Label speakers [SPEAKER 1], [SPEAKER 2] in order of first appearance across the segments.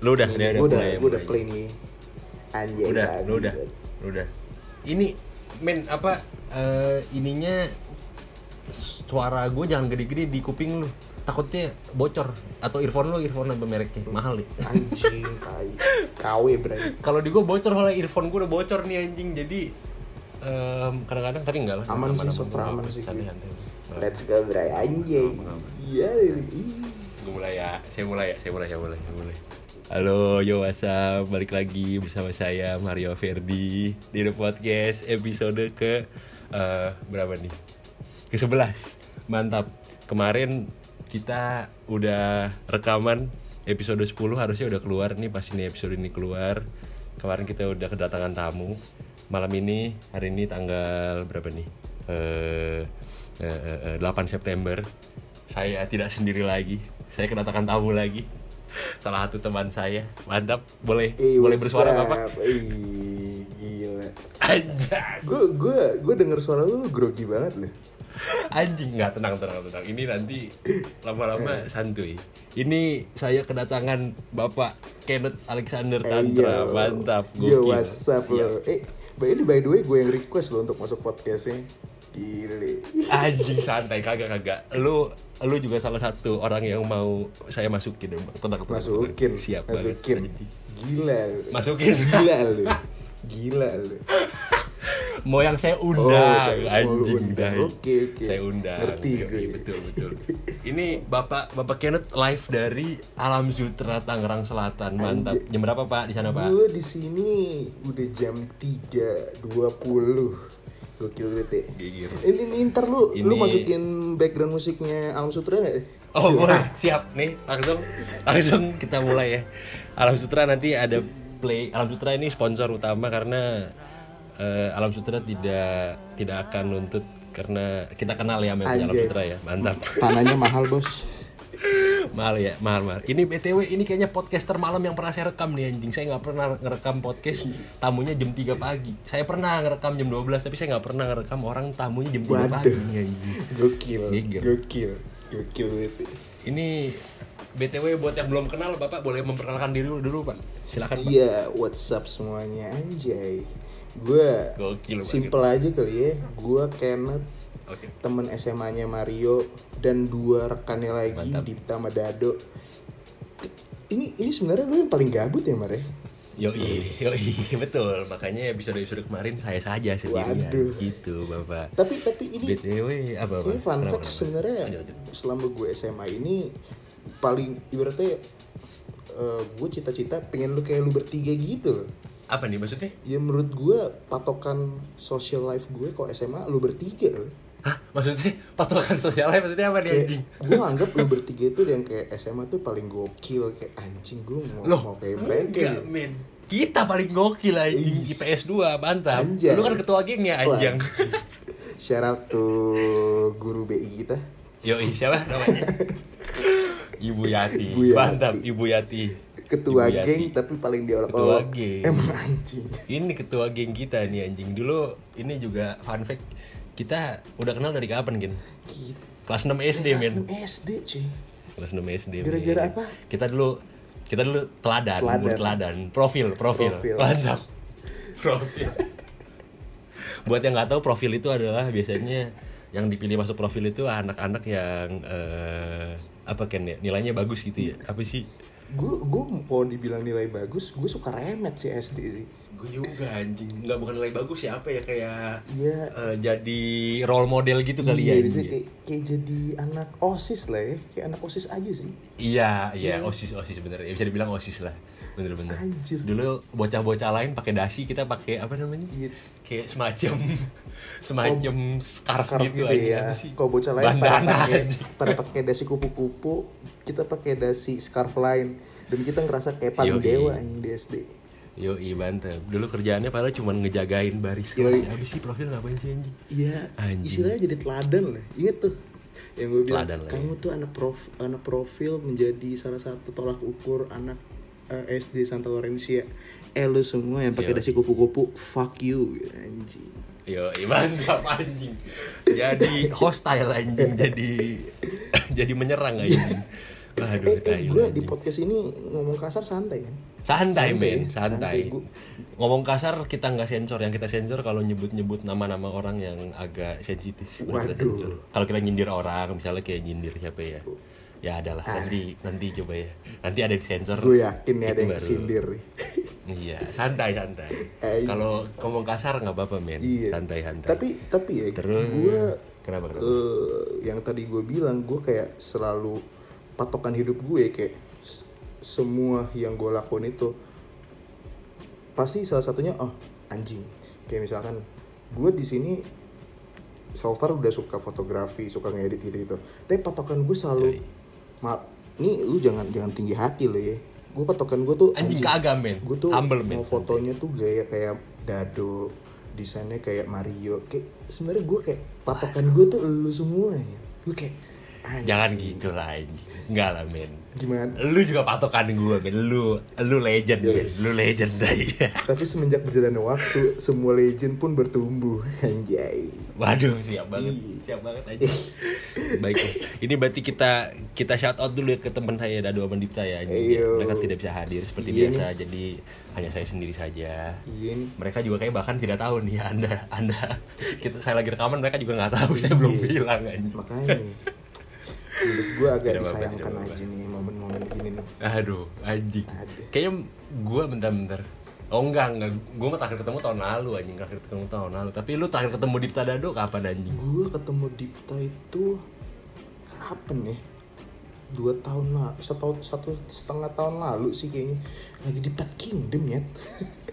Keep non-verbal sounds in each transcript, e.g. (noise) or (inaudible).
[SPEAKER 1] Lu udah,
[SPEAKER 2] Ini
[SPEAKER 1] dia
[SPEAKER 2] gua udah,
[SPEAKER 1] mulai,
[SPEAKER 2] gua udah
[SPEAKER 1] mulai.
[SPEAKER 2] play nih. Anjay,
[SPEAKER 1] udah,
[SPEAKER 2] sabi,
[SPEAKER 1] lu udah,
[SPEAKER 2] bet.
[SPEAKER 1] lu udah. Ini men apa eh, ininya suara gue jangan gede-gede di kuping lu. Takutnya bocor atau earphone lu earphone apa mereknya? Mahal nih.
[SPEAKER 2] Anjing, tai. KW berarti.
[SPEAKER 1] Kalau di gue bocor soalnya earphone gue udah bocor nih anjing. Jadi em, kadang-kadang tadi enggak lah.
[SPEAKER 2] Aman sih, so far aman sih. Let's go, Bray. Anjay. Iya, ini. Ih.
[SPEAKER 1] Gue mulai ya, saya mulai ya, saya mulai, saya mulai, saya mulai. Halo, yo wasam, balik lagi bersama saya Mario Verdi di The Podcast episode ke eh, berapa nih? Ke 11 Mantap. Kemarin kita udah rekaman episode 10 harusnya udah keluar nih pas ini episode ini keluar. Kemarin kita udah kedatangan tamu. Malam ini hari ini tanggal berapa nih? Eh eh, eh, eh, 8 September saya tidak sendiri lagi saya kedatangan tamu lagi salah satu teman saya mantap boleh
[SPEAKER 2] Eh,
[SPEAKER 1] boleh
[SPEAKER 2] what's
[SPEAKER 1] bersuara
[SPEAKER 2] up?
[SPEAKER 1] bapak (laughs)
[SPEAKER 2] Ih, gila.
[SPEAKER 1] anjas
[SPEAKER 2] Gue gue gue denger suara lu, lu grogi banget lu.
[SPEAKER 1] anjing nggak tenang tenang tenang ini nanti lama-lama santuy ini saya kedatangan bapak Kenneth Alexander Tantra
[SPEAKER 2] yo.
[SPEAKER 1] mantap
[SPEAKER 2] Yo,
[SPEAKER 1] gokil.
[SPEAKER 2] Eh, iya. what's up
[SPEAKER 1] Siap.
[SPEAKER 2] lo? Eh, by ini by the way gue yang request lo untuk masuk podcastnya. Gile.
[SPEAKER 1] anjing santai kagak kagak lu lu juga salah satu orang yang mau saya masukin Bang. tenang, tenang, tenang.
[SPEAKER 2] Masukin.
[SPEAKER 1] siap banget.
[SPEAKER 2] Masukin. Gila lu.
[SPEAKER 1] Masukin.
[SPEAKER 2] Gila lu. Gila lu.
[SPEAKER 1] mau yang saya
[SPEAKER 2] Oh,
[SPEAKER 1] undang
[SPEAKER 2] saya- oh, lu
[SPEAKER 1] anjing
[SPEAKER 2] undang.
[SPEAKER 1] dai.
[SPEAKER 2] Oke, oke.
[SPEAKER 1] saya undang
[SPEAKER 2] Ngerti
[SPEAKER 1] Yoi,
[SPEAKER 2] gue.
[SPEAKER 1] betul
[SPEAKER 2] (laughs)
[SPEAKER 1] betul ini bapak bapak Kenneth live dari Alam Sutra Tangerang Selatan mantap
[SPEAKER 2] Anjay.
[SPEAKER 1] jam berapa pak di sana pak
[SPEAKER 2] Gue di sini udah jam 3.20. Gokil banget ya.
[SPEAKER 1] Gigir.
[SPEAKER 2] Ini, ini ntar lu, lu
[SPEAKER 1] Ini-
[SPEAKER 2] masukin background musiknya Alam Sutra gak?
[SPEAKER 1] oh boleh siap nih langsung langsung kita mulai ya Alam Sutra nanti ada play Alam Sutra ini sponsor utama karena eh, Alam Sutra tidak tidak akan nuntut karena kita kenal ya sama yang punya Alam
[SPEAKER 2] Anjay.
[SPEAKER 1] Sutra ya mantap
[SPEAKER 2] Tanahnya mahal bos.
[SPEAKER 1] mahal ya mahal mahal ini btw ini kayaknya podcaster malam yang pernah saya rekam nih anjing saya nggak pernah ngerekam podcast tamunya jam 3 pagi saya pernah ngerekam jam 12 tapi saya nggak pernah ngerekam orang tamunya jam 3 pagi
[SPEAKER 2] Waduh.
[SPEAKER 1] nih anjing
[SPEAKER 2] Gokil.
[SPEAKER 1] Gigil.
[SPEAKER 2] Gokil. Gokil banget ya.
[SPEAKER 1] ini btw buat yang belum kenal bapak boleh memperkenalkan diri dulu, dulu pak silakan pak
[SPEAKER 2] Iya, what's up semuanya anjay. Gue
[SPEAKER 1] Gokil banget.
[SPEAKER 2] simple aja kali ya. Gue Kenneth,
[SPEAKER 1] oke
[SPEAKER 2] temen SMA-nya Mario dan dua rekannya lagi
[SPEAKER 1] Mantap.
[SPEAKER 2] Dipta sama Dado. Ini ini sebenarnya lu yang paling gabut ya, Mare?
[SPEAKER 1] yoi yoi (laughs) betul makanya episode episode kemarin saya saja sendirian
[SPEAKER 2] Waduh.
[SPEAKER 1] gitu bapak
[SPEAKER 2] Tapi tapi ini
[SPEAKER 1] Gitu. btw apa apa
[SPEAKER 2] ini fun
[SPEAKER 1] Iya,
[SPEAKER 2] fact sebenarnya selama gue SMA ini paling ibaratnya eh, gue cita-cita pengen lu kayak lu bertiga gitu loh.
[SPEAKER 1] apa nih maksudnya
[SPEAKER 2] Ya menurut gue patokan social life gue kok SMA lu bertiga loh.
[SPEAKER 1] Hah? Maksudnya patokan sosialnya maksudnya apa nih anjing?
[SPEAKER 2] Kayak gue anggap lu bertiga itu yang kayak SMA tuh paling gokil kayak anjing gue mau
[SPEAKER 1] Loh,
[SPEAKER 2] mau kayak
[SPEAKER 1] enggak
[SPEAKER 2] bengkel.
[SPEAKER 1] men. Kita paling gokil anjing
[SPEAKER 2] Is.
[SPEAKER 1] IPS 2, mantap.
[SPEAKER 2] Anjay.
[SPEAKER 1] Lu kan ketua gengnya anjing.
[SPEAKER 2] Shout out to guru BI kita.
[SPEAKER 1] Yoi, siapa namanya?
[SPEAKER 2] (laughs)
[SPEAKER 1] Ibu Yati.
[SPEAKER 2] Ibu Yati.
[SPEAKER 1] Mantap, Ibu Yati.
[SPEAKER 2] Ketua
[SPEAKER 1] Ibu Yati.
[SPEAKER 2] geng tapi paling
[SPEAKER 1] Ketua
[SPEAKER 2] diolok-olok.
[SPEAKER 1] geng.
[SPEAKER 2] Emang anjing.
[SPEAKER 1] Ini ketua geng kita nih anjing. Dulu ini juga fun fact. Kita udah kenal dari kapan, Gin?
[SPEAKER 2] Kita
[SPEAKER 1] Kelas 6 SD, Iya, men.
[SPEAKER 2] kelas 6 SD cuy.
[SPEAKER 1] kelas 6 SD.
[SPEAKER 2] Gara-gara
[SPEAKER 1] men.
[SPEAKER 2] apa?
[SPEAKER 1] Kita dulu kita dulu teladan,
[SPEAKER 2] Teladan.
[SPEAKER 1] murid teladan, profil, profil.
[SPEAKER 2] Profil. (laughs)
[SPEAKER 1] Mantap. Profil. Buat yang nggak tahu profil itu adalah biasanya yang dipilih masuk profil itu anak-anak yang eh, apa kan ya nilainya bagus gitu ya apa sih
[SPEAKER 2] Gue gue mau dibilang nilai bagus, gue suka remet sih SD sih.
[SPEAKER 1] gue juga anjing nggak bukan nilai bagus ya apa ya kayak
[SPEAKER 2] Iya.
[SPEAKER 1] Eh, jadi role model gitu kali ya
[SPEAKER 2] Iya, bisa
[SPEAKER 1] anjing.
[SPEAKER 2] kayak, kayak jadi anak osis lah ya, kayak anak osis aja sih.
[SPEAKER 1] Iya, iya, osis, osis bener. Ya, bisa dibilang osis lah, bener-bener.
[SPEAKER 2] Anjir.
[SPEAKER 1] Dulu bocah-bocah lain pakai dasi, kita pakai apa namanya?
[SPEAKER 2] Iya.
[SPEAKER 1] Kayak semacam, (laughs) semacam scarf,
[SPEAKER 2] Scarf
[SPEAKER 1] gitu,
[SPEAKER 2] gitu
[SPEAKER 1] aja.
[SPEAKER 2] ya.
[SPEAKER 1] Apa sih?
[SPEAKER 2] Kalau bocah lain pada
[SPEAKER 1] Bandana,
[SPEAKER 2] pakai
[SPEAKER 1] anjing.
[SPEAKER 2] pada pakai dasi kupu-kupu, kita pakai dasi scarf lain dan kita ngerasa kayak paling
[SPEAKER 1] Yoi.
[SPEAKER 2] dewa yang di SD.
[SPEAKER 1] Yoi, mantep. Dulu kerjaannya padahal cuma ngejagain baris kelas.
[SPEAKER 2] Yoi.
[SPEAKER 1] Habis sih profil ngapain sih anjing?
[SPEAKER 2] Iya,
[SPEAKER 1] Anjing.
[SPEAKER 2] istilahnya jadi teladan lah. Ingat tuh yang gue bilang,
[SPEAKER 1] Teladan lah ya.
[SPEAKER 2] kamu tuh anak prof, anak profil menjadi salah satu tolak ukur anak eh, SD Santa Laurencia. Eh lu semua yang pakai
[SPEAKER 1] Yoi.
[SPEAKER 2] dasi kupu-kupu, fuck you anjing.
[SPEAKER 1] Yoi, (laughs) mantap anjing. (laughs) Jadi hostile anjing, jadi jadi menyerang anjing. Aduh,
[SPEAKER 2] (laughs) eh, eh
[SPEAKER 1] tai
[SPEAKER 2] gue
[SPEAKER 1] lagi.
[SPEAKER 2] di podcast ini ngomong kasar santai kan
[SPEAKER 1] santai,
[SPEAKER 2] Santai,
[SPEAKER 1] men, santai.
[SPEAKER 2] santai, gua-
[SPEAKER 1] Ngomong kasar kita nggak sensor, yang kita sensor kalau nyebut-nyebut nama-nama orang yang agak sensitif. Baru kita
[SPEAKER 2] Waduh.
[SPEAKER 1] sensor. Kalau kita nyindir orang, misalnya kayak nyindir siapa ya? Ya adalah
[SPEAKER 2] Ah.
[SPEAKER 1] nanti nanti coba ya. Nanti ada di sensor.
[SPEAKER 2] gue yakin nih ada
[SPEAKER 1] Itu
[SPEAKER 2] yang
[SPEAKER 1] baru.
[SPEAKER 2] sindir (laughs) nih
[SPEAKER 1] Iya, santai santai.
[SPEAKER 2] Eh,
[SPEAKER 1] Kalau ngomong kasar nggak apa-apa, men.
[SPEAKER 2] iya
[SPEAKER 1] Santai santai.
[SPEAKER 2] tapi tapi ya
[SPEAKER 1] Terus
[SPEAKER 2] gue
[SPEAKER 1] kenapa kenapa?
[SPEAKER 2] eh, yang tadi gue bilang gue kayak selalu patokan hidup gue kayak s- semua yang gue lakuin itu pasti salah satunya oh anjing kayak misalkan gue di sini so far udah suka fotografi suka ngedit gitu gitu tapi patokan gue selalu
[SPEAKER 1] Yoi.
[SPEAKER 2] maaf nih lu jangan jangan tinggi hati lo ya gue patokan gue tuh
[SPEAKER 1] Anjing kagak, men.
[SPEAKER 2] gue tuh
[SPEAKER 1] Humble, men.
[SPEAKER 2] mau fotonya tuh gaya kayak dado desainnya kayak Mario kayak sebenarnya gue kayak patokan gue tuh lu semua ya gue kayak anjing,
[SPEAKER 1] Jangan gitu lah anjing. Enggak lah, men.
[SPEAKER 2] gimana
[SPEAKER 1] Lu juga patokan gue, men. Lu lu legend, men.
[SPEAKER 2] Yes.
[SPEAKER 1] Lu legend (laughs) dai.
[SPEAKER 2] tapi semenjak berjalannya waktu semua legend pun bertumbuh (laughs) anjay
[SPEAKER 1] Waduh, siap banget.
[SPEAKER 2] Iya.
[SPEAKER 1] Siap banget aja. Baik. Ini berarti kita kita shout out dulu ya ke teman saya Dado Amandita ya. Jadi
[SPEAKER 2] Ayo.
[SPEAKER 1] mereka tidak bisa hadir seperti
[SPEAKER 2] Iya
[SPEAKER 1] biasa. Jadi hanya saya sendiri saja.
[SPEAKER 2] iya nih.
[SPEAKER 1] Mereka juga kayak bahkan tidak tahu nih Anda Anda (laughs) kita saya lagi rekaman mereka juga nggak tahu saya
[SPEAKER 2] Iya.
[SPEAKER 1] belum bilang anjing.
[SPEAKER 2] makanya hidup gue agak
[SPEAKER 1] Tidak apa-apa,
[SPEAKER 2] disayangkan
[SPEAKER 1] tidak
[SPEAKER 2] aja nih momen-momen gini nih
[SPEAKER 1] Aduh, anjing.
[SPEAKER 2] Aduh.
[SPEAKER 1] Kayaknya gua bentar-bentar. Oh enggak, enggak. Gua mah terakhir ketemu tahun lalu anjing, terakhir ketemu tahun lalu. Tapi lu terakhir ketemu Dipta Dado kapan anjing?
[SPEAKER 2] gue ketemu Dipta itu kapan ya dua tahun lalu satu, satu setengah tahun lalu sih kayaknya lagi di Pet Kingdom ya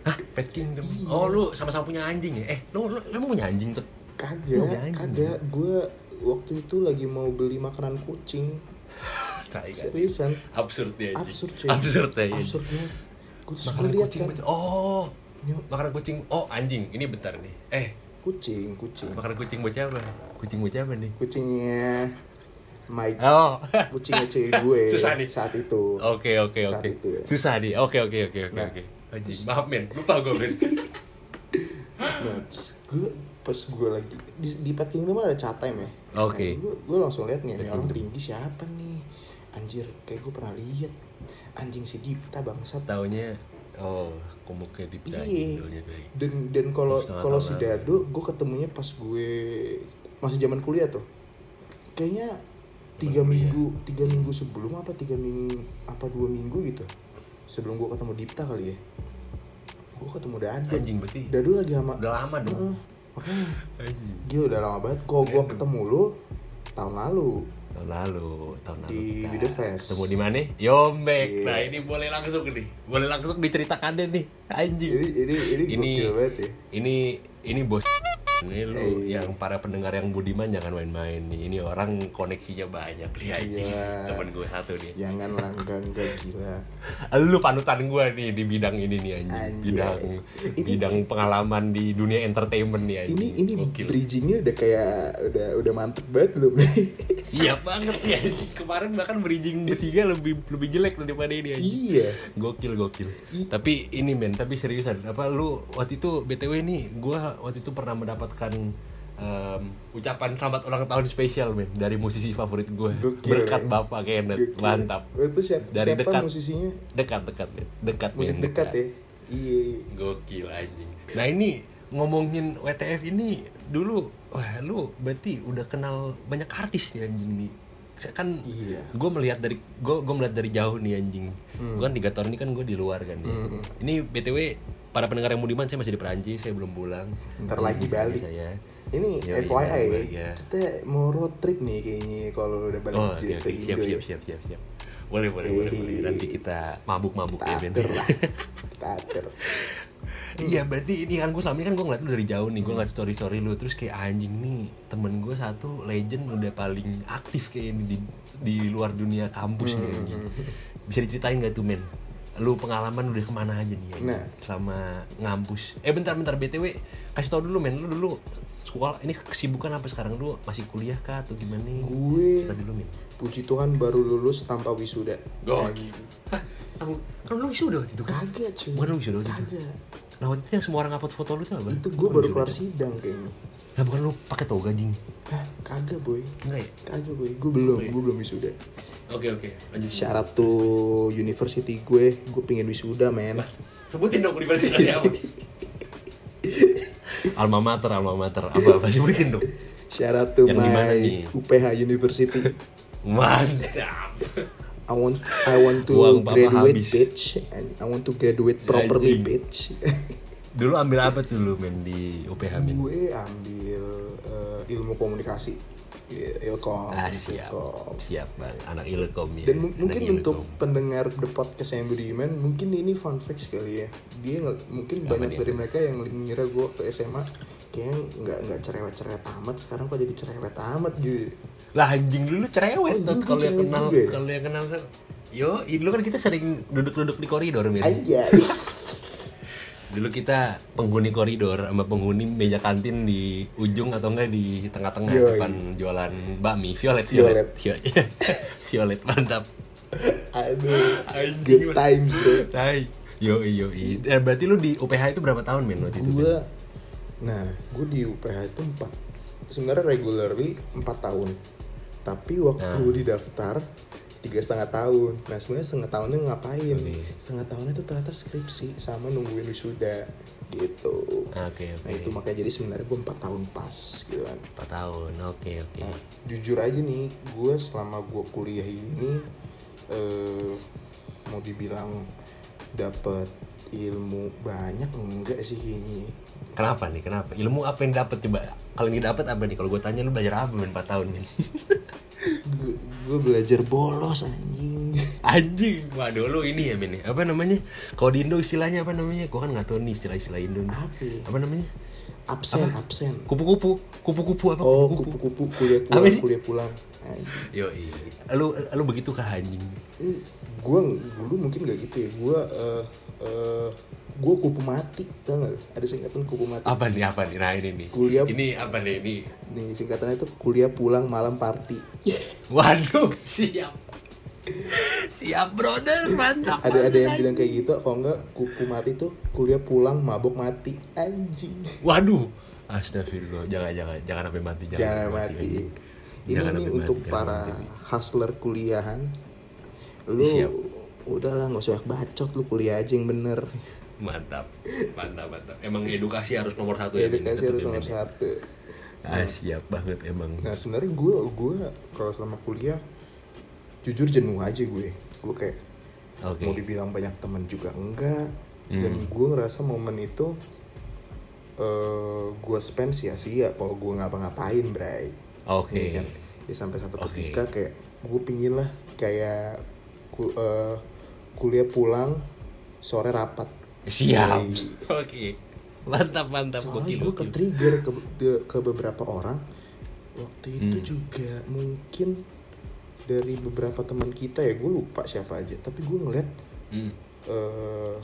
[SPEAKER 1] Hah, Pet Kingdom. Oh, lu sama-sama punya anjing ya? Eh, lu lu, lu emang punya anjing tuh? Lu
[SPEAKER 2] (laughs) kagak
[SPEAKER 1] anjing.
[SPEAKER 2] kagak gue waktu itu lagi mau beli makanan kucing
[SPEAKER 1] Tai kan.
[SPEAKER 2] seriusan
[SPEAKER 1] Absurd ya. anjing.
[SPEAKER 2] absurd cuy
[SPEAKER 1] Absurd ya. anjing.
[SPEAKER 2] absurdnya gue terus
[SPEAKER 1] Makanan
[SPEAKER 2] gue liat
[SPEAKER 1] kucing.
[SPEAKER 2] kan
[SPEAKER 1] betul. Oh.
[SPEAKER 2] Yuk.
[SPEAKER 1] Makanan kucing. Oh, anjing. Ini bentar nih. Eh,
[SPEAKER 2] kucing kucing
[SPEAKER 1] makanan kucing bocah apa? Kucing bocah apa nih?
[SPEAKER 2] kucingnya Mike
[SPEAKER 1] Oh. (laughs)
[SPEAKER 2] kucingnya cewek gue
[SPEAKER 1] Susah nih. Oh,
[SPEAKER 2] saat itu
[SPEAKER 1] Oke, oke,
[SPEAKER 2] Saat
[SPEAKER 1] oke.
[SPEAKER 2] itu ya.
[SPEAKER 1] Susah nih. Oke, oke, oke, oke,
[SPEAKER 2] Nah.
[SPEAKER 1] oke. Anjing, maaf men. Lupa gue men.
[SPEAKER 2] Nah, terus gue pas gue lagi di, di Pet Kingdom ada chat time ya.
[SPEAKER 1] Oke.
[SPEAKER 2] Nah, gue gue langsung liat nih,
[SPEAKER 1] Pet
[SPEAKER 2] ini orang
[SPEAKER 1] Kingdom.
[SPEAKER 2] tinggi siapa nih? Anjir, kayak gue pernah lihat anjing si Dipta bangsat.
[SPEAKER 1] Taunya oh, komuknya di
[SPEAKER 2] Iya. Dan dan kalau
[SPEAKER 1] Setengah
[SPEAKER 2] kalau
[SPEAKER 1] tahun
[SPEAKER 2] si
[SPEAKER 1] lalu.
[SPEAKER 2] Dado, gue ketemunya pas gue masih zaman kuliah tuh. Kayaknya tiga
[SPEAKER 1] Kuliah. Hmm.
[SPEAKER 2] minggu tiga minggu sebelum apa tiga minggu apa dua minggu gitu sebelum gue ketemu Dipta kali ya gue ketemu Dado
[SPEAKER 1] Anjing berarti
[SPEAKER 2] Dado lagi sama
[SPEAKER 1] udah lama
[SPEAKER 2] Heeh,
[SPEAKER 1] dong.
[SPEAKER 2] makanya
[SPEAKER 1] Anjing.
[SPEAKER 2] Gila udah lama banget kok gua
[SPEAKER 1] Random.
[SPEAKER 2] ketemu lu tahun lalu.
[SPEAKER 1] tahun lalu tahun lalu
[SPEAKER 2] Di-
[SPEAKER 1] kita
[SPEAKER 2] di The Fest.
[SPEAKER 1] ketemu di mana Yombek
[SPEAKER 2] Iya.
[SPEAKER 1] nah ini boleh langsung nih boleh langsung diceritakan deh nih
[SPEAKER 2] Ini
[SPEAKER 1] anjing
[SPEAKER 2] ini ini,
[SPEAKER 1] Ini-
[SPEAKER 2] gokil banget ya.
[SPEAKER 1] ini ini bos ini lu
[SPEAKER 2] Iya.
[SPEAKER 1] yang para pendengar yang budiman jangan main-main nih ini orang koneksinya banyak nih anjing
[SPEAKER 2] Iya.
[SPEAKER 1] temen gue satu nih
[SPEAKER 2] Jangan langgan gak gila.
[SPEAKER 1] lu panutan gue nih di bidang ini nih anjing
[SPEAKER 2] Anjay.
[SPEAKER 1] bidang
[SPEAKER 2] Ini-
[SPEAKER 1] bidang pengalaman di dunia entertainment nih anjing
[SPEAKER 2] Ini ini
[SPEAKER 1] Gokil.
[SPEAKER 2] bridgingnya udah kayak udah udah mantep banget
[SPEAKER 1] (laughs)
[SPEAKER 2] belum nih.
[SPEAKER 1] siap banget ya kemarin bahkan bridging bertiga lebih lebih jelek daripada ini anjing
[SPEAKER 2] iya.
[SPEAKER 1] Gokil gokil. Tapi ini men, tapi seriusan. Apa lu waktu itu BTW nih, gua waktu itu pernah mendapatkan em, ucapan selamat ulang tahun spesial men dari musisi favorit gue
[SPEAKER 2] Gokil,
[SPEAKER 1] berkat
[SPEAKER 2] men.
[SPEAKER 1] bapak Kenneth
[SPEAKER 2] Gokil.
[SPEAKER 1] mantap
[SPEAKER 2] Itu siapa,
[SPEAKER 1] Dari
[SPEAKER 2] siapa
[SPEAKER 1] dekat.
[SPEAKER 2] musisinya?
[SPEAKER 1] dekat dekat men dekat men,
[SPEAKER 2] Musik dekat ya. Iya. iya.
[SPEAKER 1] gokil anjing nah ini ngomongin WTF ini dulu wah lu berarti udah kenal banyak artis nih anjing nih Saya kan
[SPEAKER 2] Iya. Hmm.
[SPEAKER 1] gue melihat dari gue gue melihat dari jauh nih anjing gue kan tiga tahun ini kan gue di luar kan ya. ini btw para pendengar yang budiman saya masih di Perancis saya belum pulang Iya,
[SPEAKER 2] Ntar lagi balik.
[SPEAKER 1] saya
[SPEAKER 2] Ini
[SPEAKER 1] Iya, iya,
[SPEAKER 2] FYI ya.
[SPEAKER 1] balik ya.
[SPEAKER 2] Kita mau road trip nih kayaknya kalau udah balik
[SPEAKER 1] oh oke
[SPEAKER 2] j-
[SPEAKER 1] oke siap siap
[SPEAKER 2] Indo ya. Eh.
[SPEAKER 1] siap siap siap boleh boleh boleh boleh nanti kita mabuk mabuk
[SPEAKER 2] Kita
[SPEAKER 1] ya Ben.
[SPEAKER 2] atur lah. Kita atur.
[SPEAKER 1] Iya berarti ini kan gue selama ini kan gue ngeliat lu dari jauh nih Gue ngeliat story-story lu Terus kayak anjing nih temen gue satu legend udah paling aktif kayak ini di, di luar dunia kampus nih anjing Bisa diceritain gak tuh men? Lu pengalaman udah kemana aja nih anjing
[SPEAKER 2] Nah.
[SPEAKER 1] Selama ngampus Eh bentar-bentar BTW Kasih tau dulu men Lu dulu sekolah ini kesibukan apa sekarang? Lu masih kuliah kah atau gimana?
[SPEAKER 2] Gue
[SPEAKER 1] Cerita dulu men
[SPEAKER 2] Puji Tuhan baru lulus tanpa wisuda.
[SPEAKER 1] Gokil. Hah? Kan lu sudah waktu itu kan?
[SPEAKER 2] Kagak cuy.
[SPEAKER 1] Bukan lu wisuda waktu itu?
[SPEAKER 2] Kagak.
[SPEAKER 1] Nah waktu itu yang semua orang upload foto lu tuh apa?
[SPEAKER 2] Itu gue baru keluar sidang kayaknya.
[SPEAKER 1] Lah bukan lu pakai toga anjing.
[SPEAKER 2] Hah, kagak boy.
[SPEAKER 1] Enggak ya?
[SPEAKER 2] Kagak boy. Gue belum,
[SPEAKER 1] Iya.
[SPEAKER 2] gue belum wisuda.
[SPEAKER 1] Oke oke, lanjut.
[SPEAKER 2] Syarat tuh university gue, gue pengen wisuda men.
[SPEAKER 1] Sebutin dong universitasnya apa. (laughs) alma mater, alma mater. Apa apa sebutin dong.
[SPEAKER 2] Syarat tuh
[SPEAKER 1] Yang di mana
[SPEAKER 2] my
[SPEAKER 1] nih?
[SPEAKER 2] UPH
[SPEAKER 1] (laughs)
[SPEAKER 2] University.
[SPEAKER 1] Mantap.
[SPEAKER 2] I want I want to
[SPEAKER 1] Uang papa
[SPEAKER 2] graduate
[SPEAKER 1] habis.
[SPEAKER 2] bitch and I want to graduate properly
[SPEAKER 1] Anjing.
[SPEAKER 2] bitch. (laughs)
[SPEAKER 1] Dulu ambil apa tuh lu men di UPH men?
[SPEAKER 2] gue ambil eh, ilmu komunikasi. Il- Ilkom.
[SPEAKER 1] Ah siap,
[SPEAKER 2] Ilkom.
[SPEAKER 1] siap bang. Anak ilkom ya.
[SPEAKER 2] Dan mu-
[SPEAKER 1] Anak
[SPEAKER 2] mungkin
[SPEAKER 1] ilkom.
[SPEAKER 2] untuk pendengar The Podcast yang Budiman, mungkin ini fun facts kali ya. Dia nge- mungkin banyak dari mereka yang ngira gue ke SMA kayaknya nggak nggak cerewet-cerewet amat sekarang kok jadi cerewet amat gitu.
[SPEAKER 1] lah anjing dulu
[SPEAKER 2] Oh,
[SPEAKER 1] cerewet
[SPEAKER 2] dulu
[SPEAKER 1] Tot. kalau yang
[SPEAKER 2] cerewet
[SPEAKER 1] kenal
[SPEAKER 2] juga ya?
[SPEAKER 1] kalau yang kenal kan yo i- dulu kan kita sering duduk-duduk di koridor men
[SPEAKER 2] Aja.
[SPEAKER 1] dulu kita penghuni koridor sama penghuni meja kantin di ujung atau enggak di tengah-tengah
[SPEAKER 2] Yoi.
[SPEAKER 1] depan jualan bakmi violet violet violet, (laughs) violet mantap
[SPEAKER 2] (laughs) Aduh.
[SPEAKER 1] Anjing,
[SPEAKER 2] Good
[SPEAKER 1] Mas.
[SPEAKER 2] times bro.
[SPEAKER 1] Hai. yo yo eh, berarti lu di UPH itu berapa tahun men waktu itu
[SPEAKER 2] gue nah gue di UPH itu empat sebenarnya regularly empat tahun tapi waktu
[SPEAKER 1] Nah.
[SPEAKER 2] didaftar tiga setengah tahun nah sebenarnya setengah tahunnya ngapain
[SPEAKER 1] Oke.
[SPEAKER 2] setengah tahunnya itu ternyata skripsi sama nungguin wisuda gitu
[SPEAKER 1] Ah, oke
[SPEAKER 2] nah,
[SPEAKER 1] oke
[SPEAKER 2] itu makanya jadi sebenarnya gue empat tahun pas gitu kan
[SPEAKER 1] empat tahun oke oke
[SPEAKER 2] Nah, jujur aja nih gue selama gue kuliah ini eh, mau dibilang dapat ilmu banyak enggak sih kayaknya
[SPEAKER 1] kenapa nih kenapa ilmu apa yang dapet coba kalau yang dapet apa nih kalau gue tanya lu belajar apa men 4 tahun men
[SPEAKER 2] gue belajar bolos anjing
[SPEAKER 1] (laughs) Anjing, waduh lu ini ya Min Apa namanya? Kalau di Indo istilahnya apa namanya? Gua kan nggak tahu nih istilah-istilah Indo nih.
[SPEAKER 2] Apa ya?
[SPEAKER 1] Apa namanya?
[SPEAKER 2] absen absen
[SPEAKER 1] Kupu-kupu, kupu-kupu apa?
[SPEAKER 2] oh
[SPEAKER 1] kupu-kupu.
[SPEAKER 2] kupu-kupu kuliah
[SPEAKER 1] Apa
[SPEAKER 2] pulang
[SPEAKER 1] sih?
[SPEAKER 2] kuliah pulang Anjing.
[SPEAKER 1] Yo, iya. Lu lu begitu kah anjing?
[SPEAKER 2] Hmm, gua dulu mungkin gak gitu ya gue gue kupu mati tau gak lu? ada singkatan kupu mati
[SPEAKER 1] Apa nih apa nih? Nah, ini nih.
[SPEAKER 2] Kuliah-
[SPEAKER 1] Ini apa nih ini?
[SPEAKER 2] nih singkatannya itu kuliah pulang malam party
[SPEAKER 1] Waduh, siap. siap brother, mantap.
[SPEAKER 2] ada ada yang
[SPEAKER 1] mantap.
[SPEAKER 2] bilang kayak gitu kalau enggak kupu mati tuh kuliah pulang mabok mati anjing
[SPEAKER 1] Waduh. Astagfirullah, jangan jangan jangan sampai mati jangan.
[SPEAKER 2] jangan
[SPEAKER 1] sampai
[SPEAKER 2] mati
[SPEAKER 1] anjing.
[SPEAKER 2] ini
[SPEAKER 1] Jangan
[SPEAKER 2] nih
[SPEAKER 1] sampai
[SPEAKER 2] untuk
[SPEAKER 1] mati, jangan
[SPEAKER 2] para
[SPEAKER 1] sampai
[SPEAKER 2] hustler kuliahan lu
[SPEAKER 1] Siap.
[SPEAKER 2] udahlah nggak usah banyak bacot lu kuliah aja yang bener
[SPEAKER 1] Mantap. Mantap, mantap. Emang edukasi harus nomor satu ya, Min?
[SPEAKER 2] edukasi
[SPEAKER 1] Tetep ya,
[SPEAKER 2] harus
[SPEAKER 1] Min,
[SPEAKER 2] nomor
[SPEAKER 1] ya?
[SPEAKER 2] satu
[SPEAKER 1] Ah, siap banget emang.
[SPEAKER 2] nah sebenarnya gue gue kalau selama kuliah jujur jenuh aja gue gue kayak
[SPEAKER 1] Oke. Hmm.
[SPEAKER 2] mau dibilang banyak temen juga enggak dan gue ngerasa momen itu eh gue spend sia-sia kalau gue ngapa-ngapain bray
[SPEAKER 1] Oke.
[SPEAKER 2] Iya kan? ya sampai satu
[SPEAKER 1] Oke.
[SPEAKER 2] ketika kayak gue pingin lah kayak ku- eh, kuliah pulang sore rapat
[SPEAKER 1] Siap.
[SPEAKER 2] Yoi.
[SPEAKER 1] Oke. Mantap, mantap.
[SPEAKER 2] Iya. soalnya
[SPEAKER 1] Gokil,
[SPEAKER 2] gue ke
[SPEAKER 1] gokil.
[SPEAKER 2] trigger ke, de- ke beberapa orang waktu
[SPEAKER 1] Hmm.
[SPEAKER 2] itu juga mungkin dari beberapa teman kita ya gue lupa siapa aja tapi gue ngeliat
[SPEAKER 1] Hmm.
[SPEAKER 2] eh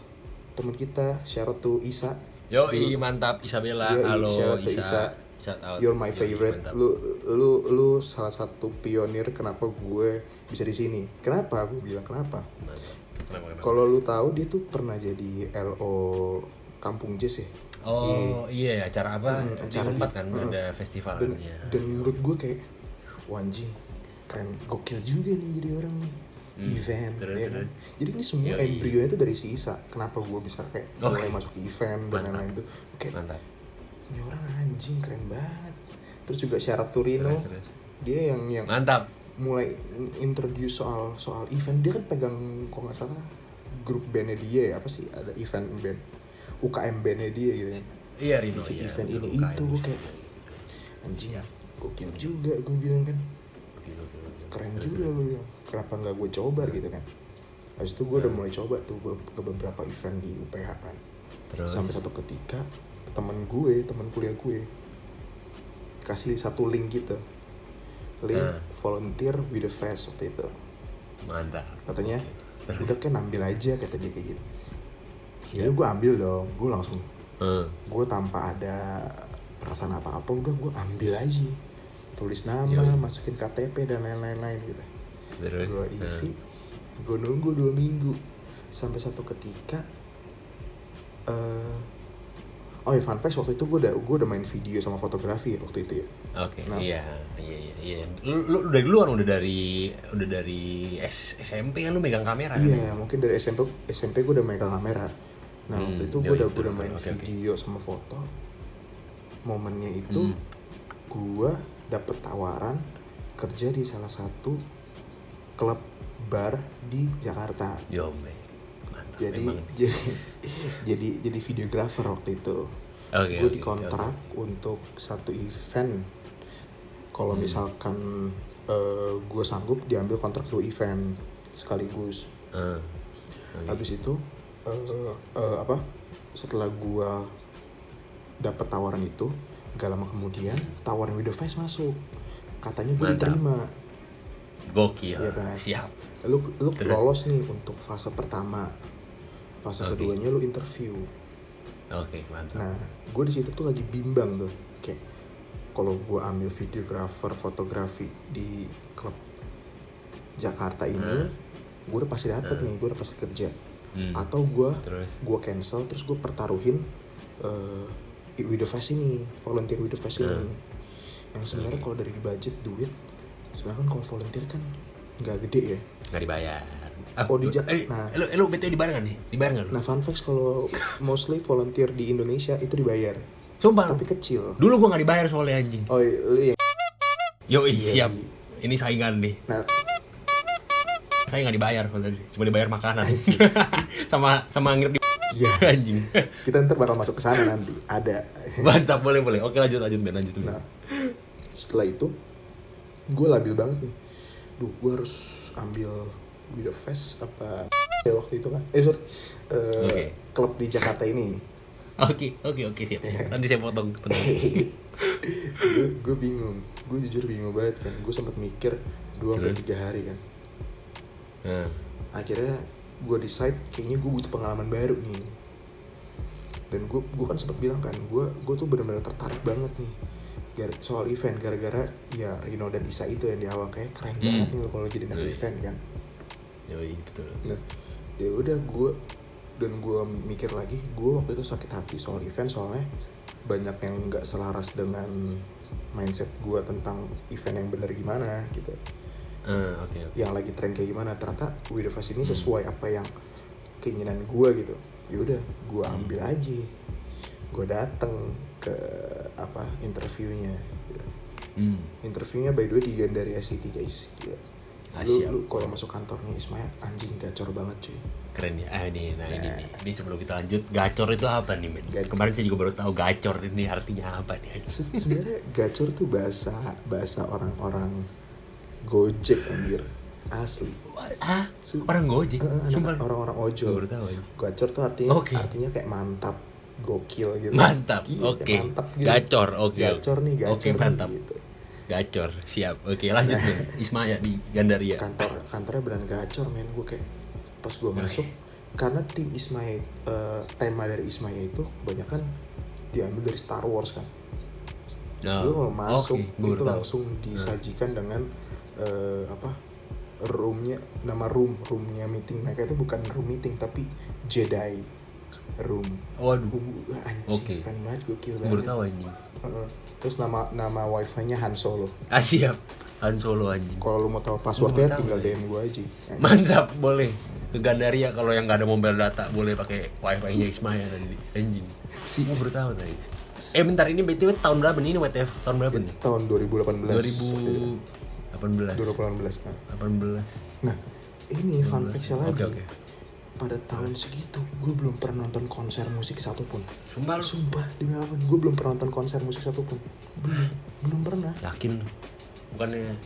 [SPEAKER 2] teman kita Syarat tuh Isa
[SPEAKER 1] Yoi, mantap. Isabella.
[SPEAKER 2] Yoi,
[SPEAKER 1] Halo,
[SPEAKER 2] shout out to
[SPEAKER 1] Isa.
[SPEAKER 2] Isa.
[SPEAKER 1] Shout out.
[SPEAKER 2] you're my
[SPEAKER 1] Yoi,
[SPEAKER 2] favorite
[SPEAKER 1] mantap.
[SPEAKER 2] lu lu lu salah satu pionir kenapa gue bisa di sini kenapa gue bilang kenapa
[SPEAKER 1] Mantap. Kenapa, kenapa?
[SPEAKER 2] kalau lu tahu dia tuh pernah jadi LO Kampung Jazz ya
[SPEAKER 1] Oh, iya, acara apa? di
[SPEAKER 2] Hmm, acara
[SPEAKER 1] Unpad
[SPEAKER 2] di-
[SPEAKER 1] kan ada festival
[SPEAKER 2] dan,
[SPEAKER 1] ya.
[SPEAKER 2] dan menurut gue kayak "Wah, anjing keren gokil juga nih jadi orang nih event
[SPEAKER 1] Hmm, terus,
[SPEAKER 2] ya kan?
[SPEAKER 1] terus.
[SPEAKER 2] jadi ini semua
[SPEAKER 1] Yoi.
[SPEAKER 2] embryo itu dari si Isa kenapa gue bisa kayak mulai
[SPEAKER 1] Oke.
[SPEAKER 2] masuk ke event dan lain-lain itu kayak
[SPEAKER 1] Mantap.
[SPEAKER 2] ini orang anjing keren banget terus juga syarat Turino
[SPEAKER 1] Terus, terus.
[SPEAKER 2] dia yang yang
[SPEAKER 1] Mantap.
[SPEAKER 2] mulai introduce soal soal event dia kan pegang kalau nggak salah grup bandnya dia ya apa sih ada event band UKM bandnya dia gitu kan
[SPEAKER 1] Iya, Rino.
[SPEAKER 2] bikin
[SPEAKER 1] iya,
[SPEAKER 2] event ini
[SPEAKER 1] betul,
[SPEAKER 2] itu
[SPEAKER 1] kain.
[SPEAKER 2] gue kayak anjing
[SPEAKER 1] Iya.
[SPEAKER 2] gokil juga gue bilang kan
[SPEAKER 1] Gokil, gokil, gokil.
[SPEAKER 2] keren juga
[SPEAKER 1] iya.
[SPEAKER 2] gue bilang kenapa nggak gue coba gitu kan habis itu gue
[SPEAKER 1] Iya.
[SPEAKER 2] udah mulai coba tuh be- ke beberapa event di UPH kan
[SPEAKER 1] Terus?
[SPEAKER 2] sampai satu ketika teman gue teman kuliah gue kasih satu link gitu link
[SPEAKER 1] Nah.
[SPEAKER 2] volunteer with the fest waktu itu
[SPEAKER 1] Mantap.
[SPEAKER 2] katanya udah kan ambil aja kata dia kayak gitu
[SPEAKER 1] Iya.
[SPEAKER 2] jadi gue ambil dong gue langsung
[SPEAKER 1] Eh,
[SPEAKER 2] gue tanpa ada perasaan apa-apa udah gue ambil aja tulis nama masukin KTP dan lain-lain gitu
[SPEAKER 1] terus.
[SPEAKER 2] gue
[SPEAKER 1] Iya, eh.
[SPEAKER 2] isi gue nunggu dua minggu sampai satu ketika eh oh ya fun fact waktu itu gue udah gue udah main video sama fotografi ya waktu itu ya
[SPEAKER 1] Oke,
[SPEAKER 2] Nah.
[SPEAKER 1] iya, iya, iya, iya. Lu, lu dari duluan udah dari udah dari S- SMP kan lu megang kamera kan?
[SPEAKER 2] Iya, mungkin dari SMP SMP gue udah megang kamera. Nah
[SPEAKER 1] Hmm,
[SPEAKER 2] waktu itu
[SPEAKER 1] ya
[SPEAKER 2] gue udah
[SPEAKER 1] itu,
[SPEAKER 2] udah
[SPEAKER 1] betul.
[SPEAKER 2] main
[SPEAKER 1] Oke, oke.
[SPEAKER 2] video sama foto. Momennya itu
[SPEAKER 1] Hmm.
[SPEAKER 2] gue dapet tawaran kerja di salah satu klub bar di Jakarta.
[SPEAKER 1] Jombe. Mantap
[SPEAKER 2] Jadi
[SPEAKER 1] memang.
[SPEAKER 2] jadi jadi jadi videographer waktu itu.
[SPEAKER 1] Oke,
[SPEAKER 2] gue
[SPEAKER 1] oke,
[SPEAKER 2] dikontrak untuk satu event. Kalau
[SPEAKER 1] Hmm.
[SPEAKER 2] misalkan gue sanggup diambil kontrak dua event sekaligus.
[SPEAKER 1] Ah.
[SPEAKER 2] Habis itu eh, eh, apa? Setelah gua dapet tawaran itu, gak lama kemudian tawaran with the face masuk. Katanya gua
[SPEAKER 1] Mantap.
[SPEAKER 2] diterima.
[SPEAKER 1] Gokil.
[SPEAKER 2] Iya kan?
[SPEAKER 1] Siap.
[SPEAKER 2] Lu lu
[SPEAKER 1] Terus?
[SPEAKER 2] lolos nih untuk fase pertama. Fase
[SPEAKER 1] Oke.
[SPEAKER 2] keduanya lu interview.
[SPEAKER 1] Oke, mantap.
[SPEAKER 2] Nah, gue di situ tuh lagi bimbang tuh. Kayak kalau gue ambil videographer fotografi di klub Jakarta ini, gue udah pasti dapet nih, gue udah pasti kerja.
[SPEAKER 1] Hmm.
[SPEAKER 2] Atau gue
[SPEAKER 1] Terus?
[SPEAKER 2] gue cancel, terus gue pertaruhin eh with the Fest ini, volunteer with the Fest ini.
[SPEAKER 1] Hmm.
[SPEAKER 2] Yang sebenarnya kalau dari budget duit, sebenarnya kan kalau volunteer kan nggak gede ya.
[SPEAKER 1] Nggak dibayar. Ah,
[SPEAKER 2] Oh, di
[SPEAKER 1] lu-
[SPEAKER 2] Ja-
[SPEAKER 1] eh,
[SPEAKER 2] nah.
[SPEAKER 1] lu lu BTW di bareng nggak nih? Di bareng nggak lu?
[SPEAKER 2] Nah fun facts kalau mostly volunteer di Indonesia itu dibayar,
[SPEAKER 1] Sumpah.
[SPEAKER 2] tapi kecil.
[SPEAKER 1] Dulu gua nggak dibayar soalnya anjing.
[SPEAKER 2] Oh, iya, lu
[SPEAKER 1] iya. Yo,
[SPEAKER 2] yang
[SPEAKER 1] siap. Ini saingan nih.
[SPEAKER 2] nah,
[SPEAKER 1] Saya nggak dibayar soalnya. Cuma dibayar makanan. (laughs) sama sama nginep di (laughs)
[SPEAKER 2] Iya,
[SPEAKER 1] anjing.
[SPEAKER 2] kita ntar bakal masuk ke sana nanti. Ada.
[SPEAKER 1] Mantap, boleh boleh. Oke, lanjut lanjut Ben, lanjut. Ben.
[SPEAKER 2] Nah, setelah itu gue labil banget nih. Duh, gue harus ambil Guido Fest apa ya waktu itu kan? Eh, sorry. Eh,
[SPEAKER 1] Oke.
[SPEAKER 2] Klub di Jakarta ini. (laughs)
[SPEAKER 1] Oke, oke, oke, siap. siap. Nanti saya potong. potong.
[SPEAKER 2] (laughs) gue bingung. Gue jujur bingung banget kan. Gue sempat mikir dua sampai tiga hari kan.
[SPEAKER 1] Nah,
[SPEAKER 2] akhirnya gue decide kayaknya gue butuh pengalaman baru nih dan gue gue kan sempat bilang kan gue gue tuh benar-benar tertarik banget nih gar- soal event gara-gara ya Rino dan Isa itu yang di awal kayak keren banget nih lo kalau jadi anak event kan
[SPEAKER 1] yoi, betul.
[SPEAKER 2] nah ya udah gue dan gue mikir lagi gue waktu itu sakit hati soal event soalnya banyak yang nggak selaras dengan mindset gue tentang event yang bener gimana gitu
[SPEAKER 1] Ah, oke, oke.
[SPEAKER 2] yang lagi tren kayak gimana ternyata With The Fast ini sesuai apa yang keinginan gua gitu yaudah gua ambil aja gua dateng ke apa interviewnya gitu.
[SPEAKER 1] Hmm.
[SPEAKER 2] interviewnya by the way di Gandaria City E guys Gila. lu,
[SPEAKER 1] Asyik.
[SPEAKER 2] lu kalau masuk kantor nih Ismail anjing gacor banget cuy
[SPEAKER 1] Keren ya. Ah, ini, nah ini nih. Ini sebelum kita lanjut, gacor itu apa nih, men?
[SPEAKER 2] Gacor.
[SPEAKER 1] Kemarin saya juga baru tahu gacor ini artinya apa nih. anjing.
[SPEAKER 2] Se- sebenarnya gacor tuh bahasa bahasa orang-orang gojek anjir asli
[SPEAKER 1] Hah?
[SPEAKER 2] Su-
[SPEAKER 1] Orang gojek?
[SPEAKER 2] Eh, eh, anak-
[SPEAKER 1] Sumpah.
[SPEAKER 2] orang-orang ojol
[SPEAKER 1] Baru tahu, anjing.
[SPEAKER 2] gacor tuh artinya
[SPEAKER 1] Oke.
[SPEAKER 2] artinya kayak mantap gokil gitu
[SPEAKER 1] Mantap,
[SPEAKER 2] Iya, kayak
[SPEAKER 1] oke.
[SPEAKER 2] mantap gitu.
[SPEAKER 1] Gacor, oke.
[SPEAKER 2] gacor nih gacor
[SPEAKER 1] Oke,
[SPEAKER 2] nih,
[SPEAKER 1] mantap.
[SPEAKER 2] gitu.
[SPEAKER 1] Gacor, siap. Oke, lanjut
[SPEAKER 2] (laughs)
[SPEAKER 1] nih. Ismaya di Gandaria.
[SPEAKER 2] kantor kantornya beneran gacor men gue kayak pas gue masuk karena tim Ismaya eh, tema dari Ismaya itu kebanyakan diambil dari Star Wars kan
[SPEAKER 1] Nah,
[SPEAKER 2] lu kalau masuk
[SPEAKER 1] oke, gua baru
[SPEAKER 2] itu
[SPEAKER 1] tahu. Nah.
[SPEAKER 2] langsung disajikan dengan eh, apa roomnya nama room roomnya meeting mereka itu bukan room meeting tapi Jedi room
[SPEAKER 1] Waduh,
[SPEAKER 2] Gua- anjing
[SPEAKER 1] Oke.
[SPEAKER 2] keren banget gokil
[SPEAKER 1] gua baru
[SPEAKER 2] banget
[SPEAKER 1] tahu anjing.
[SPEAKER 2] Heeh. terus nama nama wifi nya Han Solo
[SPEAKER 1] Ah, siap. Han Solo anjing.
[SPEAKER 2] kalau lu mau tahu
[SPEAKER 1] tahu,
[SPEAKER 2] passwordnya
[SPEAKER 1] ya?
[SPEAKER 2] tinggal DM gue aja Eh,
[SPEAKER 1] Mantap, boleh. Ke Gandaria kalau yang nggak ada mobile data boleh pakai wifi-nya Ismaya tadi. Anjing.
[SPEAKER 2] Si-
[SPEAKER 1] Gua baru tahu tadi. Eh bentar ini BTW tahun berapa nih ini WTF tahun berapa nih?
[SPEAKER 2] tahun 2018
[SPEAKER 1] 2018.
[SPEAKER 2] 2018 nah.
[SPEAKER 1] 18.
[SPEAKER 2] Nah, ini fun fact lagi.
[SPEAKER 1] Oke, oke.
[SPEAKER 2] Pada tahun segitu, gue belum pernah nonton konser musik satupun.
[SPEAKER 1] Sumpah lu
[SPEAKER 2] Sumpah, demi apapun, gue belum pernah nonton konser musik satupun. Belum, belum pernah.
[SPEAKER 1] yakin lu? bukannya eh,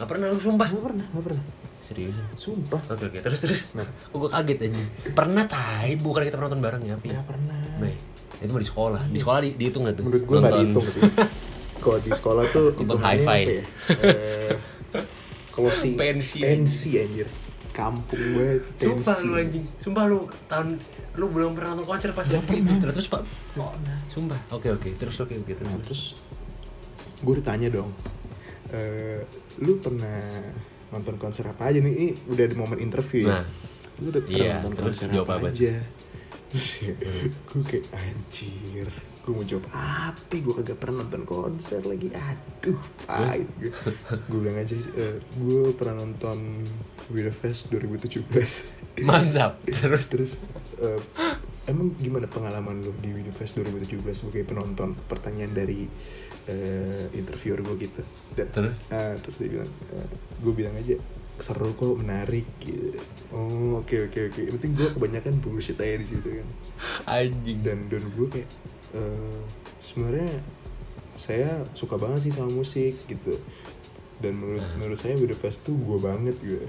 [SPEAKER 1] nggak pernah lu sumpah
[SPEAKER 2] Gak pernah, gak pernah.
[SPEAKER 1] serius
[SPEAKER 2] Sumpah,
[SPEAKER 1] oke oke terus terus kok gue kaget aja pernah tai bukan kita pernah nonton bareng ya Pi
[SPEAKER 2] gak pernah.
[SPEAKER 1] Bay, itu mah di sekolah di sekolah di, dihitung nggak tuh
[SPEAKER 2] Iya. Menurut gue gak
[SPEAKER 1] Nonton-
[SPEAKER 2] dihitung sih. Kalau di sekolah tuh
[SPEAKER 1] Nonton
[SPEAKER 2] hitungannya
[SPEAKER 1] hi-fi.
[SPEAKER 2] apa ya? Eh, Kalau si
[SPEAKER 1] Pensi.
[SPEAKER 2] pensi anjir. Kampung banget,
[SPEAKER 1] Sumpah lu
[SPEAKER 2] pensi.
[SPEAKER 1] anjing, sumpah lu tahun lu belum pernah nonton konser pas
[SPEAKER 2] Nggak
[SPEAKER 1] waktu
[SPEAKER 2] pernah.
[SPEAKER 1] itu. Terus, terus Pak. Oh, sumpah. Oke oke, terus oke oke terus.
[SPEAKER 2] Nah terus gue ditanya dong, "Eh, lu pernah nonton konser apa aja nih? Ini udah di momen interview ya.
[SPEAKER 1] Nah,
[SPEAKER 2] lu udah pernah
[SPEAKER 1] iya,
[SPEAKER 2] nonton
[SPEAKER 1] terus
[SPEAKER 2] konser
[SPEAKER 1] jawab
[SPEAKER 2] apa
[SPEAKER 1] apa?
[SPEAKER 2] aja? terus ya, gue kayak anjir gue mau jawab apa gue kagak pernah nonton konser lagi aduh pahit gue gue bilang aja "Eh, gue pernah nonton Wira Fest 2017
[SPEAKER 1] Mantap. Terus
[SPEAKER 2] (laughs) terus eh, emang gimana pengalaman lo di Wira Fest 2017 sebagai penonton pertanyaan dari eh, interviewer gue gitu dan
[SPEAKER 1] Terus?
[SPEAKER 2] ah, terus dia bilang eh, gue bilang aja seru kok menarik gitu. oh oke oke oke yang penting gue kebanyakan bullshit aja di situ kan
[SPEAKER 1] anjing.
[SPEAKER 2] dan dan gue kayak eh, sebenarnya saya suka banget sih sama musik gitu dan menurut menurut saya Wira Fest tuh gue banget gitu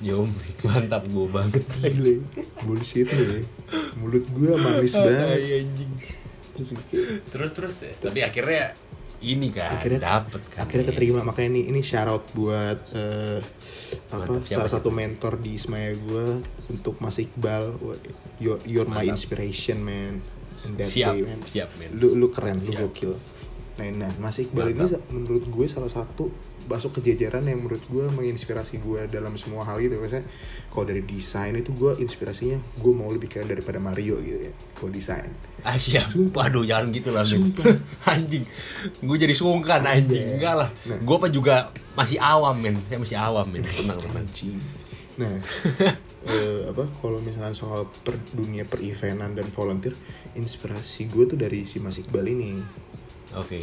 [SPEAKER 1] Yombrik mantap gue banget.
[SPEAKER 2] Gile, bullshit nih. Mulut gue manis
[SPEAKER 1] Tai,
[SPEAKER 2] banget.
[SPEAKER 1] anjing.
[SPEAKER 2] Terus kayak-
[SPEAKER 1] Terus terus deh. Tapi akhirnya ini kan
[SPEAKER 2] Akhirnya-
[SPEAKER 1] dapet kan.
[SPEAKER 2] akhirnya keterima makanya ini ini shout out buat eh, apa
[SPEAKER 1] Mantap, siapa
[SPEAKER 2] salah satu mentor di Ismaya gue untuk Mas Iqbal. Wah, You're, you're my
[SPEAKER 1] Mantap.
[SPEAKER 2] inspiration man. And that
[SPEAKER 1] Siap,
[SPEAKER 2] day, man.
[SPEAKER 1] siap, man.
[SPEAKER 2] Lu lu keren, lu
[SPEAKER 1] Siap.
[SPEAKER 2] gokil. Nah, nah, Mas Iqbal ini
[SPEAKER 1] Mantap.
[SPEAKER 2] sa- menurut gue salah satu masuk ke jajaran yang menurut gue menginspirasi gue dalam semua hal gitu misalnya kalau dari desain itu gue inspirasinya gue mau lebih keren daripada Mario gitu ya kalau desain
[SPEAKER 1] (laughs) Ah siap. Waduh jangan gitu lah. Min. (laughs) anjing. Gue jadi sungkan anjing. Enggak lah.
[SPEAKER 2] Iya. Nah. Iya,
[SPEAKER 1] Gue apa juga masih awam men. Saya masih awam men. Tenang tenang.
[SPEAKER 2] anjing. Nah, eh, apa kalau misalkan soal per dunia perivenan dan volunteer, inspirasi gue tuh dari si Mas Iqbal ini.
[SPEAKER 1] Oke.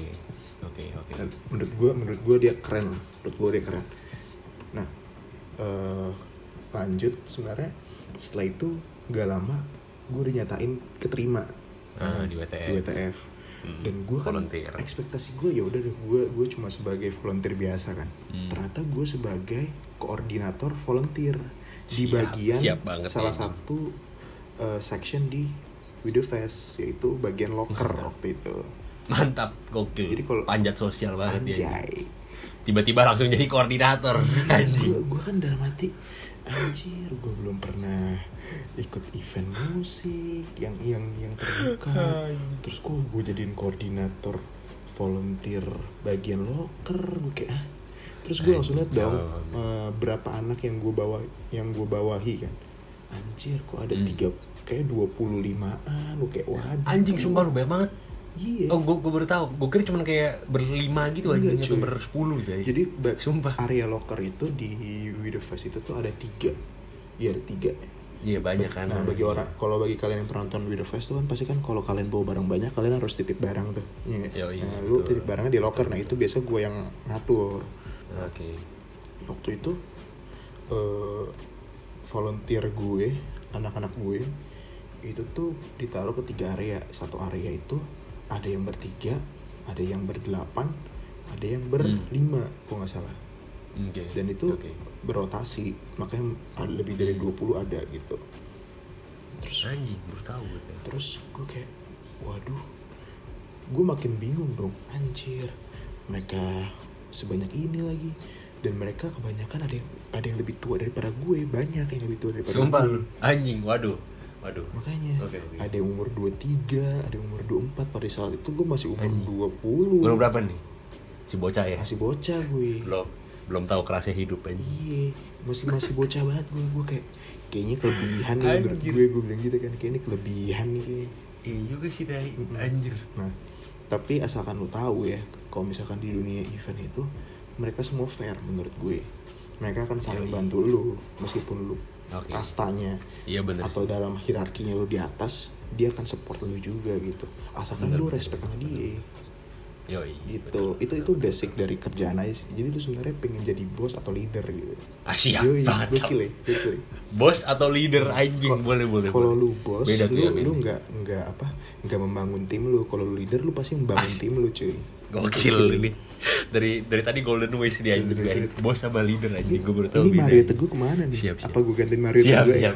[SPEAKER 1] Oke oke.
[SPEAKER 2] Dan menurut gue, menurut gue dia keren. lah. Menurut gue dia keren. Nah, eh, lanjut sebenarnya setelah itu gak lama gue udah nyatain keterima
[SPEAKER 1] Ah, di
[SPEAKER 2] di
[SPEAKER 1] WTF.
[SPEAKER 2] WTF.
[SPEAKER 1] Hmm,
[SPEAKER 2] Dan gue kan
[SPEAKER 1] volunteer.
[SPEAKER 2] ekspektasi gue ya udah deh gue gue cuma sebagai volunteer biasa kan.
[SPEAKER 1] Hmm.
[SPEAKER 2] Ternyata gue sebagai koordinator volunteer di
[SPEAKER 1] Siap,
[SPEAKER 2] bagian
[SPEAKER 1] siap banget
[SPEAKER 2] salah
[SPEAKER 1] ya.
[SPEAKER 2] satu eh, section di Widowfest yaitu bagian locker waktu itu.
[SPEAKER 1] Mantap gokil.
[SPEAKER 2] Jadi kalau-
[SPEAKER 1] panjat sosial banget dia.
[SPEAKER 2] Anjay.
[SPEAKER 1] Tiba-tiba langsung jadi koordinator. Anjing.
[SPEAKER 2] Gue gue kan dalam hati anjir gue belum pernah ikut event musik yang yang yang terbuka terus kok gue jadiin koordinator volunteer bagian loker gue kayak "Ah." terus gue langsung liat dong
[SPEAKER 1] Anjing.
[SPEAKER 2] eh, berapa anak yang gue bawa yang gue bawahi kan anjir kok
[SPEAKER 1] Hmm.
[SPEAKER 2] ada tiga kayak 25an gue kayak waduh
[SPEAKER 1] Anjing sumpah lu banyak banget.
[SPEAKER 2] iya
[SPEAKER 1] Oh, gue baru tahu. Gue kira cuma kayak berlima gitu aja,
[SPEAKER 2] Enggak,
[SPEAKER 1] atau
[SPEAKER 2] cuy.
[SPEAKER 1] bersepuluh gitu.
[SPEAKER 2] Jadi ba-
[SPEAKER 1] Sumpah.
[SPEAKER 2] area locker itu di Widowfest itu tuh ada tiga. Iya ada tiga.
[SPEAKER 1] Iya banyak kan.
[SPEAKER 2] Nah bagi orang, kalau bagi kalian yang pernah nonton Widowfest tuh kan pasti kan kalau kalian bawa barang banyak kalian harus titip barang tuh. Iya. nggak?
[SPEAKER 1] Yoi,
[SPEAKER 2] nah, lu
[SPEAKER 1] betul.
[SPEAKER 2] titip barangnya di locker. Nah itu biasa gue yang ngatur.
[SPEAKER 1] Oke.
[SPEAKER 2] Waktu itu eh volunteer gue, anak-anak gue itu tuh ditaruh ke tiga area. Satu area itu ada yang bertiga, ada yang berdelapan, ada yang berlima, kalau nggak salah
[SPEAKER 1] Hmm. Oke.
[SPEAKER 2] dan itu
[SPEAKER 1] Oke. Hmm.
[SPEAKER 2] berotasi makanya ada lebih dari 20 ada gitu terus
[SPEAKER 1] Anjing, baru tahu gue. tuh.
[SPEAKER 2] terus gue kayak waduh gue makin bingung dong anjir mereka sebanyak ini lagi dan mereka kebanyakan ada yang ada yang lebih tua daripada gue banyak yang lebih tua daripada
[SPEAKER 1] Sumpah lu.
[SPEAKER 2] gue
[SPEAKER 1] Anjing, waduh. Waduh.
[SPEAKER 2] makanya
[SPEAKER 1] Oke, oke.
[SPEAKER 2] ada yang umur 23 ada yang umur 24 pada saat itu gue masih umur
[SPEAKER 1] Anjing. Umur
[SPEAKER 2] 20
[SPEAKER 1] berapa nih? Si bocah ya.
[SPEAKER 2] masih bocah gue
[SPEAKER 1] Belum belum tahu kerasnya hidup anjing.
[SPEAKER 2] Iya, masih masih bocah banget gue, gue kayak kayaknya kelebihan nih menurut
[SPEAKER 1] Anjir.
[SPEAKER 2] gue, gue bilang gitu kan, kayak ini kelebihan nih kayaknya.
[SPEAKER 1] Iya juga sih tadi. Anjir.
[SPEAKER 2] Nah, tapi asalkan lo tahu ya, kalau misalkan di dunia event itu, mereka semua fair menurut gue. Mereka akan saling bantu lo, meskipun lo
[SPEAKER 1] Oke.
[SPEAKER 2] kastanya
[SPEAKER 1] Iya bener
[SPEAKER 2] atau
[SPEAKER 1] sih.
[SPEAKER 2] dalam hierarkinya lo di atas, dia akan support lo juga gitu. Asalkan
[SPEAKER 1] Bener,
[SPEAKER 2] lo
[SPEAKER 1] bener,
[SPEAKER 2] respect sama dia
[SPEAKER 1] Yoi.
[SPEAKER 2] gitu. Itu itu basic dari kerjaan aja sih. Jadi lo sebenarnya pengen jadi bos atau leader gitu.
[SPEAKER 1] Ah, siap
[SPEAKER 2] Yoi,
[SPEAKER 1] banget.
[SPEAKER 2] gokil ya, gokil ya.
[SPEAKER 1] Bos atau leader anjing boleh boleh.
[SPEAKER 2] kalau
[SPEAKER 1] boleh.
[SPEAKER 2] lu bos
[SPEAKER 1] Beda tuh
[SPEAKER 2] lu
[SPEAKER 1] ya, beda.
[SPEAKER 2] lu nggak nggak apa nggak membangun tim lu kalau lu leader lu pasti membangun tim lu cuy
[SPEAKER 1] Gokil ini. Dari dari tadi Golden Ways dia anjing.
[SPEAKER 2] Golden
[SPEAKER 1] guys. Bos sama leader anjing gue baru tahu.
[SPEAKER 2] ini
[SPEAKER 1] beda.
[SPEAKER 2] Mario Teguh kemana nih
[SPEAKER 1] Siap, siap.
[SPEAKER 2] apa gue gantiin Mario
[SPEAKER 1] siap
[SPEAKER 2] Teguh
[SPEAKER 1] siap
[SPEAKER 2] ya?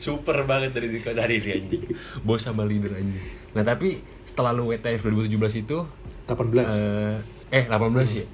[SPEAKER 1] super banget dari dari ini anjing bos sama leader anjing nah tapi setelah lu WTF 2017 itu
[SPEAKER 2] 18
[SPEAKER 1] eh, eh 18 ya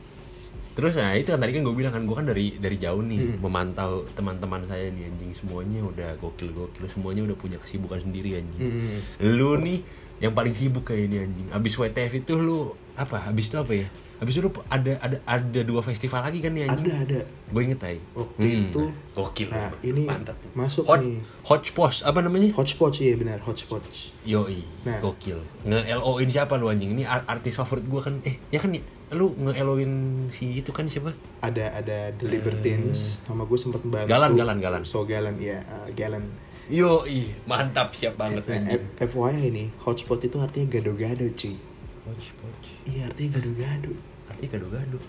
[SPEAKER 1] terus nah itu kan tadi kan gue bilang kan gue kan dari dari jauh nih
[SPEAKER 2] Hmm.
[SPEAKER 1] memantau teman-teman saya nih anjing semuanya udah gokil gokil semuanya udah punya kesibukan sendiri anjing
[SPEAKER 2] Hmm.
[SPEAKER 1] lu nih yang paling sibuk kayak ini anjing abis WTF itu lu apa habis itu apa ya habis itu lu ada ada ada dua festival lagi kan ya
[SPEAKER 2] ada ada
[SPEAKER 1] gue inget aja
[SPEAKER 2] Waktu itu,
[SPEAKER 1] Hmm, gokil
[SPEAKER 2] nah ini
[SPEAKER 1] mantap
[SPEAKER 2] masuk
[SPEAKER 1] hot
[SPEAKER 2] nih
[SPEAKER 1] hotspot apa namanya
[SPEAKER 2] hotspot iya benar hotspot
[SPEAKER 1] Yoi,
[SPEAKER 2] Nah.
[SPEAKER 1] gokil. Nge-LO-in siapa lu anjing? Ini ar- artis favorit gua kan. Eh, ya kan ya? Lu nge-LO-in si itu kan siapa?
[SPEAKER 2] ada ada The Libertines sama gue sempat
[SPEAKER 1] Eh.
[SPEAKER 2] bantu
[SPEAKER 1] Galan, Galan, Galan.
[SPEAKER 2] so Galan ya uh, Galan
[SPEAKER 1] Yoi, mantap siap banget
[SPEAKER 2] nah,
[SPEAKER 1] anjing.
[SPEAKER 2] F- FYI nih hotspot itu artinya gado-gado cuy
[SPEAKER 1] Watch, watch.
[SPEAKER 2] iya artinya gado-gado
[SPEAKER 1] Artinya gaduh-gaduh.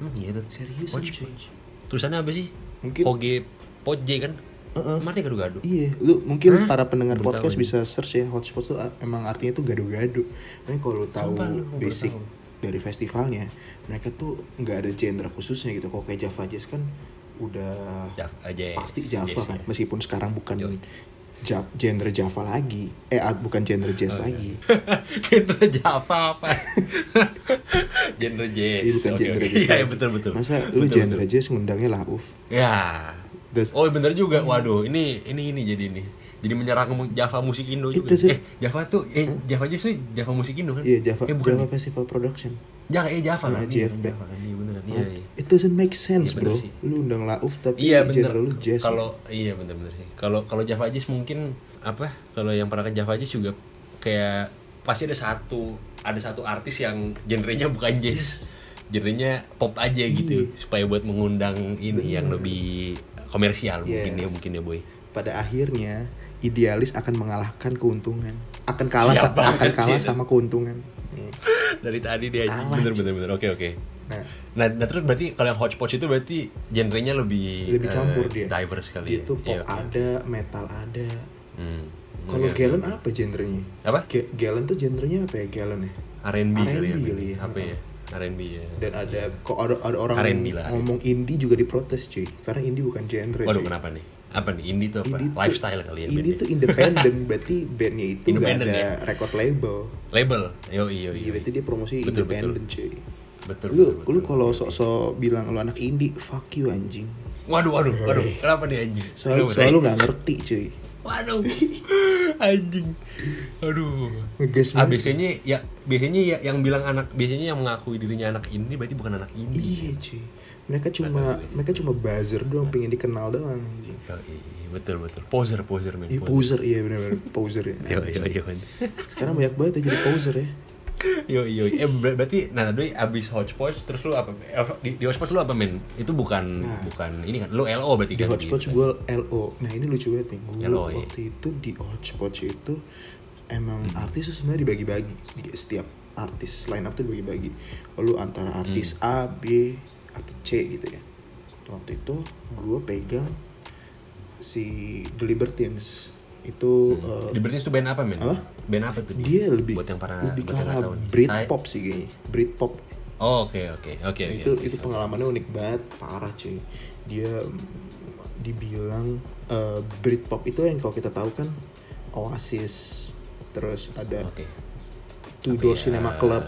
[SPEAKER 1] Hmm, iya tuh.
[SPEAKER 2] Seriusan,
[SPEAKER 1] Watch,
[SPEAKER 2] cuy.
[SPEAKER 1] watch. Tulisannya apa sih?
[SPEAKER 2] Mungkin-
[SPEAKER 1] Hoge Poje kan? Emang Artinya gaduh-gaduh.
[SPEAKER 2] Iya, lu mungkin
[SPEAKER 1] Hah?
[SPEAKER 2] para pendengar
[SPEAKER 1] Baru
[SPEAKER 2] podcast
[SPEAKER 1] tahu
[SPEAKER 2] bisa search ya hotspot tuh a- emang artinya tuh gado-gado. Tapi kalau lu tahu
[SPEAKER 1] Sumpah, lu baru
[SPEAKER 2] basic
[SPEAKER 1] tahu.
[SPEAKER 2] dari festivalnya, mereka tuh nggak ada genre khususnya gitu. Kok kayak Java Jazz kan udah
[SPEAKER 1] Java aja.
[SPEAKER 2] pasti Java
[SPEAKER 1] Yes,
[SPEAKER 2] kan,
[SPEAKER 1] ya.
[SPEAKER 2] meskipun sekarang bukan
[SPEAKER 1] Yoi.
[SPEAKER 2] Ja- genre Java lagi, eh ah, bukan
[SPEAKER 1] Oh,
[SPEAKER 2] genre
[SPEAKER 1] iya.
[SPEAKER 2] jazz lagi.
[SPEAKER 1] (laughs) genre Java
[SPEAKER 2] (laughs)
[SPEAKER 1] apa? genre jazz.
[SPEAKER 2] Iya, bukan
[SPEAKER 1] Oke,
[SPEAKER 2] genre
[SPEAKER 1] oke.
[SPEAKER 2] jazz.
[SPEAKER 1] Iya,
[SPEAKER 2] lagi.
[SPEAKER 1] betul betul.
[SPEAKER 2] Masa lu
[SPEAKER 1] Betul,
[SPEAKER 2] genre jazz ngundangnya Lauf?
[SPEAKER 1] Ya.
[SPEAKER 2] Das-
[SPEAKER 1] Oh bener juga, waduh ini ini ini jadi ini jadi menyerang mu- Java musik Indo juga.
[SPEAKER 2] Itu sih.
[SPEAKER 1] Eh Java tuh, eh Java aja sih Java musik Indo kan?
[SPEAKER 2] Iya, Java,
[SPEAKER 1] Eh bukan,
[SPEAKER 2] Java Festival Production.
[SPEAKER 1] Java, eh Java kan?
[SPEAKER 2] Nah,
[SPEAKER 1] Iya,
[SPEAKER 2] JFP.
[SPEAKER 1] Java kan, iya beneran. Iya, iya.
[SPEAKER 2] It doesn't make sense,
[SPEAKER 1] Iya, bener
[SPEAKER 2] bro.
[SPEAKER 1] sih.
[SPEAKER 2] Lu undang Lauf tapi
[SPEAKER 1] Iya bener.
[SPEAKER 2] genre lu jazz.
[SPEAKER 1] Kalau iya bener-bener sih. Kalau kalau Java aja mungkin apa? Kalau yang pernah ke Java aja juga kayak pasti ada satu ada satu artis yang genrenya bukan jazz, genrenya pop aja
[SPEAKER 2] Iya.
[SPEAKER 1] gitu supaya buat mengundang ini yang lebih komersial mungkin ya
[SPEAKER 2] Yes.
[SPEAKER 1] mungkin ya boy.
[SPEAKER 2] pada akhirnya idealis akan mengalahkan keuntungan akan kalah
[SPEAKER 1] Siap banget
[SPEAKER 2] akan kalah
[SPEAKER 1] sih.
[SPEAKER 2] sama keuntungan Nih.
[SPEAKER 1] Dari tadi dia aja
[SPEAKER 2] Kalah,
[SPEAKER 1] bener bener bener. Oke oke.
[SPEAKER 2] nah
[SPEAKER 1] Nah, nah terus berarti kalau yang hodgepodge itu berarti genrenya lebih
[SPEAKER 2] lebih
[SPEAKER 1] eh,
[SPEAKER 2] campur dia
[SPEAKER 1] diverse kali
[SPEAKER 2] dia
[SPEAKER 1] ya.
[SPEAKER 2] tuh pop
[SPEAKER 1] Iya, oke.
[SPEAKER 2] ada metal ada
[SPEAKER 1] Hmm.
[SPEAKER 2] kalau
[SPEAKER 1] Oke, oke.
[SPEAKER 2] Galen apa genrenya
[SPEAKER 1] Apa?
[SPEAKER 2] Ge- Galen tuh genrenya apa ya Galen ya
[SPEAKER 1] R&B kali ya.
[SPEAKER 2] R&B kali ya.
[SPEAKER 1] Apa ya? R&B ya.
[SPEAKER 2] dan ada kok ada, ada orang
[SPEAKER 1] R&B lah. gitu.
[SPEAKER 2] ngomong indie juga diprotes cuy karena indie bukan genre
[SPEAKER 1] Waduh,
[SPEAKER 2] cuy
[SPEAKER 1] kenapa nih? Apa nih? Indie tuh apa?
[SPEAKER 2] Indie tuh-
[SPEAKER 1] Lifestyle kali ya.
[SPEAKER 2] indie
[SPEAKER 1] bandnya.
[SPEAKER 2] tuh independen berarti bandnya itu nggak
[SPEAKER 1] Independen
[SPEAKER 2] ada
[SPEAKER 1] ya?
[SPEAKER 2] record label
[SPEAKER 1] label. Yo yo
[SPEAKER 2] Iya, berarti dia promosi
[SPEAKER 1] Betul,
[SPEAKER 2] independen cuy
[SPEAKER 1] Betul.
[SPEAKER 2] lu
[SPEAKER 1] betul,
[SPEAKER 2] lu
[SPEAKER 1] betul.
[SPEAKER 2] kalau sok-sok bilang lu anak indie fuck you anjing
[SPEAKER 1] Waduh, waduh,
[SPEAKER 2] Iya.
[SPEAKER 1] waduh. Kenapa nih anjing?
[SPEAKER 2] soal
[SPEAKER 1] Kenapa
[SPEAKER 2] soal
[SPEAKER 1] nih?
[SPEAKER 2] lu nggak ngerti cuy
[SPEAKER 1] Waduh. (laughs) anjing. Aduh.
[SPEAKER 2] ngegas
[SPEAKER 1] Ah,
[SPEAKER 2] banget
[SPEAKER 1] biasanya ya biasanya ya yang bilang anak biasanya yang mengakui dirinya anak indie berarti bukan anak indie.
[SPEAKER 2] iya cuy mereka cuma mereka cuma buzzer doang pengen dikenal doang anjing
[SPEAKER 1] Yo, iya, betul betul. Poser poser men.
[SPEAKER 2] Iya
[SPEAKER 1] poser.
[SPEAKER 2] poser iya benar-benar poser ya.
[SPEAKER 1] Yo yo yo.
[SPEAKER 2] Sekarang banyak banget yang jadi poser ya.
[SPEAKER 1] Yo yo. Eh ber- berarti nah tadi abis hodgepodge terus lu apa eh, di, di hodgepodge lu apa men? Itu bukan
[SPEAKER 2] Nah.
[SPEAKER 1] bukan ini kan lu LO berarti
[SPEAKER 2] Di
[SPEAKER 1] kan.
[SPEAKER 2] hotspot
[SPEAKER 1] gitu.
[SPEAKER 2] gue LO. Nah ini lucu banget nih. Gue
[SPEAKER 1] LO, iya.
[SPEAKER 2] waktu itu di hotspot itu emang
[SPEAKER 1] Hmm.
[SPEAKER 2] artis tuh sebenarnya dibagi-bagi. Di setiap artis line up tuh dibagi-bagi. Lu antara
[SPEAKER 1] Hmm.
[SPEAKER 2] artis A, B, atau C gitu ya. Waktu itu gue pegang si The Libertines itu eh,
[SPEAKER 1] Di British tuh band apa men?
[SPEAKER 2] Apa?
[SPEAKER 1] Band apa tuh?
[SPEAKER 2] dia lebih
[SPEAKER 1] Hmm. buat yang para
[SPEAKER 2] lebih ke
[SPEAKER 1] buat yang nggak
[SPEAKER 2] arah
[SPEAKER 1] tahu nih.
[SPEAKER 2] Britpop sih kayaknya. Britpop
[SPEAKER 1] Oh, oke oke oke oke.
[SPEAKER 2] itu itu pengalamannya unik banget parah cuy dia mm, dibilang eh, Britpop itu yang kalau kita tahu kan Oasis terus ada
[SPEAKER 1] Oke.
[SPEAKER 2] Two Door Cinema Club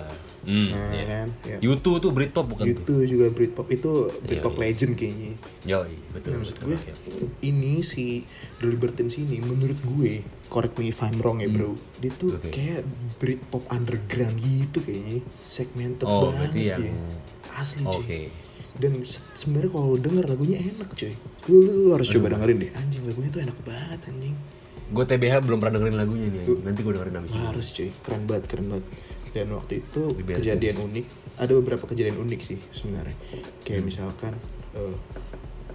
[SPEAKER 1] Oh, ya. Hmm,
[SPEAKER 2] nah,
[SPEAKER 1] iya.
[SPEAKER 2] kan ya.
[SPEAKER 1] YouTube tuh Britpop bukan tuh?
[SPEAKER 2] itu juga Britpop itu Britpop
[SPEAKER 1] iya.
[SPEAKER 2] legend kayaknya
[SPEAKER 1] Yo, betul
[SPEAKER 2] Iya, Nah, maksud
[SPEAKER 1] betul.
[SPEAKER 2] gue
[SPEAKER 1] oke, oke.
[SPEAKER 2] ini si The Libertines ini menurut gue correct me if I'm wrong ya bro dia tuh
[SPEAKER 1] Hmm. Oke.
[SPEAKER 2] kayak Britpop underground gitu kayaknya segmented
[SPEAKER 1] Oh, berarti
[SPEAKER 2] banget
[SPEAKER 1] yang-
[SPEAKER 2] ya asli cuy
[SPEAKER 1] Oke.
[SPEAKER 2] dan se- sebenarnya kalau lu denger lagunya enak cuy lu, lu, lu harus coba dengerin deh anjing lagunya tuh enak banget anjing
[SPEAKER 1] Gue TBH belum pernah dengerin lagunya nih. anjing. Nanti gue dengerin abis
[SPEAKER 2] Lu
[SPEAKER 1] ini.
[SPEAKER 2] harus cuy keren banget keren banget dan waktu itu
[SPEAKER 1] Liberty.
[SPEAKER 2] kejadian unik ada beberapa kejadian unik sih sebenarnya kayak misalkan eh,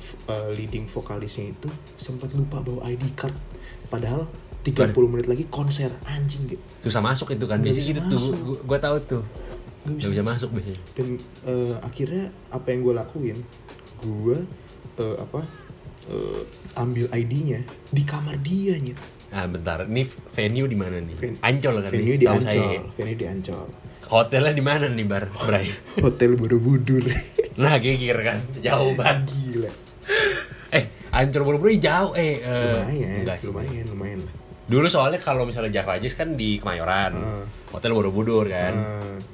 [SPEAKER 2] f- eh, leading vokalisnya itu sempat lupa bawa ID card padahal 30 menit lagi konser anjing gitu
[SPEAKER 1] Susah masuk itu kan. Biasanya
[SPEAKER 2] bisa
[SPEAKER 1] gitu tuh.
[SPEAKER 2] masuk.
[SPEAKER 1] Gue tahu tuh.
[SPEAKER 2] Nggak bisa
[SPEAKER 1] Gak bisa masuk biasanya.
[SPEAKER 2] dan eh, akhirnya apa yang gue lakuin gue eh, apa eh, ambil ID-nya di kamar dia nyet
[SPEAKER 1] Ah bentar, ini venue di mana nih?
[SPEAKER 2] Ven-
[SPEAKER 1] Ancol kan? nih?
[SPEAKER 2] venue di
[SPEAKER 1] Setahu
[SPEAKER 2] Ancol
[SPEAKER 1] saya.
[SPEAKER 2] venue di Ancol
[SPEAKER 1] Hotelnya di mana nih,
[SPEAKER 2] (laughs)
[SPEAKER 1] Bar? Bray.
[SPEAKER 2] hotel Borobudur
[SPEAKER 1] Nah, geger kan. Jauh banget.
[SPEAKER 2] gila
[SPEAKER 1] Eh, Ancol Borobudur jauh eh. eh,
[SPEAKER 2] lumayan
[SPEAKER 1] enggak sih.
[SPEAKER 2] lumayan lumayan lah
[SPEAKER 1] Dulu soalnya kalau misalnya Java Jazz kan di Kemayoran,
[SPEAKER 2] Heeh.
[SPEAKER 1] hotel Borobudur kan.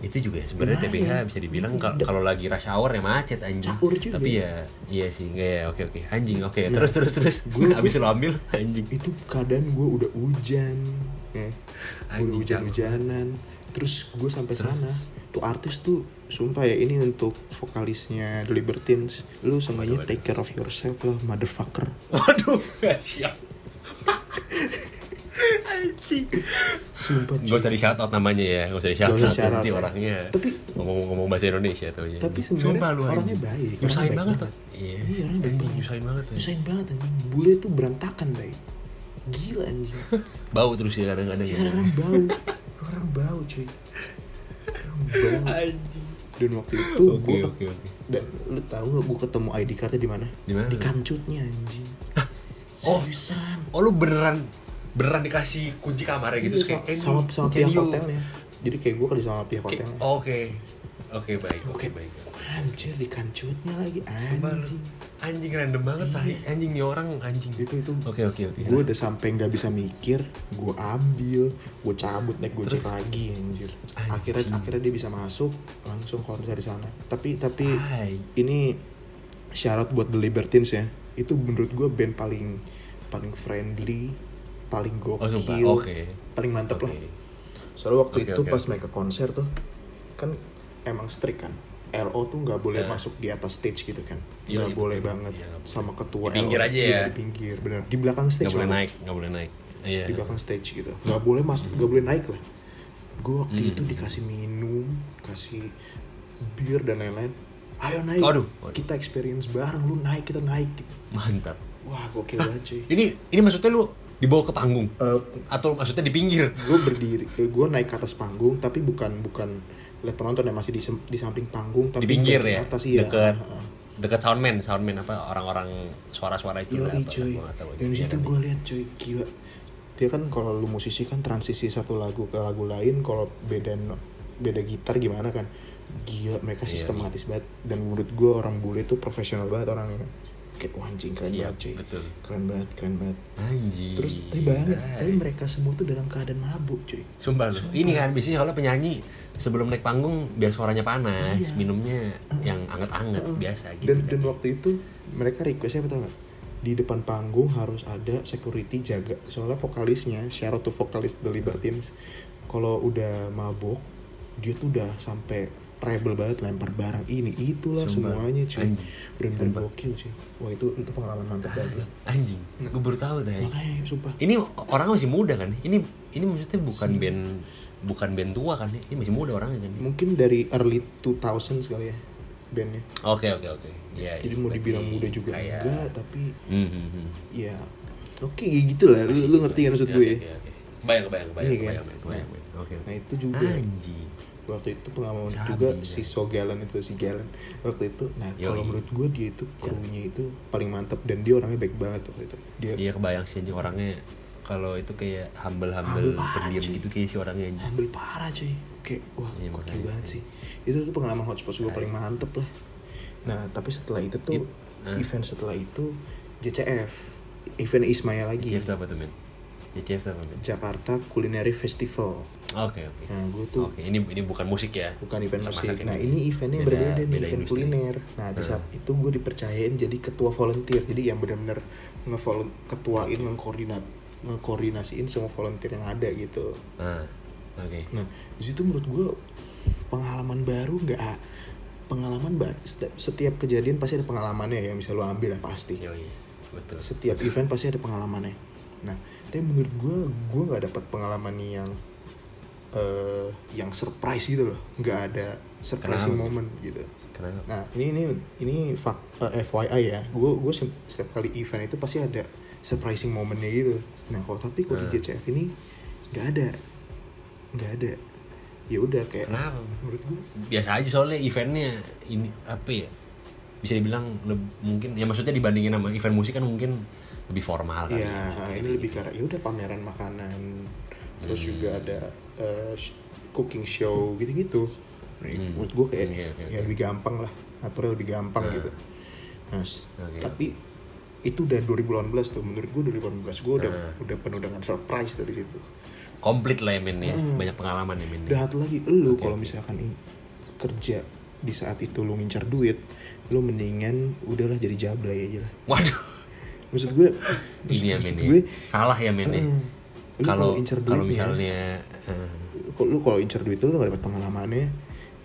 [SPEAKER 2] Eh,
[SPEAKER 1] Itu juga sebenarnya TBH bisa dibilang kal- kalau lagi rush hour ya macet anjing.
[SPEAKER 2] Caur juga.
[SPEAKER 1] Tapi ya iya sih, enggak ya. Oke oke. Anjing, oke. Terus terus terus. (laughs) Habis lo ambil anjing.
[SPEAKER 2] (laughs) itu keadaan gue udah hujan ya. udah
[SPEAKER 1] Anjing,
[SPEAKER 2] hujan-hujanan terus gue sampai sana satu artis tuh sumpah ya ini untuk vokalisnya The Libertines lu seenggaknya take care of yourself lah motherfucker
[SPEAKER 1] Waduh, gak siap. Anjing.
[SPEAKER 2] sumpah
[SPEAKER 1] Gak usah di shout out namanya ya, gak usah di shout
[SPEAKER 2] Gak usah
[SPEAKER 1] out
[SPEAKER 2] shout
[SPEAKER 1] nanti
[SPEAKER 2] out ya.
[SPEAKER 1] orangnya.
[SPEAKER 2] Tapi-
[SPEAKER 1] ngomong-ngomong bahasa Indonesia tuh. ya.
[SPEAKER 2] Tapi
[SPEAKER 1] Sumpah
[SPEAKER 2] sebenarnya
[SPEAKER 1] lu,
[SPEAKER 2] orangnya
[SPEAKER 1] anjing.
[SPEAKER 2] baik, orangnya
[SPEAKER 1] Nyusahin
[SPEAKER 2] baik
[SPEAKER 1] banget.
[SPEAKER 2] banget.
[SPEAKER 1] tuh. Iya,
[SPEAKER 2] Iya, orangnya baik
[SPEAKER 1] anjing,
[SPEAKER 2] banget.
[SPEAKER 1] nyusahin banget. ya.
[SPEAKER 2] Nyusahin banget anjing. Bule tuh berantakan, Bay. Gila anjing. Kan
[SPEAKER 1] Bau terus ya kadang-kadang. ya.
[SPEAKER 2] Orang
[SPEAKER 1] (laughs)
[SPEAKER 2] bau. Orang bau, cuy. Orang bau.
[SPEAKER 1] Anjing.
[SPEAKER 2] Dan waktu itu
[SPEAKER 1] Oke,
[SPEAKER 2] gua
[SPEAKER 1] oke, oke.
[SPEAKER 2] dan lu tahu gak gue ketemu ID cardnya di mana?
[SPEAKER 1] Di mana?
[SPEAKER 2] Di kancutnya anjing.
[SPEAKER 1] Oh.
[SPEAKER 2] Seriusan.
[SPEAKER 1] Oh lu beneran beneran dikasih kunci kamarnya gitu
[SPEAKER 2] Iya,
[SPEAKER 1] terus kayak eh,
[SPEAKER 2] sama,
[SPEAKER 1] ini,
[SPEAKER 2] sama, sama
[SPEAKER 1] can
[SPEAKER 2] pihak ya,
[SPEAKER 1] you-
[SPEAKER 2] hotelnya. Jadi kayak gue kerja sama pihak
[SPEAKER 1] Oke,
[SPEAKER 2] hotelnya.
[SPEAKER 1] Oke. Oke, baik. Oke,
[SPEAKER 2] Oke.
[SPEAKER 1] baik.
[SPEAKER 2] Anjir di kancutnya lagi
[SPEAKER 1] Sumpah lu,
[SPEAKER 2] anjing.
[SPEAKER 1] Anjing random banget tai.
[SPEAKER 2] Iya.
[SPEAKER 1] Anjing nih orang anjing.
[SPEAKER 2] Itu itu
[SPEAKER 1] Oke, oke, oke.
[SPEAKER 2] gue udah sampai nggak bisa mikir gue ambil gue cabut naik gojek lagi anjir akhirnya akhirnya dia bisa masuk langsung konser di sana tapi tapi
[SPEAKER 1] Hai.
[SPEAKER 2] ini syarat buat The Libertines ya itu menurut gue band paling paling friendly paling
[SPEAKER 1] Oh,
[SPEAKER 2] gokil
[SPEAKER 1] sumpah. Oke.
[SPEAKER 2] paling mantep lah
[SPEAKER 1] Oke.
[SPEAKER 2] soalnya waktu
[SPEAKER 1] Oke,
[SPEAKER 2] itu
[SPEAKER 1] oke,
[SPEAKER 2] pas
[SPEAKER 1] oke.
[SPEAKER 2] mereka konser tuh kan emang strict kan LO tuh nggak boleh masuk di atas stage gitu kan
[SPEAKER 1] Ya. Iya,
[SPEAKER 2] nggak
[SPEAKER 1] iya,
[SPEAKER 2] boleh
[SPEAKER 1] betul.
[SPEAKER 2] banget
[SPEAKER 1] Iya, nggak boleh.
[SPEAKER 2] sama ketua
[SPEAKER 1] Di pinggir aja
[SPEAKER 2] Iya,
[SPEAKER 1] ya.
[SPEAKER 2] di pinggir bener di belakang stage
[SPEAKER 1] Gak boleh
[SPEAKER 2] malah
[SPEAKER 1] naik, gak boleh naik. Iya.
[SPEAKER 2] di belakang stage gitu nggak boleh masuk nggak boleh naik lah gue waktu
[SPEAKER 1] Hmm.
[SPEAKER 2] itu dikasih minum kasih bir dan lain-lain ayo naik
[SPEAKER 1] Aduh, aduh.
[SPEAKER 2] kita experience bareng lu naik kita naik gitu
[SPEAKER 1] Mantap.
[SPEAKER 2] wah gokil banget cuy
[SPEAKER 1] Ini ini maksudnya lu dibawa ke panggung atau maksudnya di pinggir?
[SPEAKER 2] gue berdiri gue naik ke atas panggung tapi bukan bukan lihat penonton ya masih di, sem- di samping panggung tapi
[SPEAKER 1] Di pinggir
[SPEAKER 2] ke
[SPEAKER 1] ya.
[SPEAKER 2] atas iya
[SPEAKER 1] Dekat
[SPEAKER 2] Heeh.
[SPEAKER 1] dekat soundman, soundman apa orang-orang suara-suara itu
[SPEAKER 2] Yoi
[SPEAKER 1] lah, apa,
[SPEAKER 2] cuy
[SPEAKER 1] gua nggak tahu aja.
[SPEAKER 2] Dan
[SPEAKER 1] Iya
[SPEAKER 2] situ
[SPEAKER 1] kan?
[SPEAKER 2] gue lihat cuy gila Dia kan kalau lu musisi kan transisi satu lagu ke lagu lain Kalau beda no- beda gitar gimana kan Gila mereka
[SPEAKER 1] Iya,
[SPEAKER 2] sistematis banget Dan menurut gue orang bule itu profesional banget orangnya Kayak wah, anjing keren
[SPEAKER 1] Iya,
[SPEAKER 2] banget cuy
[SPEAKER 1] betul. eh.
[SPEAKER 2] Keren banget keren banget
[SPEAKER 1] Anjing.
[SPEAKER 2] Terus tapi banget
[SPEAKER 1] Hai.
[SPEAKER 2] Tapi mereka semua tuh dalam keadaan mabuk cuy
[SPEAKER 1] Sumpah lu. Ini kan biasanya kalau penyanyi sebelum naik panggung biar suaranya panas,
[SPEAKER 2] Iya.
[SPEAKER 1] minumnya yang anget-anget biasa gitu.
[SPEAKER 2] dan
[SPEAKER 1] kan.
[SPEAKER 2] dan waktu itu mereka requestnya apa tau nggak? di depan panggung harus ada security jaga soalnya vokalisnya syarat tuh vokalis The Libertines kalau udah mabok dia tuh udah sampai rebel banget lempar barang ini itulah
[SPEAKER 1] Sumpah.
[SPEAKER 2] semuanya cuy
[SPEAKER 1] Anjing.
[SPEAKER 2] bener-bener gokil cuy wah itu itu pengalaman mantap banget lah.
[SPEAKER 1] Anjing, gue baru tahu deh.
[SPEAKER 2] Nah. makanya sumpah
[SPEAKER 1] Ini orang masih muda kan? Ini ini maksudnya bukan band bukan band tua kan? Ini masih muda orangnya kan?
[SPEAKER 2] mungkin dari early 2000 kali ya bandnya
[SPEAKER 1] Oke oke oke. Iya.
[SPEAKER 2] jadi
[SPEAKER 1] iya,
[SPEAKER 2] mau dibilang
[SPEAKER 1] berarti
[SPEAKER 2] muda juga
[SPEAKER 1] kayak-
[SPEAKER 2] enggak tapi
[SPEAKER 1] Hmm, hmm, hmm.
[SPEAKER 2] ya oke gitu lah lu, lu ngerti kan maksud
[SPEAKER 1] Oke,
[SPEAKER 2] gue ya
[SPEAKER 1] oke, oke. Bayang bayang bayang
[SPEAKER 2] Iya, kan?
[SPEAKER 1] bayang bayang, bayang. bayang. Oke.
[SPEAKER 2] nah
[SPEAKER 1] oke.
[SPEAKER 2] itu juga
[SPEAKER 1] Anjing.
[SPEAKER 2] waktu itu pengalaman
[SPEAKER 1] Sabi,
[SPEAKER 2] juga
[SPEAKER 1] ya.
[SPEAKER 2] si Sogalan itu si Galan waktu itu nah
[SPEAKER 1] Yoi.
[SPEAKER 2] kalau menurut gue dia itu krunya itu paling mantep dan dia orangnya baik banget waktu itu dia
[SPEAKER 1] Iya kebayang sih anjing orangnya kalau itu kayak humble humble
[SPEAKER 2] Humble parah,
[SPEAKER 1] pendiam
[SPEAKER 2] cuy.
[SPEAKER 1] gitu kayak si orangnya anjing.
[SPEAKER 2] ambil parah cuy kayak wah
[SPEAKER 1] Iya,
[SPEAKER 2] gokil
[SPEAKER 1] makanya. Iya.
[SPEAKER 2] banget sih itu tuh pengalaman hotspot gue paling mantep lah nah tapi setelah itu tuh
[SPEAKER 1] Nah.
[SPEAKER 2] event setelah itu JCF event Ismaya
[SPEAKER 1] JCF
[SPEAKER 2] lagi
[SPEAKER 1] Iya, itu apa tuh men? JCF itu apa men?
[SPEAKER 2] Jakarta Culinary Festival
[SPEAKER 1] Oke oke.
[SPEAKER 2] nah gue tuh
[SPEAKER 1] Oke ini ini bukan musik ya?
[SPEAKER 2] bukan event
[SPEAKER 1] Masak-masak
[SPEAKER 2] musik.
[SPEAKER 1] ini.
[SPEAKER 2] Nah ini eventnya
[SPEAKER 1] Beda-
[SPEAKER 2] berbeda nih,
[SPEAKER 1] beda
[SPEAKER 2] event
[SPEAKER 1] industri. Hmm.
[SPEAKER 2] kuliner. Nah di saat itu gue dipercayain jadi ketua volunteer, jadi yang benar-benar ngevolun ketuain, ngekoordinat, ngekoordinasiin semua volunteer yang ada gitu.
[SPEAKER 1] Nah, oke.
[SPEAKER 2] Nah di situ menurut gue pengalaman baru nggak pengalaman ba- setiap, setiap kejadian pasti ada pengalamannya ya yang bisa lo ambil lah pasti
[SPEAKER 1] Yoi. iya. Betul.
[SPEAKER 2] setiap event pasti ada pengalamannya nah tapi menurut gue gue nggak dapat pengalaman yang eh yang surprise gitu loh nggak ada surprising
[SPEAKER 1] Kenapa?
[SPEAKER 2] moment gitu
[SPEAKER 1] Kenapa?
[SPEAKER 2] nah ini ini ini fak, eh, FYI ya gue gue setiap kali event itu pasti ada surprising momennya gitu nah kalau tapi kalau di JCF ini nggak ada nggak ada ya udah kayak
[SPEAKER 1] Kenapa?
[SPEAKER 2] menurut gue
[SPEAKER 1] Biasa aja soalnya eventnya ini apa ya? Bisa dibilang leb- mungkin ya maksudnya dibandingin sama event musik kan mungkin lebih formal kan.
[SPEAKER 2] Iya, ini lebih karena ya udah pameran makanan, terus
[SPEAKER 1] Hmm.
[SPEAKER 2] juga ada eh, sh- cooking show gitu-gitu. Nah, Menurut gue kayak
[SPEAKER 1] Hmm. Iya, Oke, oke,
[SPEAKER 2] ya lebih gampang lah, aturnya lebih gampang gitu. Nah, s-
[SPEAKER 1] Oke,
[SPEAKER 2] tapi itu udah 2018 tuh. Menurut gue 2018 gue udah
[SPEAKER 1] Nah.
[SPEAKER 2] udah penuh dengan surprise dari situ.
[SPEAKER 1] Komplit lah ya men ya. Banyak pengalaman ya men. ya.
[SPEAKER 2] Dahat lagi lu kalau misalkan i- kerja di saat itu lu ngincer duit, lu mendingan udahlah jadi jablay aja lah.
[SPEAKER 1] Waduh.
[SPEAKER 2] Maksud gue,
[SPEAKER 1] Ini ya men.
[SPEAKER 2] (laughs) maksud
[SPEAKER 1] ya.
[SPEAKER 2] gue eh,
[SPEAKER 1] Salah ya men ya. Kalau
[SPEAKER 2] lu Hmm. kalau incer
[SPEAKER 1] kalau
[SPEAKER 2] duitnya-
[SPEAKER 1] misalnya eh,
[SPEAKER 2] Kok lu kalau incer duit lu, lu gak dapat pengalamannya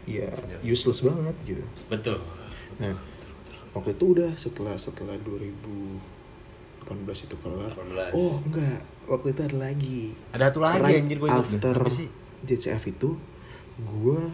[SPEAKER 2] ya useless banget gitu
[SPEAKER 1] betul
[SPEAKER 2] nah waktu itu udah setelah setelah 2018 itu kelar
[SPEAKER 1] 18.
[SPEAKER 2] oh enggak waktu itu ada lagi
[SPEAKER 1] Ada satu lagi,
[SPEAKER 2] Right
[SPEAKER 1] anjir, gua ingat deh.
[SPEAKER 2] after
[SPEAKER 1] Apa sih?
[SPEAKER 2] JCF itu gue
[SPEAKER 1] kan?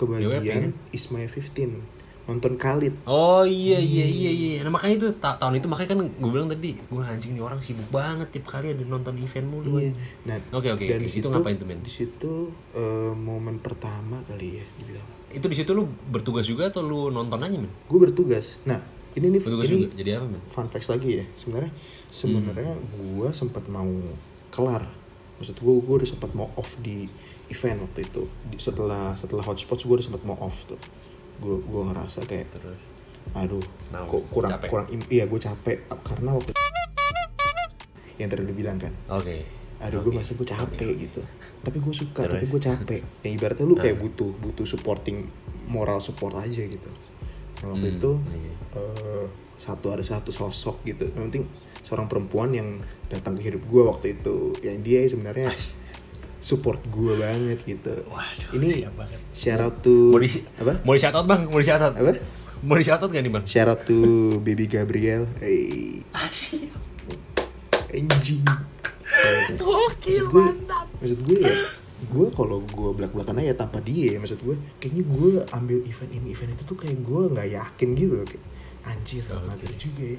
[SPEAKER 2] kebagian Ismail 15 nonton Khalid
[SPEAKER 1] Oh iya
[SPEAKER 2] Hmm.
[SPEAKER 1] iya iya iya. Nah makanya itu ta- tahun itu makanya kan gue bilang tadi, gue anjing nih orang sibuk banget tiap kali ada nonton event mulu.
[SPEAKER 2] Iya.
[SPEAKER 1] anjing.
[SPEAKER 2] Nah,
[SPEAKER 1] Oke, oke, oke.
[SPEAKER 2] dan di
[SPEAKER 1] Itu
[SPEAKER 2] situ
[SPEAKER 1] ngapain tuh, Men?
[SPEAKER 2] Di situ eh, momen pertama kali ya dibilang.
[SPEAKER 1] Itu di situ lu bertugas juga atau lu nonton aja men?
[SPEAKER 2] Gue bertugas. Nah, ini nih
[SPEAKER 1] Bertugas
[SPEAKER 2] ini
[SPEAKER 1] juga. Jadi apa men?
[SPEAKER 2] fun facts lagi ya. Sebenarnya sebenarnya gue sempat mau kelar. Maksud gue gue udah sempat mau off di event waktu itu. Di- setelah setelah hotspots gue udah sempat mau off tuh. Gue gue ngerasa kayak
[SPEAKER 1] Terus.
[SPEAKER 2] aduh
[SPEAKER 1] Nah,
[SPEAKER 2] kok kurang
[SPEAKER 1] capek.
[SPEAKER 2] kurang im- iya gue capek karena waktu yang tadi lu bilang kan
[SPEAKER 1] Oke.
[SPEAKER 2] aduh gue masa gue capek gitu tapi gue suka tapi gue capek yang ibaratnya lu
[SPEAKER 1] Nah.
[SPEAKER 2] kayak butuh butuh supporting moral support aja gitu nah, waktu itu
[SPEAKER 1] iya.
[SPEAKER 2] eh, satu ada satu sosok gitu yang penting seorang perempuan yang datang ke hidup gue waktu itu yang dia sebenarnya support gue banget gitu
[SPEAKER 1] Waduh,
[SPEAKER 2] ini
[SPEAKER 1] siap banget.
[SPEAKER 2] shout out to
[SPEAKER 1] Mau di
[SPEAKER 2] apa
[SPEAKER 1] Mau di shout out, bang? Mau di shout out?
[SPEAKER 2] Apa?
[SPEAKER 1] Mau di shout out gak nih bang?
[SPEAKER 2] shout out to baby Gabriel hey,
[SPEAKER 1] Asyik.
[SPEAKER 2] anjing
[SPEAKER 1] Gokil
[SPEAKER 2] maksud gue maksud gue ya gue kalau gue belak belakan aja tanpa dia ya, maksud gue kayaknya gue ambil event ini event itu tuh kayak gue nggak yakin gitu loh kayak anjir
[SPEAKER 1] Oh,
[SPEAKER 2] mager juga ya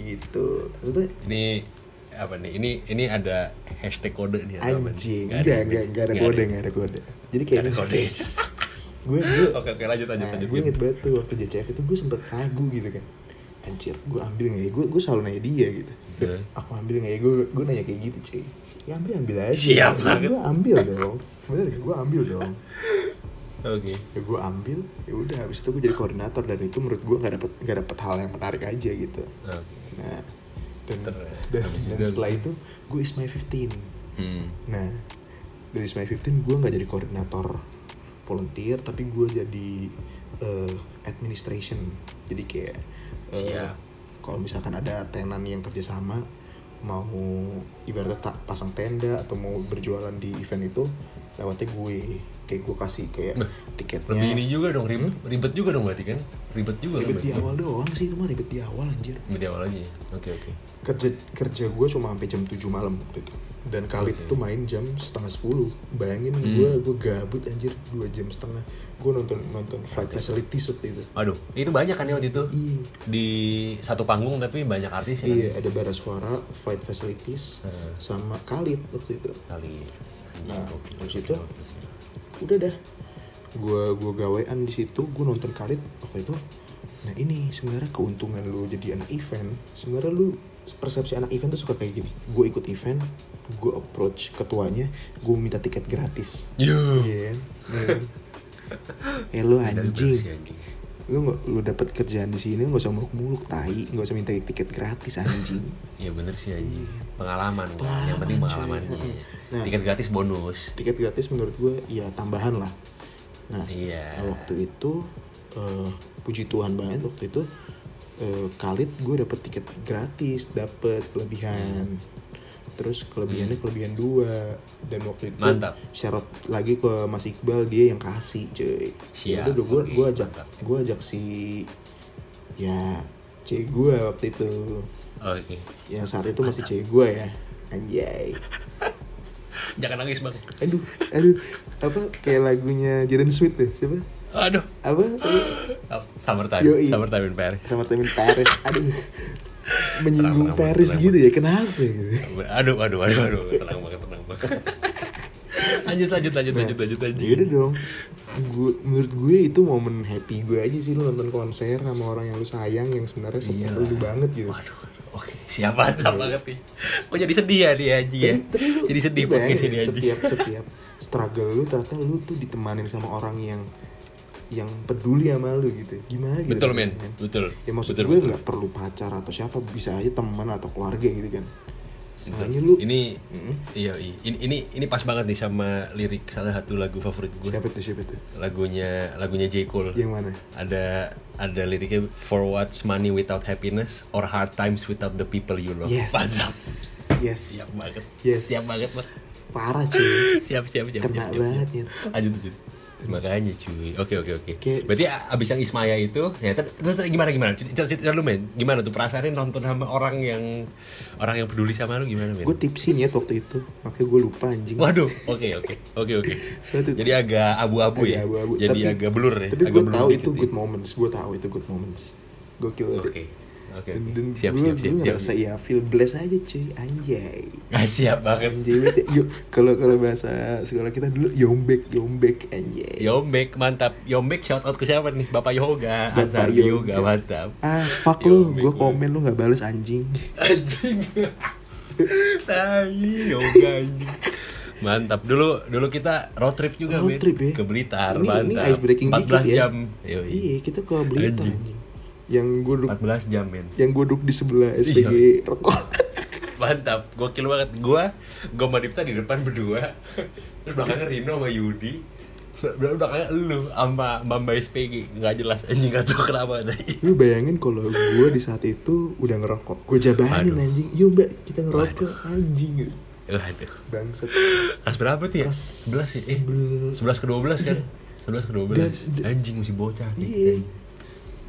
[SPEAKER 2] gitu maksudnya
[SPEAKER 1] Ini apa nih? Ini ini ada hashtag kode nih. atau apa nih?
[SPEAKER 2] anjing
[SPEAKER 1] Nggak
[SPEAKER 2] enggak
[SPEAKER 1] men.
[SPEAKER 2] enggak enggak ada
[SPEAKER 1] Nggak
[SPEAKER 2] kode enggak ada kode jadi kayak
[SPEAKER 1] Nggak ada kode.
[SPEAKER 2] (laughs) gue gue
[SPEAKER 1] Oke oke lanjut lanjut
[SPEAKER 2] nah,
[SPEAKER 1] lanjut.
[SPEAKER 2] gue inget banget tuh waktu JCF itu gue sempet ragu gitu kan anjir gue ambil nggak ya gue gue selalu nanya dia gitu
[SPEAKER 1] Betul.
[SPEAKER 2] aku ambil nggak ya gue gue nanya kayak gitu cuy ya ambil ambil aja
[SPEAKER 1] Siap banget.
[SPEAKER 2] gue ambil dong bener gak gue ambil dong
[SPEAKER 1] Oke.
[SPEAKER 2] ya gue ambil ya udah habis itu gue jadi koordinator dan itu menurut gue nggak dapet nggak dapet hal yang menarik aja gitu
[SPEAKER 1] Oke.
[SPEAKER 2] nah dan
[SPEAKER 1] Terus,
[SPEAKER 2] dan,
[SPEAKER 1] habis
[SPEAKER 2] dan
[SPEAKER 1] itu-
[SPEAKER 2] setelah itu gue is my 15
[SPEAKER 1] Hmm.
[SPEAKER 2] nah dari is my 15 gue nggak jadi koordinator volunteer tapi gue jadi eh, administration jadi kayak eh,
[SPEAKER 1] Siap.
[SPEAKER 2] kalau misalkan ada tenan yang kerjasama mau ibaratnya ta- pasang tenda atau mau berjualan di event itu lewatnya gue kayak gue kasih kayak
[SPEAKER 1] Beh,
[SPEAKER 2] tiketnya
[SPEAKER 1] Lebih ini juga dong ribet, ribet juga dong berarti kan? Ya. Ribet juga kan
[SPEAKER 2] ribet di
[SPEAKER 1] berarti?
[SPEAKER 2] awal doang sih itu mah ribet di awal anjir
[SPEAKER 1] Ribet di awal aja. ya? Oke oke.
[SPEAKER 2] kerja kerja gue cuma sampai jam 7 malam waktu itu dan kali itu main jam setengah 10 bayangin gue gue gabut anjir dua jam setengah gue nonton nonton flight facilities waktu itu
[SPEAKER 1] Aduh, itu banyak kan ya waktu itu
[SPEAKER 2] iya
[SPEAKER 1] di satu panggung tapi banyak artis ya kan?
[SPEAKER 2] iya ada bara suara flight facilities sama Khalid waktu itu
[SPEAKER 1] kali. Iya, Anjing,
[SPEAKER 2] Nah,
[SPEAKER 1] gokil,
[SPEAKER 2] habis
[SPEAKER 1] gokil,
[SPEAKER 2] itu
[SPEAKER 1] gokil.
[SPEAKER 2] udah dah gue gue gawean di situ gue nonton Khalid waktu itu nah ini sebenarnya keuntungan lu jadi anak event sebenarnya lu persepsi anak event tuh suka kayak gini gue ikut event gue approach ketuanya gue minta tiket gratis iya kan? eh lu
[SPEAKER 1] Si
[SPEAKER 2] anjing
[SPEAKER 1] anjing.
[SPEAKER 2] lu nggak lu dapat kerjaan di sini nggak usah muluk-muluk tai nggak usah minta tiket gratis anjing
[SPEAKER 1] Iya bener sih anjing. Pengalaman, kan? yang
[SPEAKER 2] Pengalaman,
[SPEAKER 1] penting
[SPEAKER 2] cuy.
[SPEAKER 1] pengalamannya.
[SPEAKER 2] Nah.
[SPEAKER 1] Tiket gratis bonus.
[SPEAKER 2] tiket gratis menurut gue ya tambahan lah nah
[SPEAKER 1] Iya.
[SPEAKER 2] Nah, waktu itu eh, puji Tuhan banget waktu itu eh, Khalid gue dapet tiket gratis, dapet kelebihan. Terus kelebihannya kelebihan dua dan waktu itu
[SPEAKER 1] Hmm. Mantap.
[SPEAKER 2] syarat lagi ke Mas Iqbal dia yang kasih cuy. Ya
[SPEAKER 1] Siap,
[SPEAKER 2] Yaudah, gue
[SPEAKER 1] oke,
[SPEAKER 2] gue ajak
[SPEAKER 1] mantap.
[SPEAKER 2] gue ajak si ya C gue waktu itu
[SPEAKER 1] Oke.
[SPEAKER 2] yang saat itu masih C gue ya anjay
[SPEAKER 1] Jangan nangis bang.
[SPEAKER 2] aduh aduh apa kayak lagunya Jaden Sweet tuh siapa
[SPEAKER 1] Aduh.
[SPEAKER 2] apa
[SPEAKER 1] Sam- Summertime,
[SPEAKER 2] Yoi.
[SPEAKER 1] summertime in Paris.
[SPEAKER 2] sama temen Paris aduh menyinggung
[SPEAKER 1] Kenapa, kenapa,
[SPEAKER 2] Paris
[SPEAKER 1] kenapa?
[SPEAKER 2] gitu ya kenapa gitu
[SPEAKER 1] Aduh, aduh, aduh, aduh. Tenang banget, tenang banget. Nah. lanjut, lanjut, lanjut, lanjut, lanjut, lanjut.
[SPEAKER 2] ya udah dong Gue- menurut gue itu momen happy gue aja sih lu nonton konser sama orang yang lu sayang yang sebenarnya support
[SPEAKER 1] Iyalah.
[SPEAKER 2] lu banget gitu
[SPEAKER 1] Waduh, oke. Siapa tahu banget nih. Kok jadi sedih ya dia aja ya?
[SPEAKER 2] lu-
[SPEAKER 1] Jadi sedih
[SPEAKER 2] lu
[SPEAKER 1] podcast
[SPEAKER 2] bayangin
[SPEAKER 1] ini
[SPEAKER 2] ya,
[SPEAKER 1] aja.
[SPEAKER 2] setiap setiap struggle lu ternyata lu tuh ditemanin sama orang yang yang peduli sama lu gitu gimana gitu
[SPEAKER 1] Betul, men.
[SPEAKER 2] rasanya?
[SPEAKER 1] Betul.
[SPEAKER 2] ya maksud
[SPEAKER 1] betul,
[SPEAKER 2] gue
[SPEAKER 1] betul.
[SPEAKER 2] nggak perlu pacar atau siapa bisa aja teman atau keluarga gitu kan
[SPEAKER 1] Betul.
[SPEAKER 2] soalnya lu
[SPEAKER 1] Ini
[SPEAKER 2] Mm-mm.
[SPEAKER 1] iya, iya. ini ini ini pas banget nih sama lirik salah satu lagu favorit gue.
[SPEAKER 2] siapa tuh siapa tuh
[SPEAKER 1] Lagunya lagunya J Cole.
[SPEAKER 2] yang mana
[SPEAKER 1] Ada ada liriknya for what's money without happiness or hard times without the people you love.
[SPEAKER 2] Yes.
[SPEAKER 1] Mantap.
[SPEAKER 2] Yes.
[SPEAKER 1] Siap banget.
[SPEAKER 2] Yes.
[SPEAKER 1] Siap banget, Mas.
[SPEAKER 2] Parah cuy.
[SPEAKER 1] Siap, siap, siap. siap,
[SPEAKER 2] Kena
[SPEAKER 1] siap.
[SPEAKER 2] banget ya.
[SPEAKER 1] Lanjut, lanjut. Makanya cuy. Oke oke oke.
[SPEAKER 2] Kayak-
[SPEAKER 1] Berarti a- abis yang Ismaya itu, ya ter- terus ter- gimana gimana? Cerita cerita lu men, gimana tuh perasaannya nonton sama orang yang orang yang peduli sama lu gimana men?
[SPEAKER 2] gue tipsi nih ya waktu itu makanya gue lupa anjing
[SPEAKER 1] Waduh, oke oke oke oke.
[SPEAKER 2] Suatu-
[SPEAKER 1] Jadi agak abu-abu
[SPEAKER 2] Agak
[SPEAKER 1] ya.
[SPEAKER 2] abu-abu.
[SPEAKER 1] Jadi
[SPEAKER 2] Tapi-
[SPEAKER 1] agak blur ya.
[SPEAKER 2] tapi
[SPEAKER 1] agak
[SPEAKER 2] gue
[SPEAKER 1] blur
[SPEAKER 2] tahu
[SPEAKER 1] dikit
[SPEAKER 2] itu
[SPEAKER 1] ya.
[SPEAKER 2] good moments gue tahu itu good moments gokil
[SPEAKER 1] Oke.
[SPEAKER 2] banget
[SPEAKER 1] Oke. oke.
[SPEAKER 2] dan, dan
[SPEAKER 1] Siap
[SPEAKER 2] gue
[SPEAKER 1] siap siap.
[SPEAKER 2] gue
[SPEAKER 1] siap.
[SPEAKER 2] ngerasa ya feel blessed aja cuy anjay
[SPEAKER 1] Ah, siap banget.
[SPEAKER 2] anjay banget ya. yuk kalau kalau bahasa sekolah kita dulu yombek yombek anjay
[SPEAKER 1] Yombek mantap. Yombek shout out ke siapa nih? Bapak Yoga.
[SPEAKER 2] Bapak
[SPEAKER 1] Ansar
[SPEAKER 2] Yoga.
[SPEAKER 1] Yoga mantap.
[SPEAKER 2] ah fuck lu
[SPEAKER 1] Yombek
[SPEAKER 2] gue
[SPEAKER 1] lu.
[SPEAKER 2] komen lu nggak bales anjing
[SPEAKER 1] anjing (laughs) tai yoga anjing mantap dulu dulu kita road trip juga
[SPEAKER 2] Road
[SPEAKER 1] Ben.
[SPEAKER 2] trip ya?
[SPEAKER 1] ke Blitar
[SPEAKER 2] ini, ini
[SPEAKER 1] mantap
[SPEAKER 2] ice breaking
[SPEAKER 1] 14
[SPEAKER 2] dikit ya
[SPEAKER 1] jam Yoi.
[SPEAKER 2] iya kita ke Blitar
[SPEAKER 1] Anjing.
[SPEAKER 2] anjing yang gue duduk
[SPEAKER 1] 14 jam men
[SPEAKER 2] yang gue duduk di sebelah
[SPEAKER 1] Iya.
[SPEAKER 2] SPG rokok (laughs)
[SPEAKER 1] mantap gokil banget gua gua sama Dipta di depan berdua terus belakangnya Rino sama Yudi belakang belakangnya lu sama Mbak SPG nggak jelas anjing nggak tahu kenapa tadi
[SPEAKER 2] Lu bayangin kalau gue di saat itu udah ngerokok. Gue jabanin
[SPEAKER 1] Aduh.
[SPEAKER 2] anjing. Yuk mbak, kita ngerokok anjing.
[SPEAKER 1] Waduh.
[SPEAKER 2] Bangset.
[SPEAKER 1] Kelas berapa tuh ya?
[SPEAKER 2] Kelas
[SPEAKER 1] 11 ya? Eh,
[SPEAKER 2] 11.
[SPEAKER 1] 11 ke 12
[SPEAKER 2] (laughs)
[SPEAKER 1] kan? 11 ke 12
[SPEAKER 2] Dan- dan-
[SPEAKER 1] Anjing masih bocah nih
[SPEAKER 2] Iya.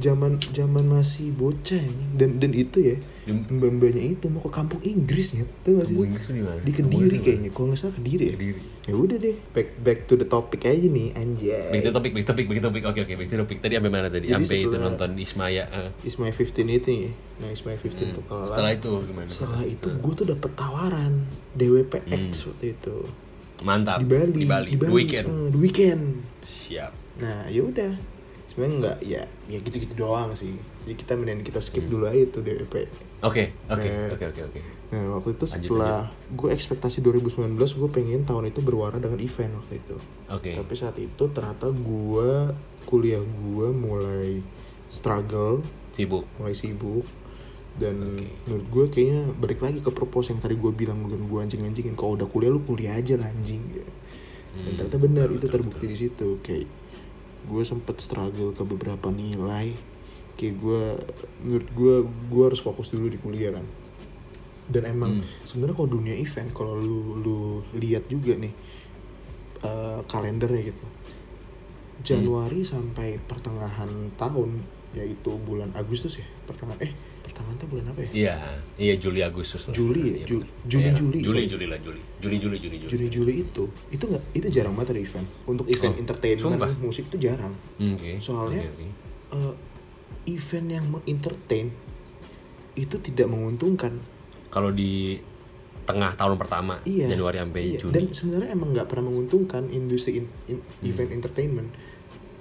[SPEAKER 2] Zaman zaman masih bocah anjing. Dan dan itu ya.
[SPEAKER 1] Dem-
[SPEAKER 2] Mbak-mbaknya itu mau ke kampung Inggris ya. Tahu gak sih?
[SPEAKER 1] Kampung Inggris tuh di mana?
[SPEAKER 2] Di
[SPEAKER 1] Kampung
[SPEAKER 2] Kediri
[SPEAKER 1] Inggris
[SPEAKER 2] kayaknya. Kalau nggak salah Kediri ya.
[SPEAKER 1] Kediri.
[SPEAKER 2] Ya udah deh. Back back to the topic aja nih
[SPEAKER 1] Back to
[SPEAKER 2] anjay.
[SPEAKER 1] topic, back to topic, back to topic. Oke, oke, back to topic. Tadi sampai mana tadi?
[SPEAKER 2] Jadi
[SPEAKER 1] Sampai itu
[SPEAKER 2] setelah-
[SPEAKER 1] nonton Ismaya. eh.
[SPEAKER 2] Is my 15 itu ya. Nah, is my 15 tuh kelar.
[SPEAKER 1] Hmm. Setelah itu gimana? Hmm.
[SPEAKER 2] Setelah itu gue tuh dapet tawaran DWPX waktu itu
[SPEAKER 1] Mantap.
[SPEAKER 2] di Bali
[SPEAKER 1] Hmm. Di Bali. The Weekend.
[SPEAKER 2] Eh, di weekend
[SPEAKER 1] Siap.
[SPEAKER 2] Nah, ya udah. Sebenarnya nggak ya, ya gitu-gitu doang sih. Jadi kita mending kita skip
[SPEAKER 1] Hmm.
[SPEAKER 2] dulu aja itu DWP.
[SPEAKER 1] Oke, oke,
[SPEAKER 2] Eh.
[SPEAKER 1] oke, oke, oke.
[SPEAKER 2] Nah, waktu itu setelah gue ekspektasi 2019 gue pengen tahun itu berwarna dengan event waktu itu.
[SPEAKER 1] Oke.
[SPEAKER 2] Tapi saat itu ternyata gue kuliah gue mulai struggle,
[SPEAKER 1] Sibuk.
[SPEAKER 2] mulai sibuk dan menurut gue kayaknya balik lagi ke purpose yang tadi gue bilang mungkin gue anjing-anjingin kalau udah kuliah lu kuliah aja lah anjing ya. dan ternyata benar itu terbukti di situ kayak gue sempet struggle ke beberapa nilai kayak gue menurut gue gue harus fokus dulu di kuliah kan dan emang sebenarnya kalau dunia event kalau lu lu lihat juga nih eh, kalendernya gitu Januari sampai pertengahan tahun yaitu bulan Agustus ya pertengahan eh pertengahan tuh bulan apa ya
[SPEAKER 1] Iya, iya Juli Agustus lah.
[SPEAKER 2] Juli ya
[SPEAKER 1] Iya,
[SPEAKER 2] Ju-
[SPEAKER 1] betul.
[SPEAKER 2] Juni
[SPEAKER 1] Iya,
[SPEAKER 2] Juli
[SPEAKER 1] Juli,
[SPEAKER 2] sorry.
[SPEAKER 1] Juli lah, Juli. Juli, Juli, Juli, Juli.
[SPEAKER 2] Juni Juli itu itu nggak itu jarang banget ada event untuk event
[SPEAKER 1] Oh,
[SPEAKER 2] entertainment
[SPEAKER 1] sumpah.
[SPEAKER 2] musik itu jarang
[SPEAKER 1] Hmm, Oke.
[SPEAKER 2] Soalnya-
[SPEAKER 1] Oke, oke.
[SPEAKER 2] Eh, event yang mengentertain itu tidak menguntungkan
[SPEAKER 1] kalau di tengah tahun pertama
[SPEAKER 2] iya
[SPEAKER 1] Januari sampai
[SPEAKER 2] iya.
[SPEAKER 1] Juni. Hmm.
[SPEAKER 2] dan sebenarnya emang nggak pernah menguntungkan industri in- in- event entertainment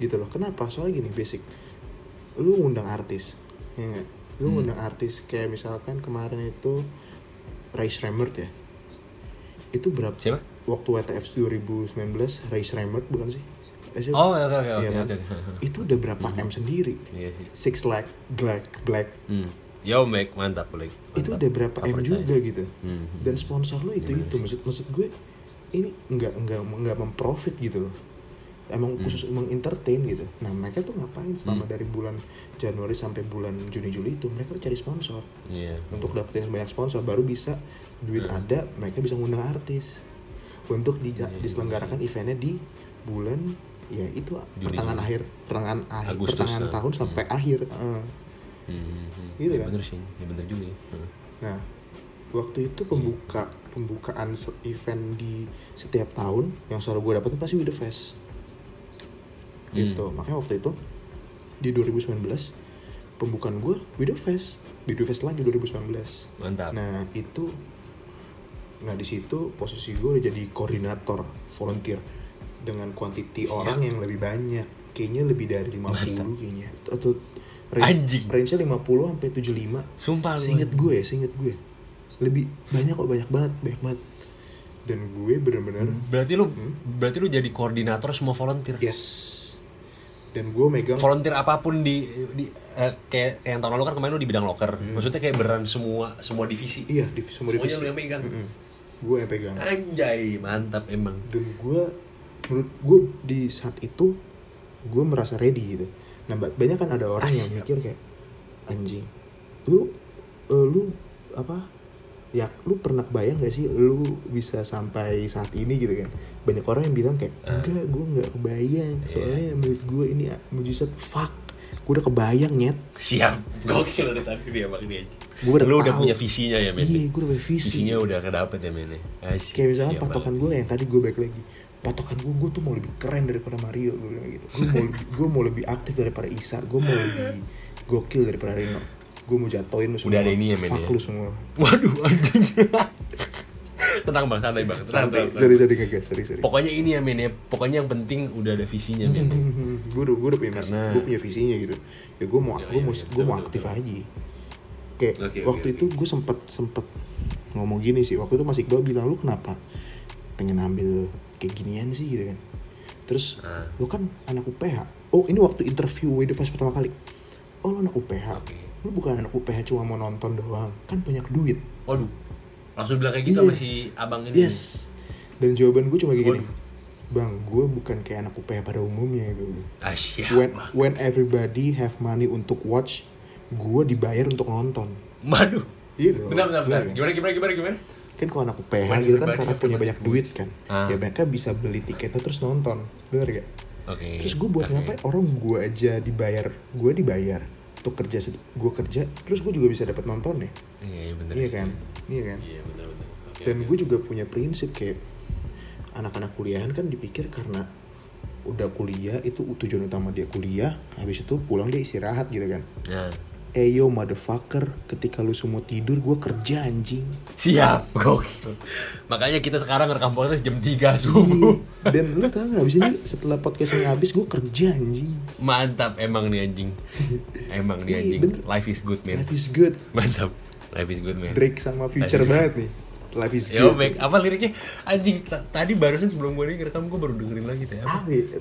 [SPEAKER 2] gitu loh kenapa soalnya gini basic lu ngundang artis ya nggak? lu
[SPEAKER 1] Hmm.
[SPEAKER 2] ngundang artis kayak misalkan kemarin itu Ray Shremmerd ya itu berapa
[SPEAKER 1] Siapa?
[SPEAKER 2] waktu WTF 2019 Ray Shremmerd bukan sih Eh, siapa?
[SPEAKER 1] Oh, oke oke oke
[SPEAKER 2] Iya, kan?
[SPEAKER 1] oke. (laughs)
[SPEAKER 2] itu udah berapa M sendiri
[SPEAKER 1] Iya sih.
[SPEAKER 2] Six Flag Black Black
[SPEAKER 1] Hmm. Yo, Mac, mantap, Mac.
[SPEAKER 2] itu
[SPEAKER 1] Mantap.
[SPEAKER 2] udah berapa M
[SPEAKER 1] Apa
[SPEAKER 2] juga gitu
[SPEAKER 1] Hmm.
[SPEAKER 2] dan sponsor lo itu itu maksud maksud gue ini nggak nggak nggak memprofit gitu loh emang khusus mengentertain gitu nah mereka tuh ngapain selama dari bulan Januari sampai bulan Juni Juli itu mereka tuh cari sponsor
[SPEAKER 1] Iya.
[SPEAKER 2] untuk dapetin banyak sponsor baru bisa duit ada mereka bisa ngundang artis untuk di- diselenggarakan eventnya di bulan ya itu pertengahan akhir pertengahan akhir
[SPEAKER 1] Agustus,
[SPEAKER 2] pertengahan
[SPEAKER 1] ah.
[SPEAKER 2] tahun sampai akhir eh.
[SPEAKER 1] Hmm, hmm.
[SPEAKER 2] Gitu
[SPEAKER 1] ya,
[SPEAKER 2] kan?
[SPEAKER 1] bener sih, ya, bener juga ya. Hmm.
[SPEAKER 2] Nah, waktu itu pembuka pembukaan se- event di setiap tahun yang selalu gue dapetin pasti With The Fest. Gitu. Makanya waktu itu di 2019 pembukaan gue With The Fest, With The Fest lagi 2019.
[SPEAKER 1] Mantap.
[SPEAKER 2] Nah, itu nah di situ posisi gue udah jadi koordinator volunteer dengan quantity orang yang lebih banyak. Kayaknya lebih dari 50 kayaknya. Atau
[SPEAKER 1] Anjing.
[SPEAKER 2] range-nya 50 sampai 75
[SPEAKER 1] Sumpah lu.
[SPEAKER 2] Seinget gue, seinget gue. Lebih banyak kok, banyak banget, banyak banget. Dan gue bener-bener
[SPEAKER 1] Berarti lu
[SPEAKER 2] Hmm?
[SPEAKER 1] berarti lu jadi koordinator semua volunteer.
[SPEAKER 2] yes. Dan gue megang
[SPEAKER 1] Volunteer apapun di, di eh, kayak, kayak yang tahun lalu kan kemarin lu di bidang loker. Maksudnya kayak beran semua semua divisi.
[SPEAKER 2] Hmm. iya di semua
[SPEAKER 1] Semuanya
[SPEAKER 2] divisi. Hmm.
[SPEAKER 1] lu yang pegang.
[SPEAKER 2] Gue yang pegang.
[SPEAKER 1] Anjay, mantap emang.
[SPEAKER 2] Dan gue menurut gue di saat itu gue merasa ready gitu. Nah, ba- banyak kan ada orang yang mikir kayak anjing. Lu eh, lu apa? ya lu pernah kebayang gak sih lu bisa sampai saat ini gitu kan banyak orang yang bilang kayak
[SPEAKER 1] Ah.
[SPEAKER 2] enggak gue nggak kebayang
[SPEAKER 1] Iya.
[SPEAKER 2] soalnya menurut gue ini ah, mujizat fuck gue udah kebayang nyet
[SPEAKER 1] Siap.
[SPEAKER 2] (laughs)
[SPEAKER 1] Gokil dari tadi dia bang ini aja.
[SPEAKER 2] Gua udah
[SPEAKER 1] Lu udah
[SPEAKER 2] tahu.
[SPEAKER 1] punya visinya ya, men.
[SPEAKER 2] iya gue udah punya visi
[SPEAKER 1] Visinya udah kedapet ya, men. Asik.
[SPEAKER 2] kayak misalnya
[SPEAKER 1] Siap,
[SPEAKER 2] patokan gue yang tadi gue balik lagi patokan gue gue tuh mau lebih keren daripada Mario gue bilang gitu gue mau lebih, gue mau lebih aktif daripada Isa gue mau lebih gokil daripada Reno gue mau jatuhin lu semua
[SPEAKER 1] ada ini ya, men,
[SPEAKER 2] fuck
[SPEAKER 1] ya?
[SPEAKER 2] lu semua
[SPEAKER 1] Bang. (laughs) Waduh, anjing. tenang bang, santai bang. Tenang, tenang, tenang.
[SPEAKER 2] sorry sorry ngegas sorry sorry
[SPEAKER 1] Pokoknya ini ya, men. Ya. Pokoknya yang penting udah ada visinya, men.
[SPEAKER 2] Mm-hmm. gue Hmm, udah gue udah punya misi,
[SPEAKER 1] Karena-
[SPEAKER 2] gue punya visinya gitu ya gue mau gue mau gue mau aktif aja kayak
[SPEAKER 1] Oke, oke,
[SPEAKER 2] waktu itu gue sempet sempet ngomong gini sih waktu itu masih gue bilang lu kenapa pengen ambil kayak ginian sih gitu kan terus
[SPEAKER 1] Ah.
[SPEAKER 2] lu kan anak UPH oh ini waktu interview Way the Fest pertama kali oh lu anak UPH
[SPEAKER 1] Oke.
[SPEAKER 2] lu bukan anak UPH cuma mau nonton doang kan banyak duit
[SPEAKER 1] Waduh. Langsung bilang kayak gitu sama si abang ini.
[SPEAKER 2] Iya. yes dan jawaban gue cuma kayak gini
[SPEAKER 1] Waduh.
[SPEAKER 2] bang gue bukan kayak anak UPH pada umumnya gitu
[SPEAKER 1] Ah, siap.
[SPEAKER 2] when
[SPEAKER 1] Bang.
[SPEAKER 2] when everybody have money untuk watch, gue dibayar untuk nonton.
[SPEAKER 1] Waduh.
[SPEAKER 2] Iya dong.
[SPEAKER 1] Bentar, bentar, bentar.
[SPEAKER 2] Iya.
[SPEAKER 1] Gimana, gimana, gimana, gimana?
[SPEAKER 2] Kan kalau anak UPH
[SPEAKER 1] When
[SPEAKER 2] gitu kan
[SPEAKER 1] everybody
[SPEAKER 2] karena
[SPEAKER 1] have
[SPEAKER 2] punya
[SPEAKER 1] money
[SPEAKER 2] banyak
[SPEAKER 1] to
[SPEAKER 2] duit kan,
[SPEAKER 1] Ah.
[SPEAKER 2] ya mereka bisa beli tiketnya terus nonton, bener gak?
[SPEAKER 1] Oke.
[SPEAKER 2] Terus gue buat
[SPEAKER 1] Oke.
[SPEAKER 2] ngapain? Orang gue aja dibayar, gue dibayar untuk kerja, gue kerja, terus gue juga bisa dapat nonton ya,
[SPEAKER 1] Iya, iya bener.
[SPEAKER 2] iya
[SPEAKER 1] sih.
[SPEAKER 2] kan? Iya kan?
[SPEAKER 1] Iya, bener, bener. Oke.
[SPEAKER 2] Dan gue juga punya prinsip kayak anak-anak kuliahan kan dipikir karena udah kuliah itu tujuan utama dia kuliah, habis itu pulang dia istirahat gitu kan.
[SPEAKER 1] Nah.
[SPEAKER 2] Eyo motherfucker, ketika lu semua tidur gue kerja
[SPEAKER 1] (laughs)
[SPEAKER 2] anjing.
[SPEAKER 1] Siap, gokil. Makanya kita sekarang ngerekam podcast jam 3
[SPEAKER 2] Iya.
[SPEAKER 1] subuh.
[SPEAKER 2] Dan lu tau gak abis ini setelah podcast ini habis gue kerja anjing.
[SPEAKER 1] Mantap emang nih anjing. Emang nih
[SPEAKER 2] Iya,
[SPEAKER 1] anjing.
[SPEAKER 2] bener.
[SPEAKER 1] Life is good, man.
[SPEAKER 2] Life is good.
[SPEAKER 1] Mantap. Life is good, man.
[SPEAKER 2] Drake sama Future banget nih. Life is
[SPEAKER 1] Yo,
[SPEAKER 2] good.
[SPEAKER 1] baik. Apa liriknya? Anjing, ta- tadi barusan sebelum gue ngerekam gue baru dengerin lagi teh. Apa?
[SPEAKER 2] Ah, iya.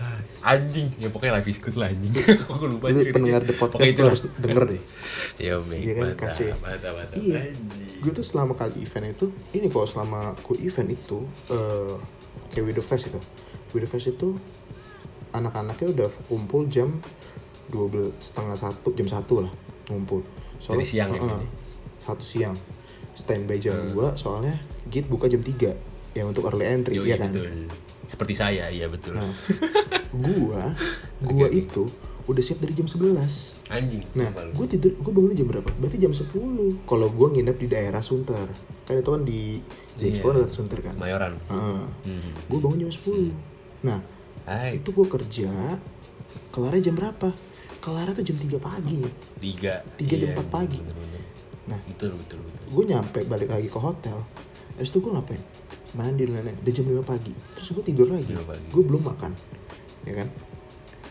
[SPEAKER 1] Ah, Anjing, ya pokoknya life is good lah anjing. (laughs) Aku lupa
[SPEAKER 2] Lu
[SPEAKER 1] liriknya.
[SPEAKER 2] pendengar the
[SPEAKER 1] Pokoknya
[SPEAKER 2] podcast lu
[SPEAKER 1] itulah.
[SPEAKER 2] harus denger deh.
[SPEAKER 1] (laughs) Yo, baik.
[SPEAKER 2] Iya kan,
[SPEAKER 1] mantap,
[SPEAKER 2] kacau ya.
[SPEAKER 1] mantap, mantap.
[SPEAKER 2] Iya.
[SPEAKER 1] Anjing.
[SPEAKER 2] Gue tuh selama kali event itu, ini kalau selama ku event itu, eh kayak Widow Fest itu. Widow Fest itu anak-anaknya udah kumpul jam 12, setengah satu, jam satu lah ngumpul.
[SPEAKER 1] Dari siang ya, Hmm.
[SPEAKER 2] Heeh,
[SPEAKER 1] berarti?
[SPEAKER 2] Satu siang. Standby jam 2, soalnya gate buka jam 3. Ya untuk early entry,
[SPEAKER 1] Yo,
[SPEAKER 2] iya
[SPEAKER 1] iya (laughs)
[SPEAKER 2] kan?
[SPEAKER 1] betul. Seperti saya, iya betul.
[SPEAKER 2] Nah, gua,
[SPEAKER 1] Oke,
[SPEAKER 2] gua
[SPEAKER 1] oke.
[SPEAKER 2] itu udah siap dari jam 11.
[SPEAKER 1] Anjing.
[SPEAKER 2] Nah,
[SPEAKER 1] apa lu?
[SPEAKER 2] gue tidur, gue bangun jam berapa? Berarti jam 10. Kalau gue nginep di daerah Sunter. Kan itu kan di Jexpo dekat Sunter kan.
[SPEAKER 1] Mayoran. Iya. Hmm.
[SPEAKER 2] gue bangun jam 10. Nah,
[SPEAKER 1] Hai,
[SPEAKER 2] itu gue kerja, kelarnya jam berapa? Kelarnya tuh jam 3 pagi. nih.
[SPEAKER 1] tiga.
[SPEAKER 2] Tiga jam
[SPEAKER 1] Iya,
[SPEAKER 2] empat pagi.
[SPEAKER 1] bener-bener.
[SPEAKER 2] Nah,
[SPEAKER 1] Betul, betul, betul.
[SPEAKER 2] gue nyampe balik lagi ke hotel. Terus itu gue ngapain? Mandi dan lain-lain. Udah jam 5 pagi. Terus gue tidur lagi.
[SPEAKER 1] Lima pagi.
[SPEAKER 2] Gue belum makan. Ya kan?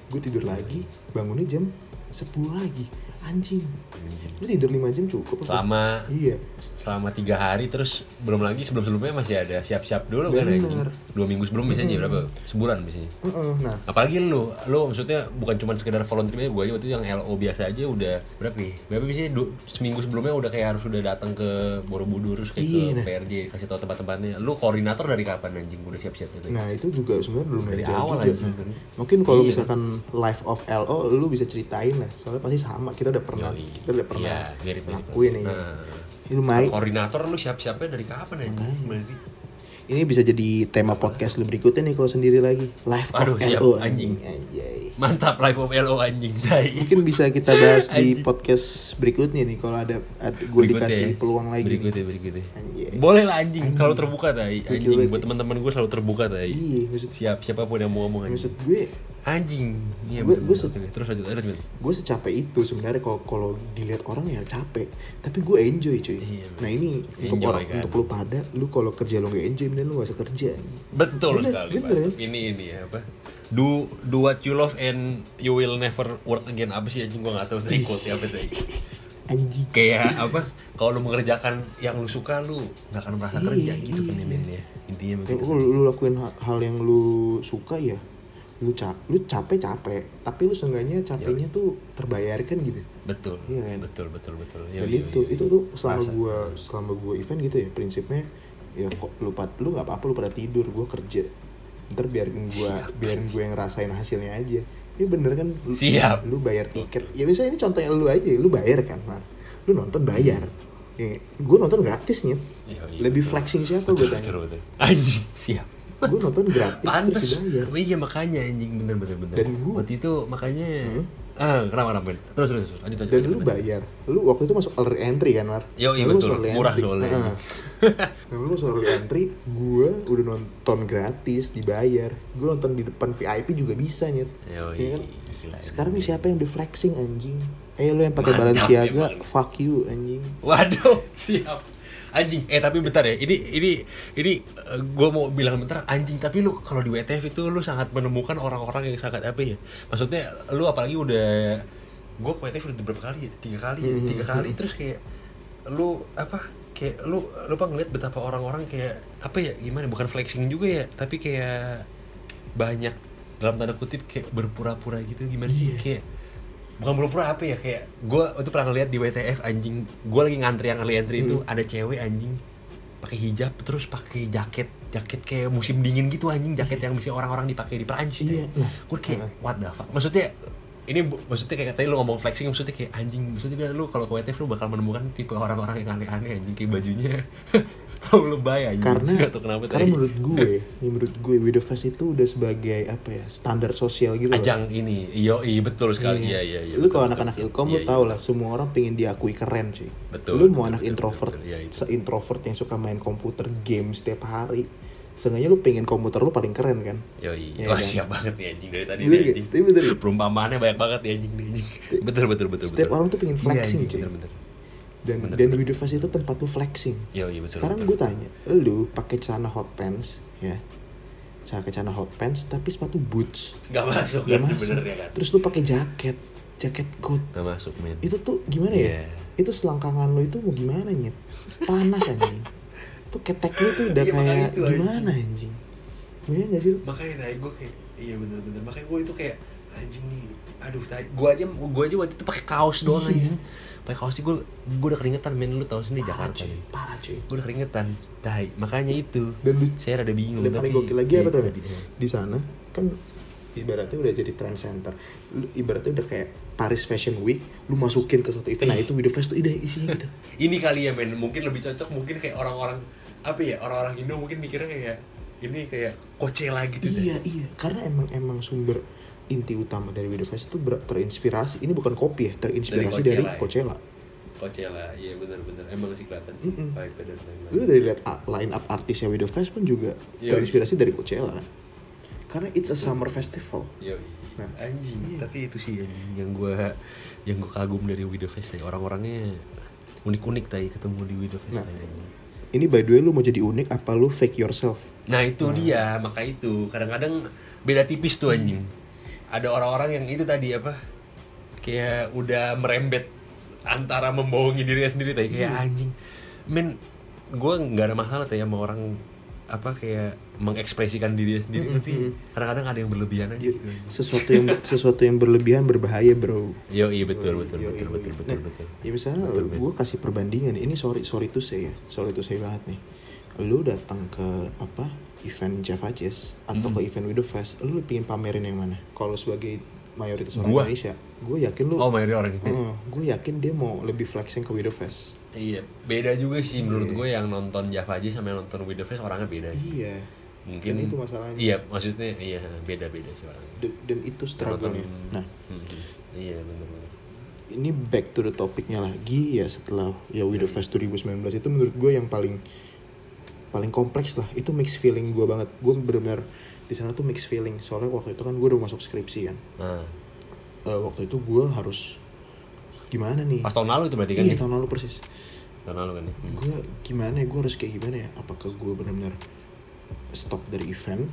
[SPEAKER 2] Gue tidur lagi, bangunnya jam 10 lagi. Anjing.
[SPEAKER 1] Anjing.
[SPEAKER 2] Lu tidur 5 jam cukup apa?
[SPEAKER 1] Selama
[SPEAKER 2] Iya.
[SPEAKER 1] selama tiga hari terus belum lagi sebelum sebelumnya masih ada siap-siap dulu kan
[SPEAKER 2] Bener.
[SPEAKER 1] anjing. Dua minggu sebelum biasanya berapa? Sebulan biasanya.
[SPEAKER 2] Heeh, Nah,
[SPEAKER 1] Apalagi lu, lu maksudnya bukan cuma sekedar volunteer aja, gue aja waktu itu yang LO biasa aja udah berapa nih? Berapa biasanya du- seminggu sebelumnya udah kayak harus udah datang ke Borobudur terus kayak
[SPEAKER 2] Iya,
[SPEAKER 1] ke
[SPEAKER 2] nah.
[SPEAKER 1] PRJ kasih tahu tempat-tempatnya. Lu koordinator dari kapan anjing udah siap-siap gitu?
[SPEAKER 2] Nah itu juga sebenarnya belum
[SPEAKER 1] Dari
[SPEAKER 2] ada jauh
[SPEAKER 1] awal
[SPEAKER 2] juga.
[SPEAKER 1] anjing, kan?
[SPEAKER 2] Mungkin kalau
[SPEAKER 1] Iya.
[SPEAKER 2] misalkan life of LO lu bisa ceritain lah. Soalnya pasti sama kita udah pernah
[SPEAKER 1] Yoi.
[SPEAKER 2] kita udah pernah
[SPEAKER 1] Iya, mirip, mirip.
[SPEAKER 2] lakuin ini.
[SPEAKER 1] Nah.
[SPEAKER 2] Ini lumayan.
[SPEAKER 1] Koordinator lu siap-siapnya dari kapan anjing?
[SPEAKER 2] Hmm.
[SPEAKER 1] Berarti
[SPEAKER 2] Ini bisa jadi tema podcast lu berikutnya nih kalau sendiri lagi. Life
[SPEAKER 1] Aduh,
[SPEAKER 2] of
[SPEAKER 1] siap,
[SPEAKER 2] LO
[SPEAKER 1] anjing.
[SPEAKER 2] anjing. Anjay.
[SPEAKER 1] mantap live of LO anjing tai.
[SPEAKER 2] Mungkin bisa kita bahas di podcast berikutnya nih kalau ada, ada gue
[SPEAKER 1] Berikutnya
[SPEAKER 2] dikasih
[SPEAKER 1] ya.
[SPEAKER 2] peluang lagi. nih.
[SPEAKER 1] berikutnya berikutnya
[SPEAKER 2] Anjay.
[SPEAKER 1] boleh lah anjing, selalu terbuka tai anjing
[SPEAKER 2] banget,
[SPEAKER 1] buat teman-teman gue selalu terbuka tai
[SPEAKER 2] Iya, maksud
[SPEAKER 1] siap siapapun yang mau ngomong anjing
[SPEAKER 2] maksud gue
[SPEAKER 1] anjing iya
[SPEAKER 2] Gue-
[SPEAKER 1] betul,
[SPEAKER 2] gue
[SPEAKER 1] betul. terus lanjut lanjut lanjut.
[SPEAKER 2] gue secapek itu sebenarnya kalau kalau dilihat orang ya capek tapi gue enjoy cuy
[SPEAKER 1] Iya,
[SPEAKER 2] nah ini untuk
[SPEAKER 1] Enjoy,
[SPEAKER 2] orang
[SPEAKER 1] kan?
[SPEAKER 2] untuk lu pada lu kalau kerja lu nggak enjoy bener lu gak usah kerja
[SPEAKER 1] betul
[SPEAKER 2] Bener,
[SPEAKER 1] sekali
[SPEAKER 2] bener.
[SPEAKER 1] Pak. ini ini ya, apa do do what you love and you will never work again apa sih anjing gue nggak tahu tadi quote apa sih
[SPEAKER 2] anjing
[SPEAKER 1] kayak apa kalau lu mengerjakan yang lu suka lu nggak akan merasa kerja
[SPEAKER 2] Iya,
[SPEAKER 1] gitu kan ya,
[SPEAKER 2] iya.
[SPEAKER 1] men, ya intinya
[SPEAKER 2] ya,
[SPEAKER 1] begitu
[SPEAKER 2] lu, lu lakuin ha- hal yang lu suka ya lu cap lu capek capek tapi lu seenggaknya capeknya tuh terbayarkan gitu
[SPEAKER 1] betul
[SPEAKER 2] Iya, kan?
[SPEAKER 1] betul betul betul Yo,
[SPEAKER 2] dan
[SPEAKER 1] yo,
[SPEAKER 2] itu
[SPEAKER 1] yo, yo.
[SPEAKER 2] itu tuh
[SPEAKER 1] Iya,
[SPEAKER 2] selama
[SPEAKER 1] Masa.
[SPEAKER 2] gue selama gue event gitu ya prinsipnya ya kok lu pad- lu nggak apa-apa lu pada tidur gue kerja ntar biarin gue biarin gue yang ngerasain hasilnya aja ini bener kan lu-
[SPEAKER 1] Siap.
[SPEAKER 2] lu bayar tiket ya misalnya ini contohnya lu aja lu bayar kan man lu nonton bayar gue nonton gratis nih
[SPEAKER 1] Iya, iya,
[SPEAKER 2] lebih
[SPEAKER 1] betul.
[SPEAKER 2] flexing siapa gue
[SPEAKER 1] Betul,
[SPEAKER 2] tanya
[SPEAKER 1] betul, betul. Anjing, siap.
[SPEAKER 2] gue nonton gratis terus
[SPEAKER 1] Pantes.
[SPEAKER 2] dibayar
[SPEAKER 1] Iya makanya anjing bener bener bener.
[SPEAKER 2] Dan gua- Hmm?
[SPEAKER 1] waktu itu makanya ah kenapa kenapa Ben? terus terus terus. lanjut lanjut.
[SPEAKER 2] dan
[SPEAKER 1] lanjut,
[SPEAKER 2] lu
[SPEAKER 1] lanjut.
[SPEAKER 2] bayar lu waktu itu masuk early entry kan Mar
[SPEAKER 1] Yo, iya
[SPEAKER 2] Nah, lu
[SPEAKER 1] betul.
[SPEAKER 2] masuk early
[SPEAKER 1] Murah
[SPEAKER 2] entry.
[SPEAKER 1] soalnya.
[SPEAKER 2] Nah, nah, lu masuk early entry gue udah nonton gratis dibayar gue nonton di depan VIP juga bisa nyet
[SPEAKER 1] Yoi,
[SPEAKER 2] Iya kan?
[SPEAKER 1] gila.
[SPEAKER 2] sekarang nih siapa yang udah flexing anjing eh lu yang pakai
[SPEAKER 1] Mantap,
[SPEAKER 2] Balenciaga
[SPEAKER 1] emang.
[SPEAKER 2] fuck you anjing
[SPEAKER 1] Waduh, siap. Anjing, eh tapi bentar ya. Ini ini ini gue mau bilang bentar anjing, tapi lu kalau di WTF itu lu sangat menemukan orang-orang yang sangat apa ya? Maksudnya lu apalagi udah gue WTF udah berapa kali ya? Tiga kali ya, tiga kali terus kayak lu apa? Kayak lu lu apa ngeliat betapa orang-orang kayak apa ya? Gimana? Bukan flexing juga ya, tapi kayak banyak dalam tanda kutip kayak berpura-pura gitu gimana sih kayak bukan pura-pura apa ya kayak gue itu pernah ngeliat di WTF anjing gue lagi ngantri yang early entry itu ada cewek anjing pakai hijab terus pakai jaket jaket kayak musim dingin gitu anjing jaket yang bisa orang-orang dipakai di Perancis ya.
[SPEAKER 2] Iya.
[SPEAKER 1] gue kayak what the fuck maksudnya ini bu- maksudnya kayak tadi lu ngomong flexing maksudnya kayak anjing maksudnya lu kalau ke WTF lu bakal menemukan tipe orang-orang yang aneh-aneh anjing kayak bajunya (laughs) tau lebay anjing
[SPEAKER 2] karena
[SPEAKER 1] Nggak tahu kenapa
[SPEAKER 2] karena
[SPEAKER 1] tadi.
[SPEAKER 2] menurut gue ini menurut gue Widow Fest itu udah sebagai apa ya standar sosial gitu loh.
[SPEAKER 1] ajang ini iyo iya betul sekali iya iya iya
[SPEAKER 2] lu
[SPEAKER 1] betul,
[SPEAKER 2] kalau
[SPEAKER 1] betul,
[SPEAKER 2] anak-anak
[SPEAKER 1] betul.
[SPEAKER 2] ilkom
[SPEAKER 1] Iya,
[SPEAKER 2] lu
[SPEAKER 1] iya.
[SPEAKER 2] tau lah semua orang pengen diakui keren sih.
[SPEAKER 1] Betul,
[SPEAKER 2] Lu
[SPEAKER 1] betul,
[SPEAKER 2] mau anak
[SPEAKER 1] betul,
[SPEAKER 2] introvert,
[SPEAKER 1] betul, betul. Iya, itu.
[SPEAKER 2] se-introvert yang suka main komputer game setiap hari. Seenggaknya lu pengen komputer lu paling keren kan?
[SPEAKER 1] Yoi,
[SPEAKER 2] Iya
[SPEAKER 1] wah
[SPEAKER 2] kan?
[SPEAKER 1] siap banget nih anjing dari tadi
[SPEAKER 2] Bener
[SPEAKER 1] nih
[SPEAKER 2] nggak?
[SPEAKER 1] anjing.
[SPEAKER 2] Tapi bener nggak?
[SPEAKER 1] Perumpamaannya banyak banget nih anjing nih anjing. Betul betul betul
[SPEAKER 2] Setiap
[SPEAKER 1] betul.
[SPEAKER 2] orang tuh pengen flexing,
[SPEAKER 1] iya,
[SPEAKER 2] cuy.
[SPEAKER 1] Bener bener.
[SPEAKER 2] Dan dan video fast itu tempat lu flexing.
[SPEAKER 1] Yoi, iya, betul.
[SPEAKER 2] Sekarang
[SPEAKER 1] betul.
[SPEAKER 2] gue tanya, lu pakai celana hot pants ya? Saya pakai celana hot pants tapi sepatu boots.
[SPEAKER 1] Gak masuk
[SPEAKER 2] Gak
[SPEAKER 1] kan
[SPEAKER 2] masuk.
[SPEAKER 1] bener ya kan.
[SPEAKER 2] Terus lu pakai jaket, jaket coat.
[SPEAKER 1] Gak masuk men.
[SPEAKER 2] itu tuh gimana ya?
[SPEAKER 1] Iya.
[SPEAKER 2] Itu selangkangan lo itu mau gimana nyet? Panas anjing. itu ketek lo tuh udah
[SPEAKER 1] Iya, makanya
[SPEAKER 2] kayak
[SPEAKER 1] itu, anjing.
[SPEAKER 2] gimana anjing? Gimana gak sih? lu?
[SPEAKER 1] Makanya tadi gue kayak iya bener bener. Makanya gue itu kayak anjing nih. Aduh, tadi gue aja gue aja waktu itu pakai kaos doang
[SPEAKER 2] Iya.
[SPEAKER 1] anjing. Pakai kaos sih gue gue udah keringetan men lu tahu sendiri
[SPEAKER 2] Parah
[SPEAKER 1] Jakarta.
[SPEAKER 2] cuy,
[SPEAKER 1] men.
[SPEAKER 2] parah cuy.
[SPEAKER 1] Gue udah keringetan. Tai, makanya itu.
[SPEAKER 2] Dan lu
[SPEAKER 1] Saya rada bingung
[SPEAKER 2] dan paling
[SPEAKER 1] tapi-
[SPEAKER 2] gokil lagi apa
[SPEAKER 1] Iya,
[SPEAKER 2] tuh?
[SPEAKER 1] tadi, iya.
[SPEAKER 2] Di sana kan ibaratnya udah jadi trend center. Lu ibaratnya udah kayak Paris Fashion Week, lu masukin ke satu event, nah itu video fest tuh ide isinya gitu.
[SPEAKER 1] ini kali ya men mungkin lebih cocok mungkin kayak orang-orang apa ya orang-orang Indo mungkin mikirnya kayak ini kayak Coachella gitu deh.
[SPEAKER 2] iya iya, karena emang emang sumber inti utama dari video fest itu ber- terinspirasi. Ini bukan kopi ya, terinspirasi dari
[SPEAKER 1] Coachella ya?
[SPEAKER 2] Coachella.
[SPEAKER 1] Coachella iya bener-bener emang sih kelihatan sih
[SPEAKER 2] Mm-mm.
[SPEAKER 1] vibe dan
[SPEAKER 2] lu
[SPEAKER 1] lain-lain
[SPEAKER 2] dari lihat a- line up artisnya Widow Fest pun juga
[SPEAKER 1] Iya.
[SPEAKER 2] terinspirasi dari Coachella kan karena it's a summer festival
[SPEAKER 1] Yo,
[SPEAKER 2] Nah.
[SPEAKER 1] anjing tapi itu sih anjing yang gua yang gua kagum dari Widow Fest ya orang-orangnya unik-unik tadi ketemu di Widow Fest
[SPEAKER 2] Nah.
[SPEAKER 1] tai, anjing.
[SPEAKER 2] ini by the way lu mau jadi unik apa lu fake yourself
[SPEAKER 1] Nah itu dia, maka itu kadang-kadang beda tipis
[SPEAKER 2] Iya.
[SPEAKER 1] tuh anjing. Ada orang-orang yang itu tadi apa? Kayak udah merembet antara membohongi dirinya sendiri tadi kayak
[SPEAKER 2] Iya.
[SPEAKER 1] anjing. Men, gue nggak ada masalah tuh ya sama orang apa kayak mengekspresikan dirinya sendiri tapi kadang-kadang ada yang berlebihan aja.
[SPEAKER 2] Iya.
[SPEAKER 1] gitu.
[SPEAKER 2] sesuatu yang sesuatu yang berlebihan berbahaya bro
[SPEAKER 1] Yo, iya betul betul
[SPEAKER 2] Yoi,
[SPEAKER 1] betul
[SPEAKER 2] yoi.
[SPEAKER 1] betul betul betul.
[SPEAKER 2] ya misalnya gue kasih perbandingan ini sorry sorry to say ya sorry to say banget nih lu datang ke apa event Java Jazz atau ke event Widow Fest lu pingin pamerin yang mana kalau sebagai mayoritas orang
[SPEAKER 1] Gua?
[SPEAKER 2] Indonesia gue yakin lu
[SPEAKER 1] Oh, mayoritas orang itu.
[SPEAKER 2] gue yakin dia mau lebih flexing ke Widow Fest
[SPEAKER 1] Iya, beda juga sih menurut gue yang nonton Java aja sama yang nonton Widow Fest orangnya beda.
[SPEAKER 2] iya
[SPEAKER 1] Mungkin
[SPEAKER 2] Dan itu masalahnya.
[SPEAKER 1] Iya, maksudnya iya beda-beda sih orangnya. Hmm,
[SPEAKER 2] dan, dan itu struggle-nya. Nah,
[SPEAKER 1] Iya benar-benar.
[SPEAKER 2] ini back to the topiknya lagi ya setelah ya Widow
[SPEAKER 1] Hmm.
[SPEAKER 2] Fest 2019 itu menurut gue yang paling paling kompleks lah. Itu mix feeling gue banget. Gue bener-bener di sana tuh mix feeling. Soalnya waktu itu kan gue udah masuk skripsi kan.
[SPEAKER 1] Nah,
[SPEAKER 2] Eh, waktu itu gue harus gimana nih?
[SPEAKER 1] pas tahun lalu itu berarti kan?
[SPEAKER 2] Iya
[SPEAKER 1] ya?
[SPEAKER 2] tahun lalu persis.
[SPEAKER 1] Tahun lalu kan? ya?
[SPEAKER 2] Gue gimana? ya? Gue harus kayak gimana ya? Apakah gue bener-bener stop dari event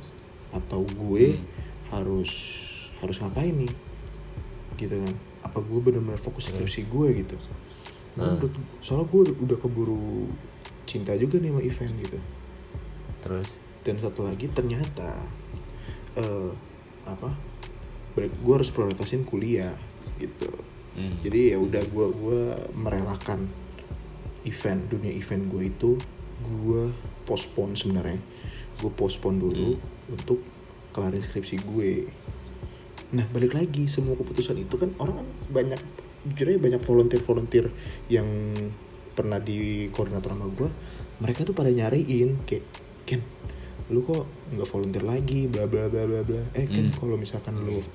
[SPEAKER 2] atau gue harus harus ngapain nih? gitu kan apa gue bener-bener fokus skripsi gue gitu Gua menurut, soalnya gue udah keburu cinta juga nih sama event gitu
[SPEAKER 1] Terus
[SPEAKER 2] dan satu lagi ternyata eh apa gue harus prioritasin kuliah gitu
[SPEAKER 1] Hmm.
[SPEAKER 2] jadi ya udah gue gua merelakan event dunia event gue itu gue postpone sebenarnya gue postpone dulu untuk kelarin skripsi gue nah balik lagi semua keputusan itu kan orang kan banyak jujur aja banyak volunteer volunteer yang pernah di koordinator sama gue mereka tuh pada nyariin kayak Ken lu kok nggak volunteer lagi bla bla bla bla bla eh Ken kalau misalkan lu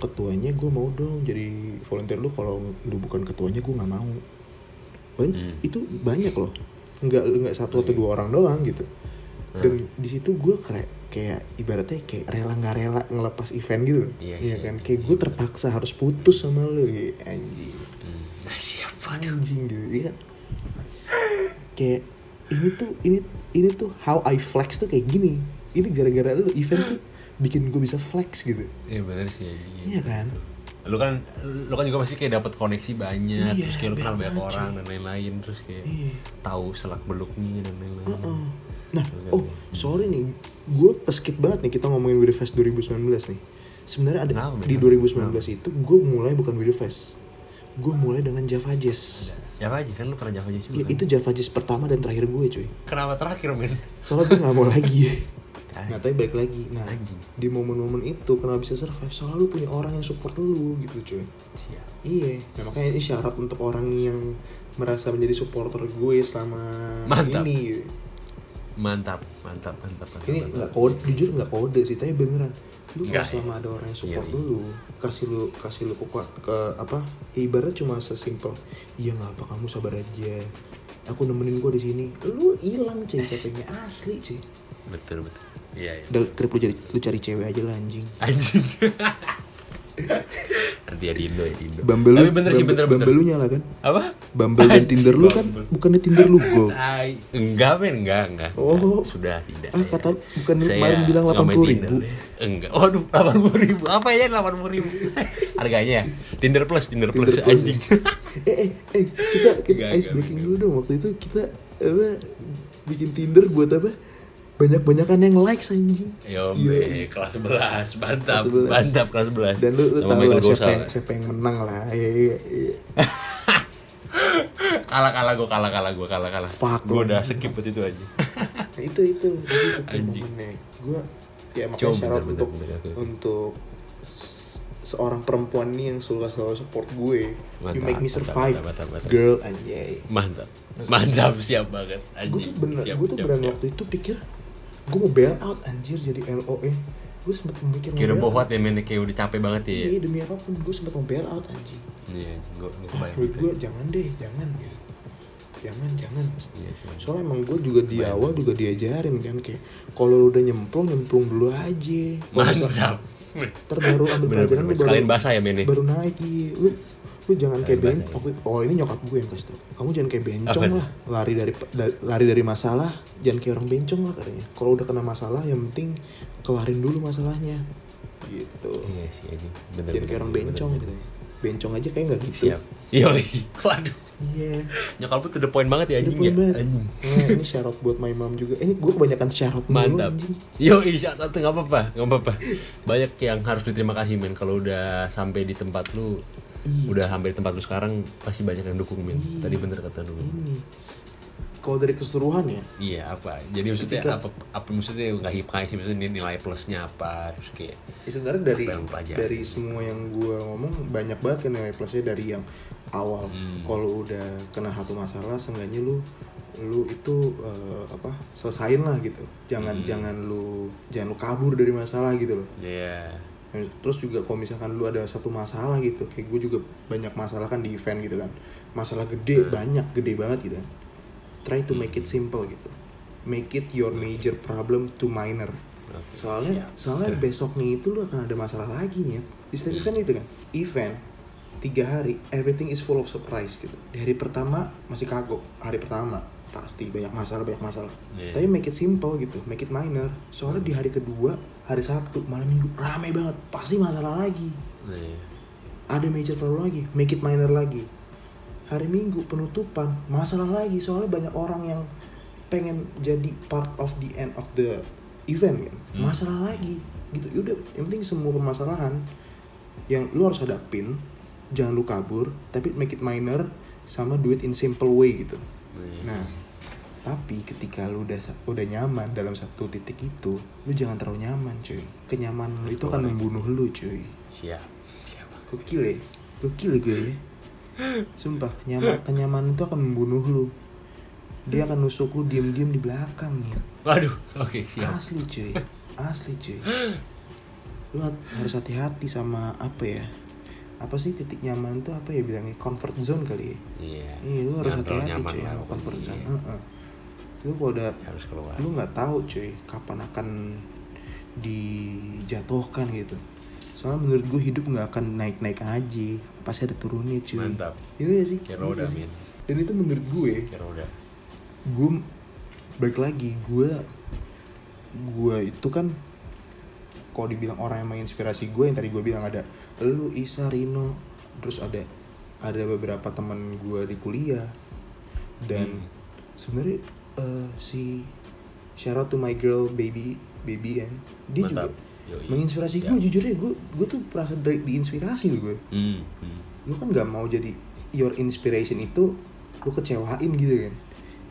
[SPEAKER 2] ketuanya gue mau dong jadi volunteer lu kalau lu bukan ketuanya gue nggak mau Ban- itu banyak loh nggak nggak satu atau dua orang doang gitu
[SPEAKER 1] Hmm.
[SPEAKER 2] dan di situ gue kayak kayak ibaratnya kayak rela nggak rela ngelepas event gitu loh.
[SPEAKER 1] Iya
[SPEAKER 2] Iya
[SPEAKER 1] sih.
[SPEAKER 2] kan kayak gue terpaksa harus putus sama lu gitu. anjing
[SPEAKER 1] Nah, siapa
[SPEAKER 2] anjing gitu iya kan kayak ini tuh ini ini tuh how I flex tuh kayak gini ini gara-gara lu event
[SPEAKER 1] (gasps)
[SPEAKER 2] tuh bikin gue bisa flex gitu
[SPEAKER 1] Iya bener sih anjing.
[SPEAKER 2] iya kan
[SPEAKER 1] Lu kan lu kan juga pasti kayak dapat koneksi banyak,
[SPEAKER 2] Iya,
[SPEAKER 1] terus kayak lu kenal
[SPEAKER 2] banyak
[SPEAKER 1] banyak
[SPEAKER 2] banget,
[SPEAKER 1] orang dan lain-lain, terus kayak
[SPEAKER 2] Iya.
[SPEAKER 1] tahu selak beluknya dan lain-lain.
[SPEAKER 2] Heeh. Nah,
[SPEAKER 1] Oke,
[SPEAKER 2] oh
[SPEAKER 1] oke.
[SPEAKER 2] sorry nih, gue keskip banget nih kita ngomongin With The Fest 2019 nih. Sebenarnya ada
[SPEAKER 1] Kenapa, Ben?
[SPEAKER 2] di 2019 itu gue mulai bukan With The Fest, gue mulai dengan Java Jazz.
[SPEAKER 1] Java aja kan lu pernah Java aja juga.
[SPEAKER 2] Ya,
[SPEAKER 1] kan?
[SPEAKER 2] itu Java Jazz pertama dan terakhir gue cuy.
[SPEAKER 1] Kenapa terakhir men?
[SPEAKER 2] Soalnya gue gak mau
[SPEAKER 1] (laughs)
[SPEAKER 2] lagi.
[SPEAKER 1] Tai.
[SPEAKER 2] Nah, tapi balik lagi. Nah,
[SPEAKER 1] Anjing.
[SPEAKER 2] di momen-momen itu kenapa bisa survive? Soalnya lu punya orang yang support lu gitu cuy.
[SPEAKER 1] Siap.
[SPEAKER 2] Iya, nah, makanya ini syarat untuk orang yang merasa menjadi supporter gue selama
[SPEAKER 1] Mantap.
[SPEAKER 2] ini. gitu.
[SPEAKER 1] Mantap, mantap, mantap. mantap
[SPEAKER 2] ini
[SPEAKER 1] mantap.
[SPEAKER 2] nggak kode jujur nggak kode sih tapi beneran lu
[SPEAKER 1] Nggak,
[SPEAKER 2] kalau selama ada orang yang support
[SPEAKER 1] Iya, iya.
[SPEAKER 2] dulu kasih lu kasih lu kekuat ke apa ibarat cuma sesimpel iya nggak apa kamu sabar aja aku nemenin gua di sini lu
[SPEAKER 1] Eh.
[SPEAKER 2] hilang cuy capeknya asli cuy
[SPEAKER 1] Betul, betul. Iya, iya.
[SPEAKER 2] udah kerip lu cari lu cari cewek aja lah anjing (laughs)
[SPEAKER 1] Anjing. Nanti ya di Indo ya di Indo.
[SPEAKER 2] Bumble
[SPEAKER 1] Tapi
[SPEAKER 2] lu,
[SPEAKER 1] bener sih,
[SPEAKER 2] Bumble-
[SPEAKER 1] bener, bener.
[SPEAKER 2] Bumble lu nyala kan?
[SPEAKER 1] Apa?
[SPEAKER 2] Bumble
[SPEAKER 1] (laughs)
[SPEAKER 2] dan Tinder lu kan
[SPEAKER 1] Bumble.
[SPEAKER 2] bukannya Tinder lu go.
[SPEAKER 1] Tai. Enggak, men, enggak, enggak. enggak.
[SPEAKER 2] Oh.
[SPEAKER 1] Sudah tidak.
[SPEAKER 2] Ah,
[SPEAKER 1] saya-
[SPEAKER 2] kata- bukan
[SPEAKER 1] saya
[SPEAKER 2] kemarin bilang
[SPEAKER 1] nggak main
[SPEAKER 2] 80.000.
[SPEAKER 1] Tinder deh. Enggak. Waduh, 80 ribu. Apa ya 80 ribu? (laughs) Harganya ya? Tinder Plus, Tinder,
[SPEAKER 2] Tinder
[SPEAKER 1] Plus,
[SPEAKER 2] Plus.
[SPEAKER 1] anjing.
[SPEAKER 2] (laughs) eh eh eh kita kita
[SPEAKER 1] Enggak,
[SPEAKER 2] ice
[SPEAKER 1] enggak,
[SPEAKER 2] breaking
[SPEAKER 1] enggak.
[SPEAKER 2] dulu dong waktu itu kita apa bikin Tinder buat apa? Banyak-banyakan yang likes anjing.
[SPEAKER 1] Yo,
[SPEAKER 2] Iya.
[SPEAKER 1] be, Ya, kelas 11, mantap,
[SPEAKER 2] Kelas 11.
[SPEAKER 1] mantap kelas 11.
[SPEAKER 2] Dan lu,
[SPEAKER 1] Iya.
[SPEAKER 2] lu
[SPEAKER 1] Sama
[SPEAKER 2] tahu
[SPEAKER 1] Michael
[SPEAKER 2] lah siapa
[SPEAKER 1] Gosal.
[SPEAKER 2] yang, siapa yang menang lah. Iya iya iya.
[SPEAKER 1] kalah kalah gue kalah kalah gue kalah kalah
[SPEAKER 2] Fuck,
[SPEAKER 1] gue
[SPEAKER 2] lu.
[SPEAKER 1] udah skip waktu itu aja
[SPEAKER 2] Nah, itu
[SPEAKER 1] (laughs)
[SPEAKER 2] itu di situ tuh
[SPEAKER 1] Anjing.
[SPEAKER 2] momennya. Gua ya makanya
[SPEAKER 1] Coba,
[SPEAKER 2] syarat
[SPEAKER 1] bentar,
[SPEAKER 2] untuk
[SPEAKER 1] bentar, bentar, aku-
[SPEAKER 2] untuk se- seorang perempuan nih yang suka selalu support gue. you
[SPEAKER 1] Mantap,
[SPEAKER 2] make me
[SPEAKER 1] mantap,
[SPEAKER 2] survive.
[SPEAKER 1] mantap, mantap, mantap.
[SPEAKER 2] Girl anjay.
[SPEAKER 1] (laughs) mantap mantap siap banget
[SPEAKER 2] gue
[SPEAKER 1] anjing
[SPEAKER 2] tuh bener
[SPEAKER 1] siap,
[SPEAKER 2] gue tuh
[SPEAKER 1] siap,
[SPEAKER 2] beneran
[SPEAKER 1] siap.
[SPEAKER 2] waktu itu pikir gue mau bail out anjir jadi LOE gue sempet mikir mau
[SPEAKER 1] kayak udah
[SPEAKER 2] bail
[SPEAKER 1] bohot
[SPEAKER 2] out.
[SPEAKER 1] ya men kayak udah capek banget ya
[SPEAKER 2] iya demi apapun gue sempet mau bail out anjing
[SPEAKER 1] iya anjing gue gue
[SPEAKER 2] ah,
[SPEAKER 1] kebayang
[SPEAKER 2] menurut
[SPEAKER 1] gitu
[SPEAKER 2] gue jangan deh jangan gitu. jangan jangan
[SPEAKER 1] iya sih
[SPEAKER 2] soalnya emang gue juga di awal juga diajarin kan kayak kalau lu udah nyemplung nyemplung dulu aja Kalau
[SPEAKER 1] mantap
[SPEAKER 2] ntar baru ambil
[SPEAKER 1] (laughs) bener
[SPEAKER 2] pelajaran
[SPEAKER 1] bener men.
[SPEAKER 2] lu baru
[SPEAKER 1] sekalian basah ya men ya?
[SPEAKER 2] baru naik iya. lu lu jangan kayak
[SPEAKER 1] Sekalian
[SPEAKER 2] bencong oh ini nyokap gue yang kasih tau kamu jangan kayak bencong
[SPEAKER 1] Apa?
[SPEAKER 2] lah lari dari da- lari dari masalah jangan kayak orang bencong lah katanya kalau udah kena masalah yang penting kelarin dulu masalahnya gitu
[SPEAKER 1] iya sih anjing bener
[SPEAKER 2] jangan kayak
[SPEAKER 1] bener,
[SPEAKER 2] orang
[SPEAKER 1] bener,
[SPEAKER 2] bencong
[SPEAKER 1] bener.
[SPEAKER 2] katanya bencong aja kayak nggak gitu
[SPEAKER 1] siap yoi (laughs) waduh
[SPEAKER 2] iya
[SPEAKER 1] nyokap lu tuh the point banget ya
[SPEAKER 2] Ini
[SPEAKER 1] anjing
[SPEAKER 2] poin
[SPEAKER 1] ya
[SPEAKER 2] banget.
[SPEAKER 1] anjing
[SPEAKER 2] Nah, ini syarat buat my mom juga. Ini gue kebanyakan syarat mulu
[SPEAKER 1] mantap
[SPEAKER 2] anjing.
[SPEAKER 1] yoi iya satu nggak apa-apa nggak apa-apa banyak yang harus diterima kasih men kalau udah sampai di tempat lu
[SPEAKER 2] Iya,
[SPEAKER 1] udah sampai di tempat lu sekarang pasti banyak yang dukung men tadi bener kata lu
[SPEAKER 2] Ini. Kalau dari keseluruhan ya,
[SPEAKER 1] iya apa jadi maksudnya
[SPEAKER 2] Ketika-
[SPEAKER 1] apa apa maksudnya nggak hipkai sih maksudnya nilai plusnya apa terus kayak
[SPEAKER 2] Ya, sebenarnya dari
[SPEAKER 1] Apa yang lu pelajari?
[SPEAKER 2] dari semua yang gue ngomong banyak banget kan nilai plusnya dari yang awal
[SPEAKER 1] Hmm.
[SPEAKER 2] kalau udah kena satu masalah seenggaknya lu lu itu eh, apa selesain lah gitu jangan
[SPEAKER 1] Hmm.
[SPEAKER 2] jangan lu jangan lu kabur dari masalah gitu loh
[SPEAKER 1] ya
[SPEAKER 2] terus juga kalau misalkan lu ada satu masalah gitu kayak gue juga banyak masalah kan di event gitu kan masalah
[SPEAKER 1] Hmm.
[SPEAKER 2] gede banyak gede banget gitu kan try to make it simple gitu make it your
[SPEAKER 1] Hmm.
[SPEAKER 2] major problem to minor
[SPEAKER 1] Oke,
[SPEAKER 2] soalnya soalnya besoknya itu lu akan ada masalah lagi nih di setiap event itu kan event tiga hari everything is full of surprise gitu di hari pertama masih kagok hari pertama pasti banyak masalah banyak masalah
[SPEAKER 1] Iya.
[SPEAKER 2] tapi make it simple gitu make it minor soalnya di hari kedua hari sabtu malam minggu rame banget pasti masalah lagi
[SPEAKER 1] Nah, iya.
[SPEAKER 2] ada major problem lagi make it minor lagi hari minggu penutupan masalah lagi soalnya banyak orang yang pengen jadi part of the end of the event kan masalah lagi gitu udah yang penting semua permasalahan yang lu harus hadapin jangan lu kabur tapi make it minor sama do it in simple way gitu
[SPEAKER 1] Nah, iya.
[SPEAKER 2] nah tapi ketika lu udah sa- udah nyaman dalam satu titik itu lu jangan terlalu nyaman cuy kenyamanan lu itu akan membunuh lu cuy
[SPEAKER 1] siap siap
[SPEAKER 2] Gokil ya? Gokil ya gue ya? Sumpah, kenyaman, kenyamanan itu akan membunuh lu dia akan nusuk lu diem-diem di belakang ya
[SPEAKER 1] Waduh, oke siap.
[SPEAKER 2] asli cuy asli cuy lu hat- harus hati-hati sama apa ya apa sih titik nyaman tuh apa ya bilangnya comfort zone kali ya
[SPEAKER 1] Iya.
[SPEAKER 2] Iya, lu harus
[SPEAKER 1] Jangan terlalu
[SPEAKER 2] hati-hati
[SPEAKER 1] nyaman
[SPEAKER 2] cuy
[SPEAKER 1] lah
[SPEAKER 2] sama
[SPEAKER 1] pokoknya,
[SPEAKER 2] comfort zone.
[SPEAKER 1] iya.
[SPEAKER 2] Heeh. Lu kalau udah
[SPEAKER 1] Harus keluar.
[SPEAKER 2] lu nggak tahu cuy kapan akan dijatuhkan gitu. Soalnya menurut gue hidup nggak akan naik-naik aja, pasti ada turunnya cuy.
[SPEAKER 1] Mantap.
[SPEAKER 2] Iya nggak sih.
[SPEAKER 1] Kayak roda,
[SPEAKER 2] Iya nggak sih?
[SPEAKER 1] Min.
[SPEAKER 2] Dan itu menurut gue,
[SPEAKER 1] Kayak roda.
[SPEAKER 2] gue balik lagi gue gue itu kan kalau dibilang orang yang menginspirasi gue yang tadi gue bilang ada lu Isa Rino terus ada ada beberapa teman gue di kuliah dan
[SPEAKER 1] Hmm.
[SPEAKER 2] sebenarnya eh, si shout out to my girl baby baby kan dia
[SPEAKER 1] Mantap.
[SPEAKER 2] juga
[SPEAKER 1] Yoi.
[SPEAKER 2] menginspirasi gue jujur ya gue gue tuh merasa dari- diinspirasi tuh gue
[SPEAKER 1] Hmm. hmm.
[SPEAKER 2] lu kan nggak mau jadi your inspiration itu lu kecewain gitu kan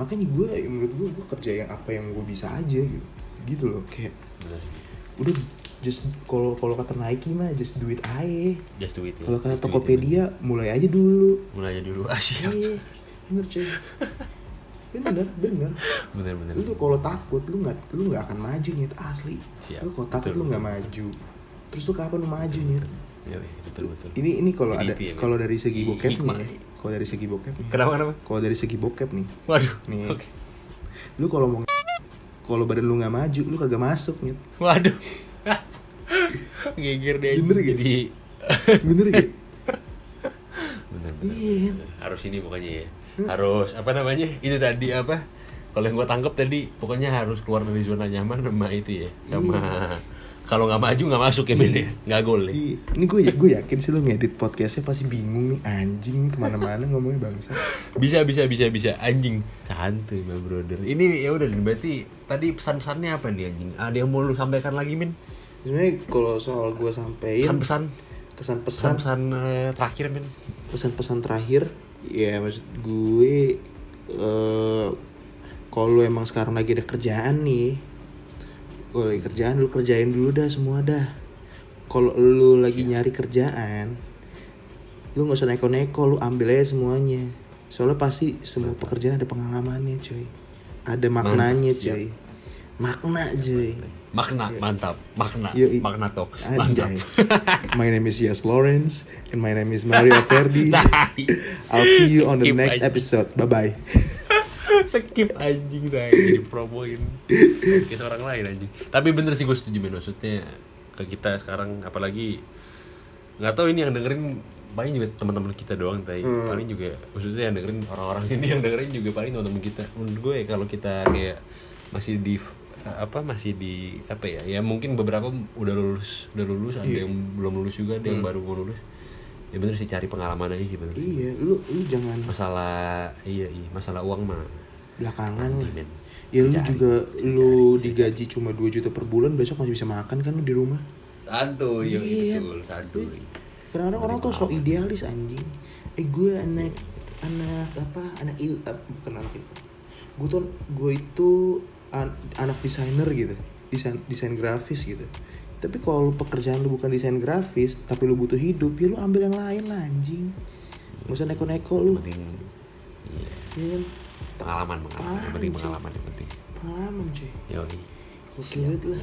[SPEAKER 2] makanya gue menurut gue gue kerja yang apa yang gue bisa aja gitu gitu loh kayak
[SPEAKER 1] Bener sih.
[SPEAKER 2] udah just kalau kalau kata Nike mah just do it aja
[SPEAKER 1] Just do it. ya.
[SPEAKER 2] kalau
[SPEAKER 1] Just do it,
[SPEAKER 2] kata
[SPEAKER 1] ya,
[SPEAKER 2] Tokopedia mulai aja dulu
[SPEAKER 1] Min. Mulai aja dulu. Ah, (laughs) siap.
[SPEAKER 2] iya bener cuy bener bener
[SPEAKER 1] Bener bener.
[SPEAKER 2] lu tuh kalau takut lu nggak lu nggak akan maju nyet asli
[SPEAKER 1] Siap.
[SPEAKER 2] lu kalau
[SPEAKER 1] Betul.
[SPEAKER 2] takut lu nggak maju terus lu kapan lu maju nyet
[SPEAKER 1] Yoi, Iya, betul betul.
[SPEAKER 2] ini ini kalau
[SPEAKER 1] Jadi
[SPEAKER 2] ada
[SPEAKER 1] itu ya,
[SPEAKER 2] kalau dari segi bokep
[SPEAKER 1] Hikmah.
[SPEAKER 2] nih ya. kalau dari segi bokep nih
[SPEAKER 1] Kenapa kenapa?
[SPEAKER 2] kalau dari segi bokep nih
[SPEAKER 1] Waduh.
[SPEAKER 2] Nih.
[SPEAKER 1] Oke.
[SPEAKER 2] lu kalau mau (laughs) nge- kalau badan lu nggak maju lu kagak masuk
[SPEAKER 1] (laughs)
[SPEAKER 2] nih
[SPEAKER 1] Waduh. Geger deh.
[SPEAKER 2] Bener gak?
[SPEAKER 1] Jadi
[SPEAKER 2] bener
[SPEAKER 1] Eh. bener
[SPEAKER 2] ya
[SPEAKER 1] bener.
[SPEAKER 2] Iya.
[SPEAKER 1] bener. Harus ini pokoknya ya. Harus apa namanya? Itu tadi apa? Kalau yang gue tangkap tadi pokoknya harus keluar dari zona nyaman sama itu ya. Sama
[SPEAKER 2] Iya.
[SPEAKER 1] kalau nggak maju nggak masuk ya Min ya. Nggak gol ya.
[SPEAKER 2] Ih, ini gue ya gue yakin sih lu ngedit podcastnya pasti bingung nih anjing kemana-mana ngomongnya bangsa
[SPEAKER 1] bisa bisa bisa bisa anjing santuy my brother ini ya udah Din. berarti tadi pesan-pesannya apa nih anjing ada yang mau lu sampaikan lagi min
[SPEAKER 2] sebenarnya kalau soal gue sampein
[SPEAKER 1] pesan-pesan
[SPEAKER 2] kesan pesan
[SPEAKER 1] pesan-pesan eh, terakhir min
[SPEAKER 2] pesan-pesan terakhir ya maksud gue eh kalau lu emang sekarang lagi ada kerjaan nih kalau lagi kerjaan lu kerjain dulu dah semua dah kalau lu lagi nyari kerjaan lu nggak usah neko-neko lu ambil aja semuanya soalnya pasti semua pekerjaan ada pengalamannya cuy ada maknanya cuy makna cuy
[SPEAKER 1] makna mantap makna
[SPEAKER 2] Yoi.
[SPEAKER 1] makna talks mantap
[SPEAKER 2] Anjay. my name is Yas Lawrence and my name is Mario Verdi
[SPEAKER 1] (laughs)
[SPEAKER 2] I'll see you on the
[SPEAKER 1] Skip
[SPEAKER 2] next
[SPEAKER 1] aja.
[SPEAKER 2] episode. Bye bye.
[SPEAKER 1] skip anjing saya jadi promoin kita orang lain anjing tapi bener sih gue setuju Min. maksudnya ke kita sekarang apalagi nggak tahu ini yang dengerin paling juga teman-teman kita doang tapi paling juga maksudnya yang dengerin orang-orang ini yang dengerin juga paling teman-teman kita menurut gue ya, kalau kita kayak masih di apa masih di apa ya ya mungkin beberapa udah lulus udah lulus ada yang belum lulus juga ada yang baru mau lulus ya bener sih cari pengalaman aja sih bener sih.
[SPEAKER 2] Iya, lu lu jangan
[SPEAKER 1] masalah iya iya masalah uang mah
[SPEAKER 2] belakangan. lah.
[SPEAKER 1] Amin.
[SPEAKER 2] Ya lu juga lu digaji cuma 2 juta per bulan besok masih bisa makan kan lu di rumah.
[SPEAKER 1] Santuy,
[SPEAKER 2] Iya.
[SPEAKER 1] iya. betul, santuy.
[SPEAKER 2] Kadang-kadang orang tuh sok idealis anjing. Eh gue anak anak apa? Anak il eh, bukan anak il. Gue tuh gue itu an- anak desainer gitu. Desain desain grafis gitu. Tapi kalau pekerjaan lu bukan desain grafis, tapi lu butuh hidup, ya lu ambil yang lain lah anjing. Gak usah neko-neko lu.
[SPEAKER 1] Penting iya,
[SPEAKER 2] Ya kan?
[SPEAKER 1] pengalaman, pengalaman, yang penting pengalaman yang penting.
[SPEAKER 2] Pengalaman cuy.
[SPEAKER 1] Yoi.
[SPEAKER 2] Gokil banget lah.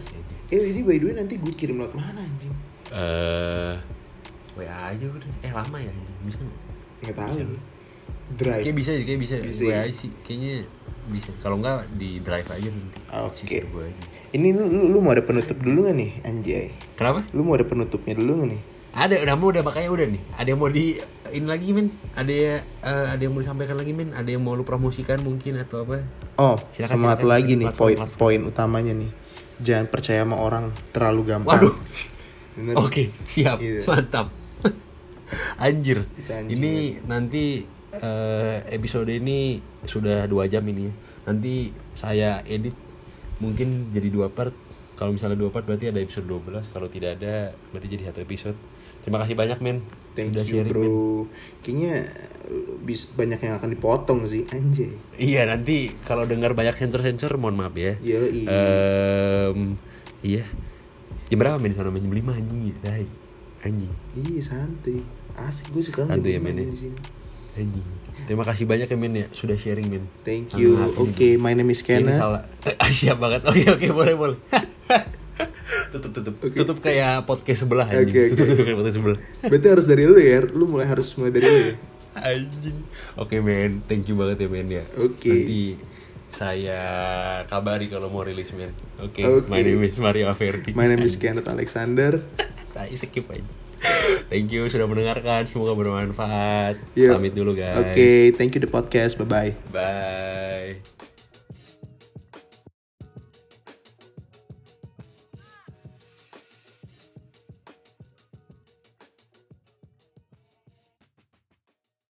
[SPEAKER 2] Eh ini by the way nanti gue kirim lewat mana anjing?
[SPEAKER 1] Eh, WA aja udah. Eh lama ya ini. Bisa nggak?
[SPEAKER 2] Nggak tahu. Drive.
[SPEAKER 1] Kayak bisa, kayak bisa.
[SPEAKER 2] Bisa,
[SPEAKER 1] WA
[SPEAKER 2] ya?
[SPEAKER 1] sih, kayaknya bisa. Kalau enggak di drive aja nanti.
[SPEAKER 2] Oke.
[SPEAKER 1] Share gua aja.
[SPEAKER 2] Ini lu, lu, lu mau ada penutup dulu gak nih anjay?
[SPEAKER 1] Kenapa?
[SPEAKER 2] Lu mau ada penutupnya dulu gak nih?
[SPEAKER 1] Ada, udah mau udah makanya udah nih. Ada yang mau di ini lagi min? Ada ya, eh, ada yang mau disampaikan lagi min? Ada yang mau lu promosikan mungkin atau apa?
[SPEAKER 2] Oh,
[SPEAKER 1] Silakan,
[SPEAKER 2] sama satu
[SPEAKER 1] silakan.
[SPEAKER 2] lagi nih
[SPEAKER 1] Platform,
[SPEAKER 2] poin
[SPEAKER 1] platform.
[SPEAKER 2] poin utamanya nih. Jangan percaya sama orang terlalu gampang.
[SPEAKER 1] Waduh.
[SPEAKER 2] (laughs) Bener.
[SPEAKER 1] Oke, siap.
[SPEAKER 2] Gitu.
[SPEAKER 1] Mantap. Iya. (laughs) Anjir.
[SPEAKER 2] Itu anjing.
[SPEAKER 1] Ini nanti eh, episode ini sudah dua jam ini. Nanti saya edit mungkin jadi dua part. Kalau misalnya dua part berarti ada episode 12. Kalau tidak ada berarti jadi satu episode. Terima kasih banyak, men.
[SPEAKER 2] Thank
[SPEAKER 1] Sudah
[SPEAKER 2] you
[SPEAKER 1] sharing,
[SPEAKER 2] bro.
[SPEAKER 1] men.
[SPEAKER 2] Kayaknya uh, bis, banyak yang akan dipotong sih anjay.
[SPEAKER 1] Iya, nanti kalau dengar banyak sensor-sensor mohon maaf ya.
[SPEAKER 2] Iya, iya.
[SPEAKER 1] Em, iya. Jam berapa, men? Soalnya jam 5 anjing. Tai. Anjing.
[SPEAKER 2] Iya santai. Asik gue sekarang
[SPEAKER 1] Santuy ya,
[SPEAKER 2] main
[SPEAKER 1] mainnya.
[SPEAKER 2] di sini.
[SPEAKER 1] Anjing. Terima kasih banyak ya Min ya sudah sharing Min.
[SPEAKER 2] Thank
[SPEAKER 1] Sama
[SPEAKER 2] you.
[SPEAKER 1] hati
[SPEAKER 2] Oke, my name is
[SPEAKER 1] Ini
[SPEAKER 2] Kenneth.
[SPEAKER 1] salah. (laughs) Ah, Siap banget. Oke oke boleh boleh. (laughs) tutup tutup tutup kayak podcast sebelah anjing.
[SPEAKER 2] Oke, oke.
[SPEAKER 1] Tutup tutup kayak podcast sebelah.
[SPEAKER 2] Berarti harus dari lu ya. Lu mulai harus mulai dari
[SPEAKER 1] (laughs)
[SPEAKER 2] lu. ya?
[SPEAKER 1] Anjing. Oke men, thank you banget ya men ya.
[SPEAKER 2] Oke.
[SPEAKER 1] Nanti saya kabari kalau mau rilis men. Oke.
[SPEAKER 2] Oke.
[SPEAKER 1] My name is Mario Averdi.
[SPEAKER 2] My name is Kenneth Alexander.
[SPEAKER 1] (laughs) Tai skip aja. Thank you sudah mendengarkan. Semoga bermanfaat.
[SPEAKER 2] Yuk.
[SPEAKER 1] Pamit dulu guys.
[SPEAKER 2] Oke, thank you the podcast. Bye bye.
[SPEAKER 1] Bye.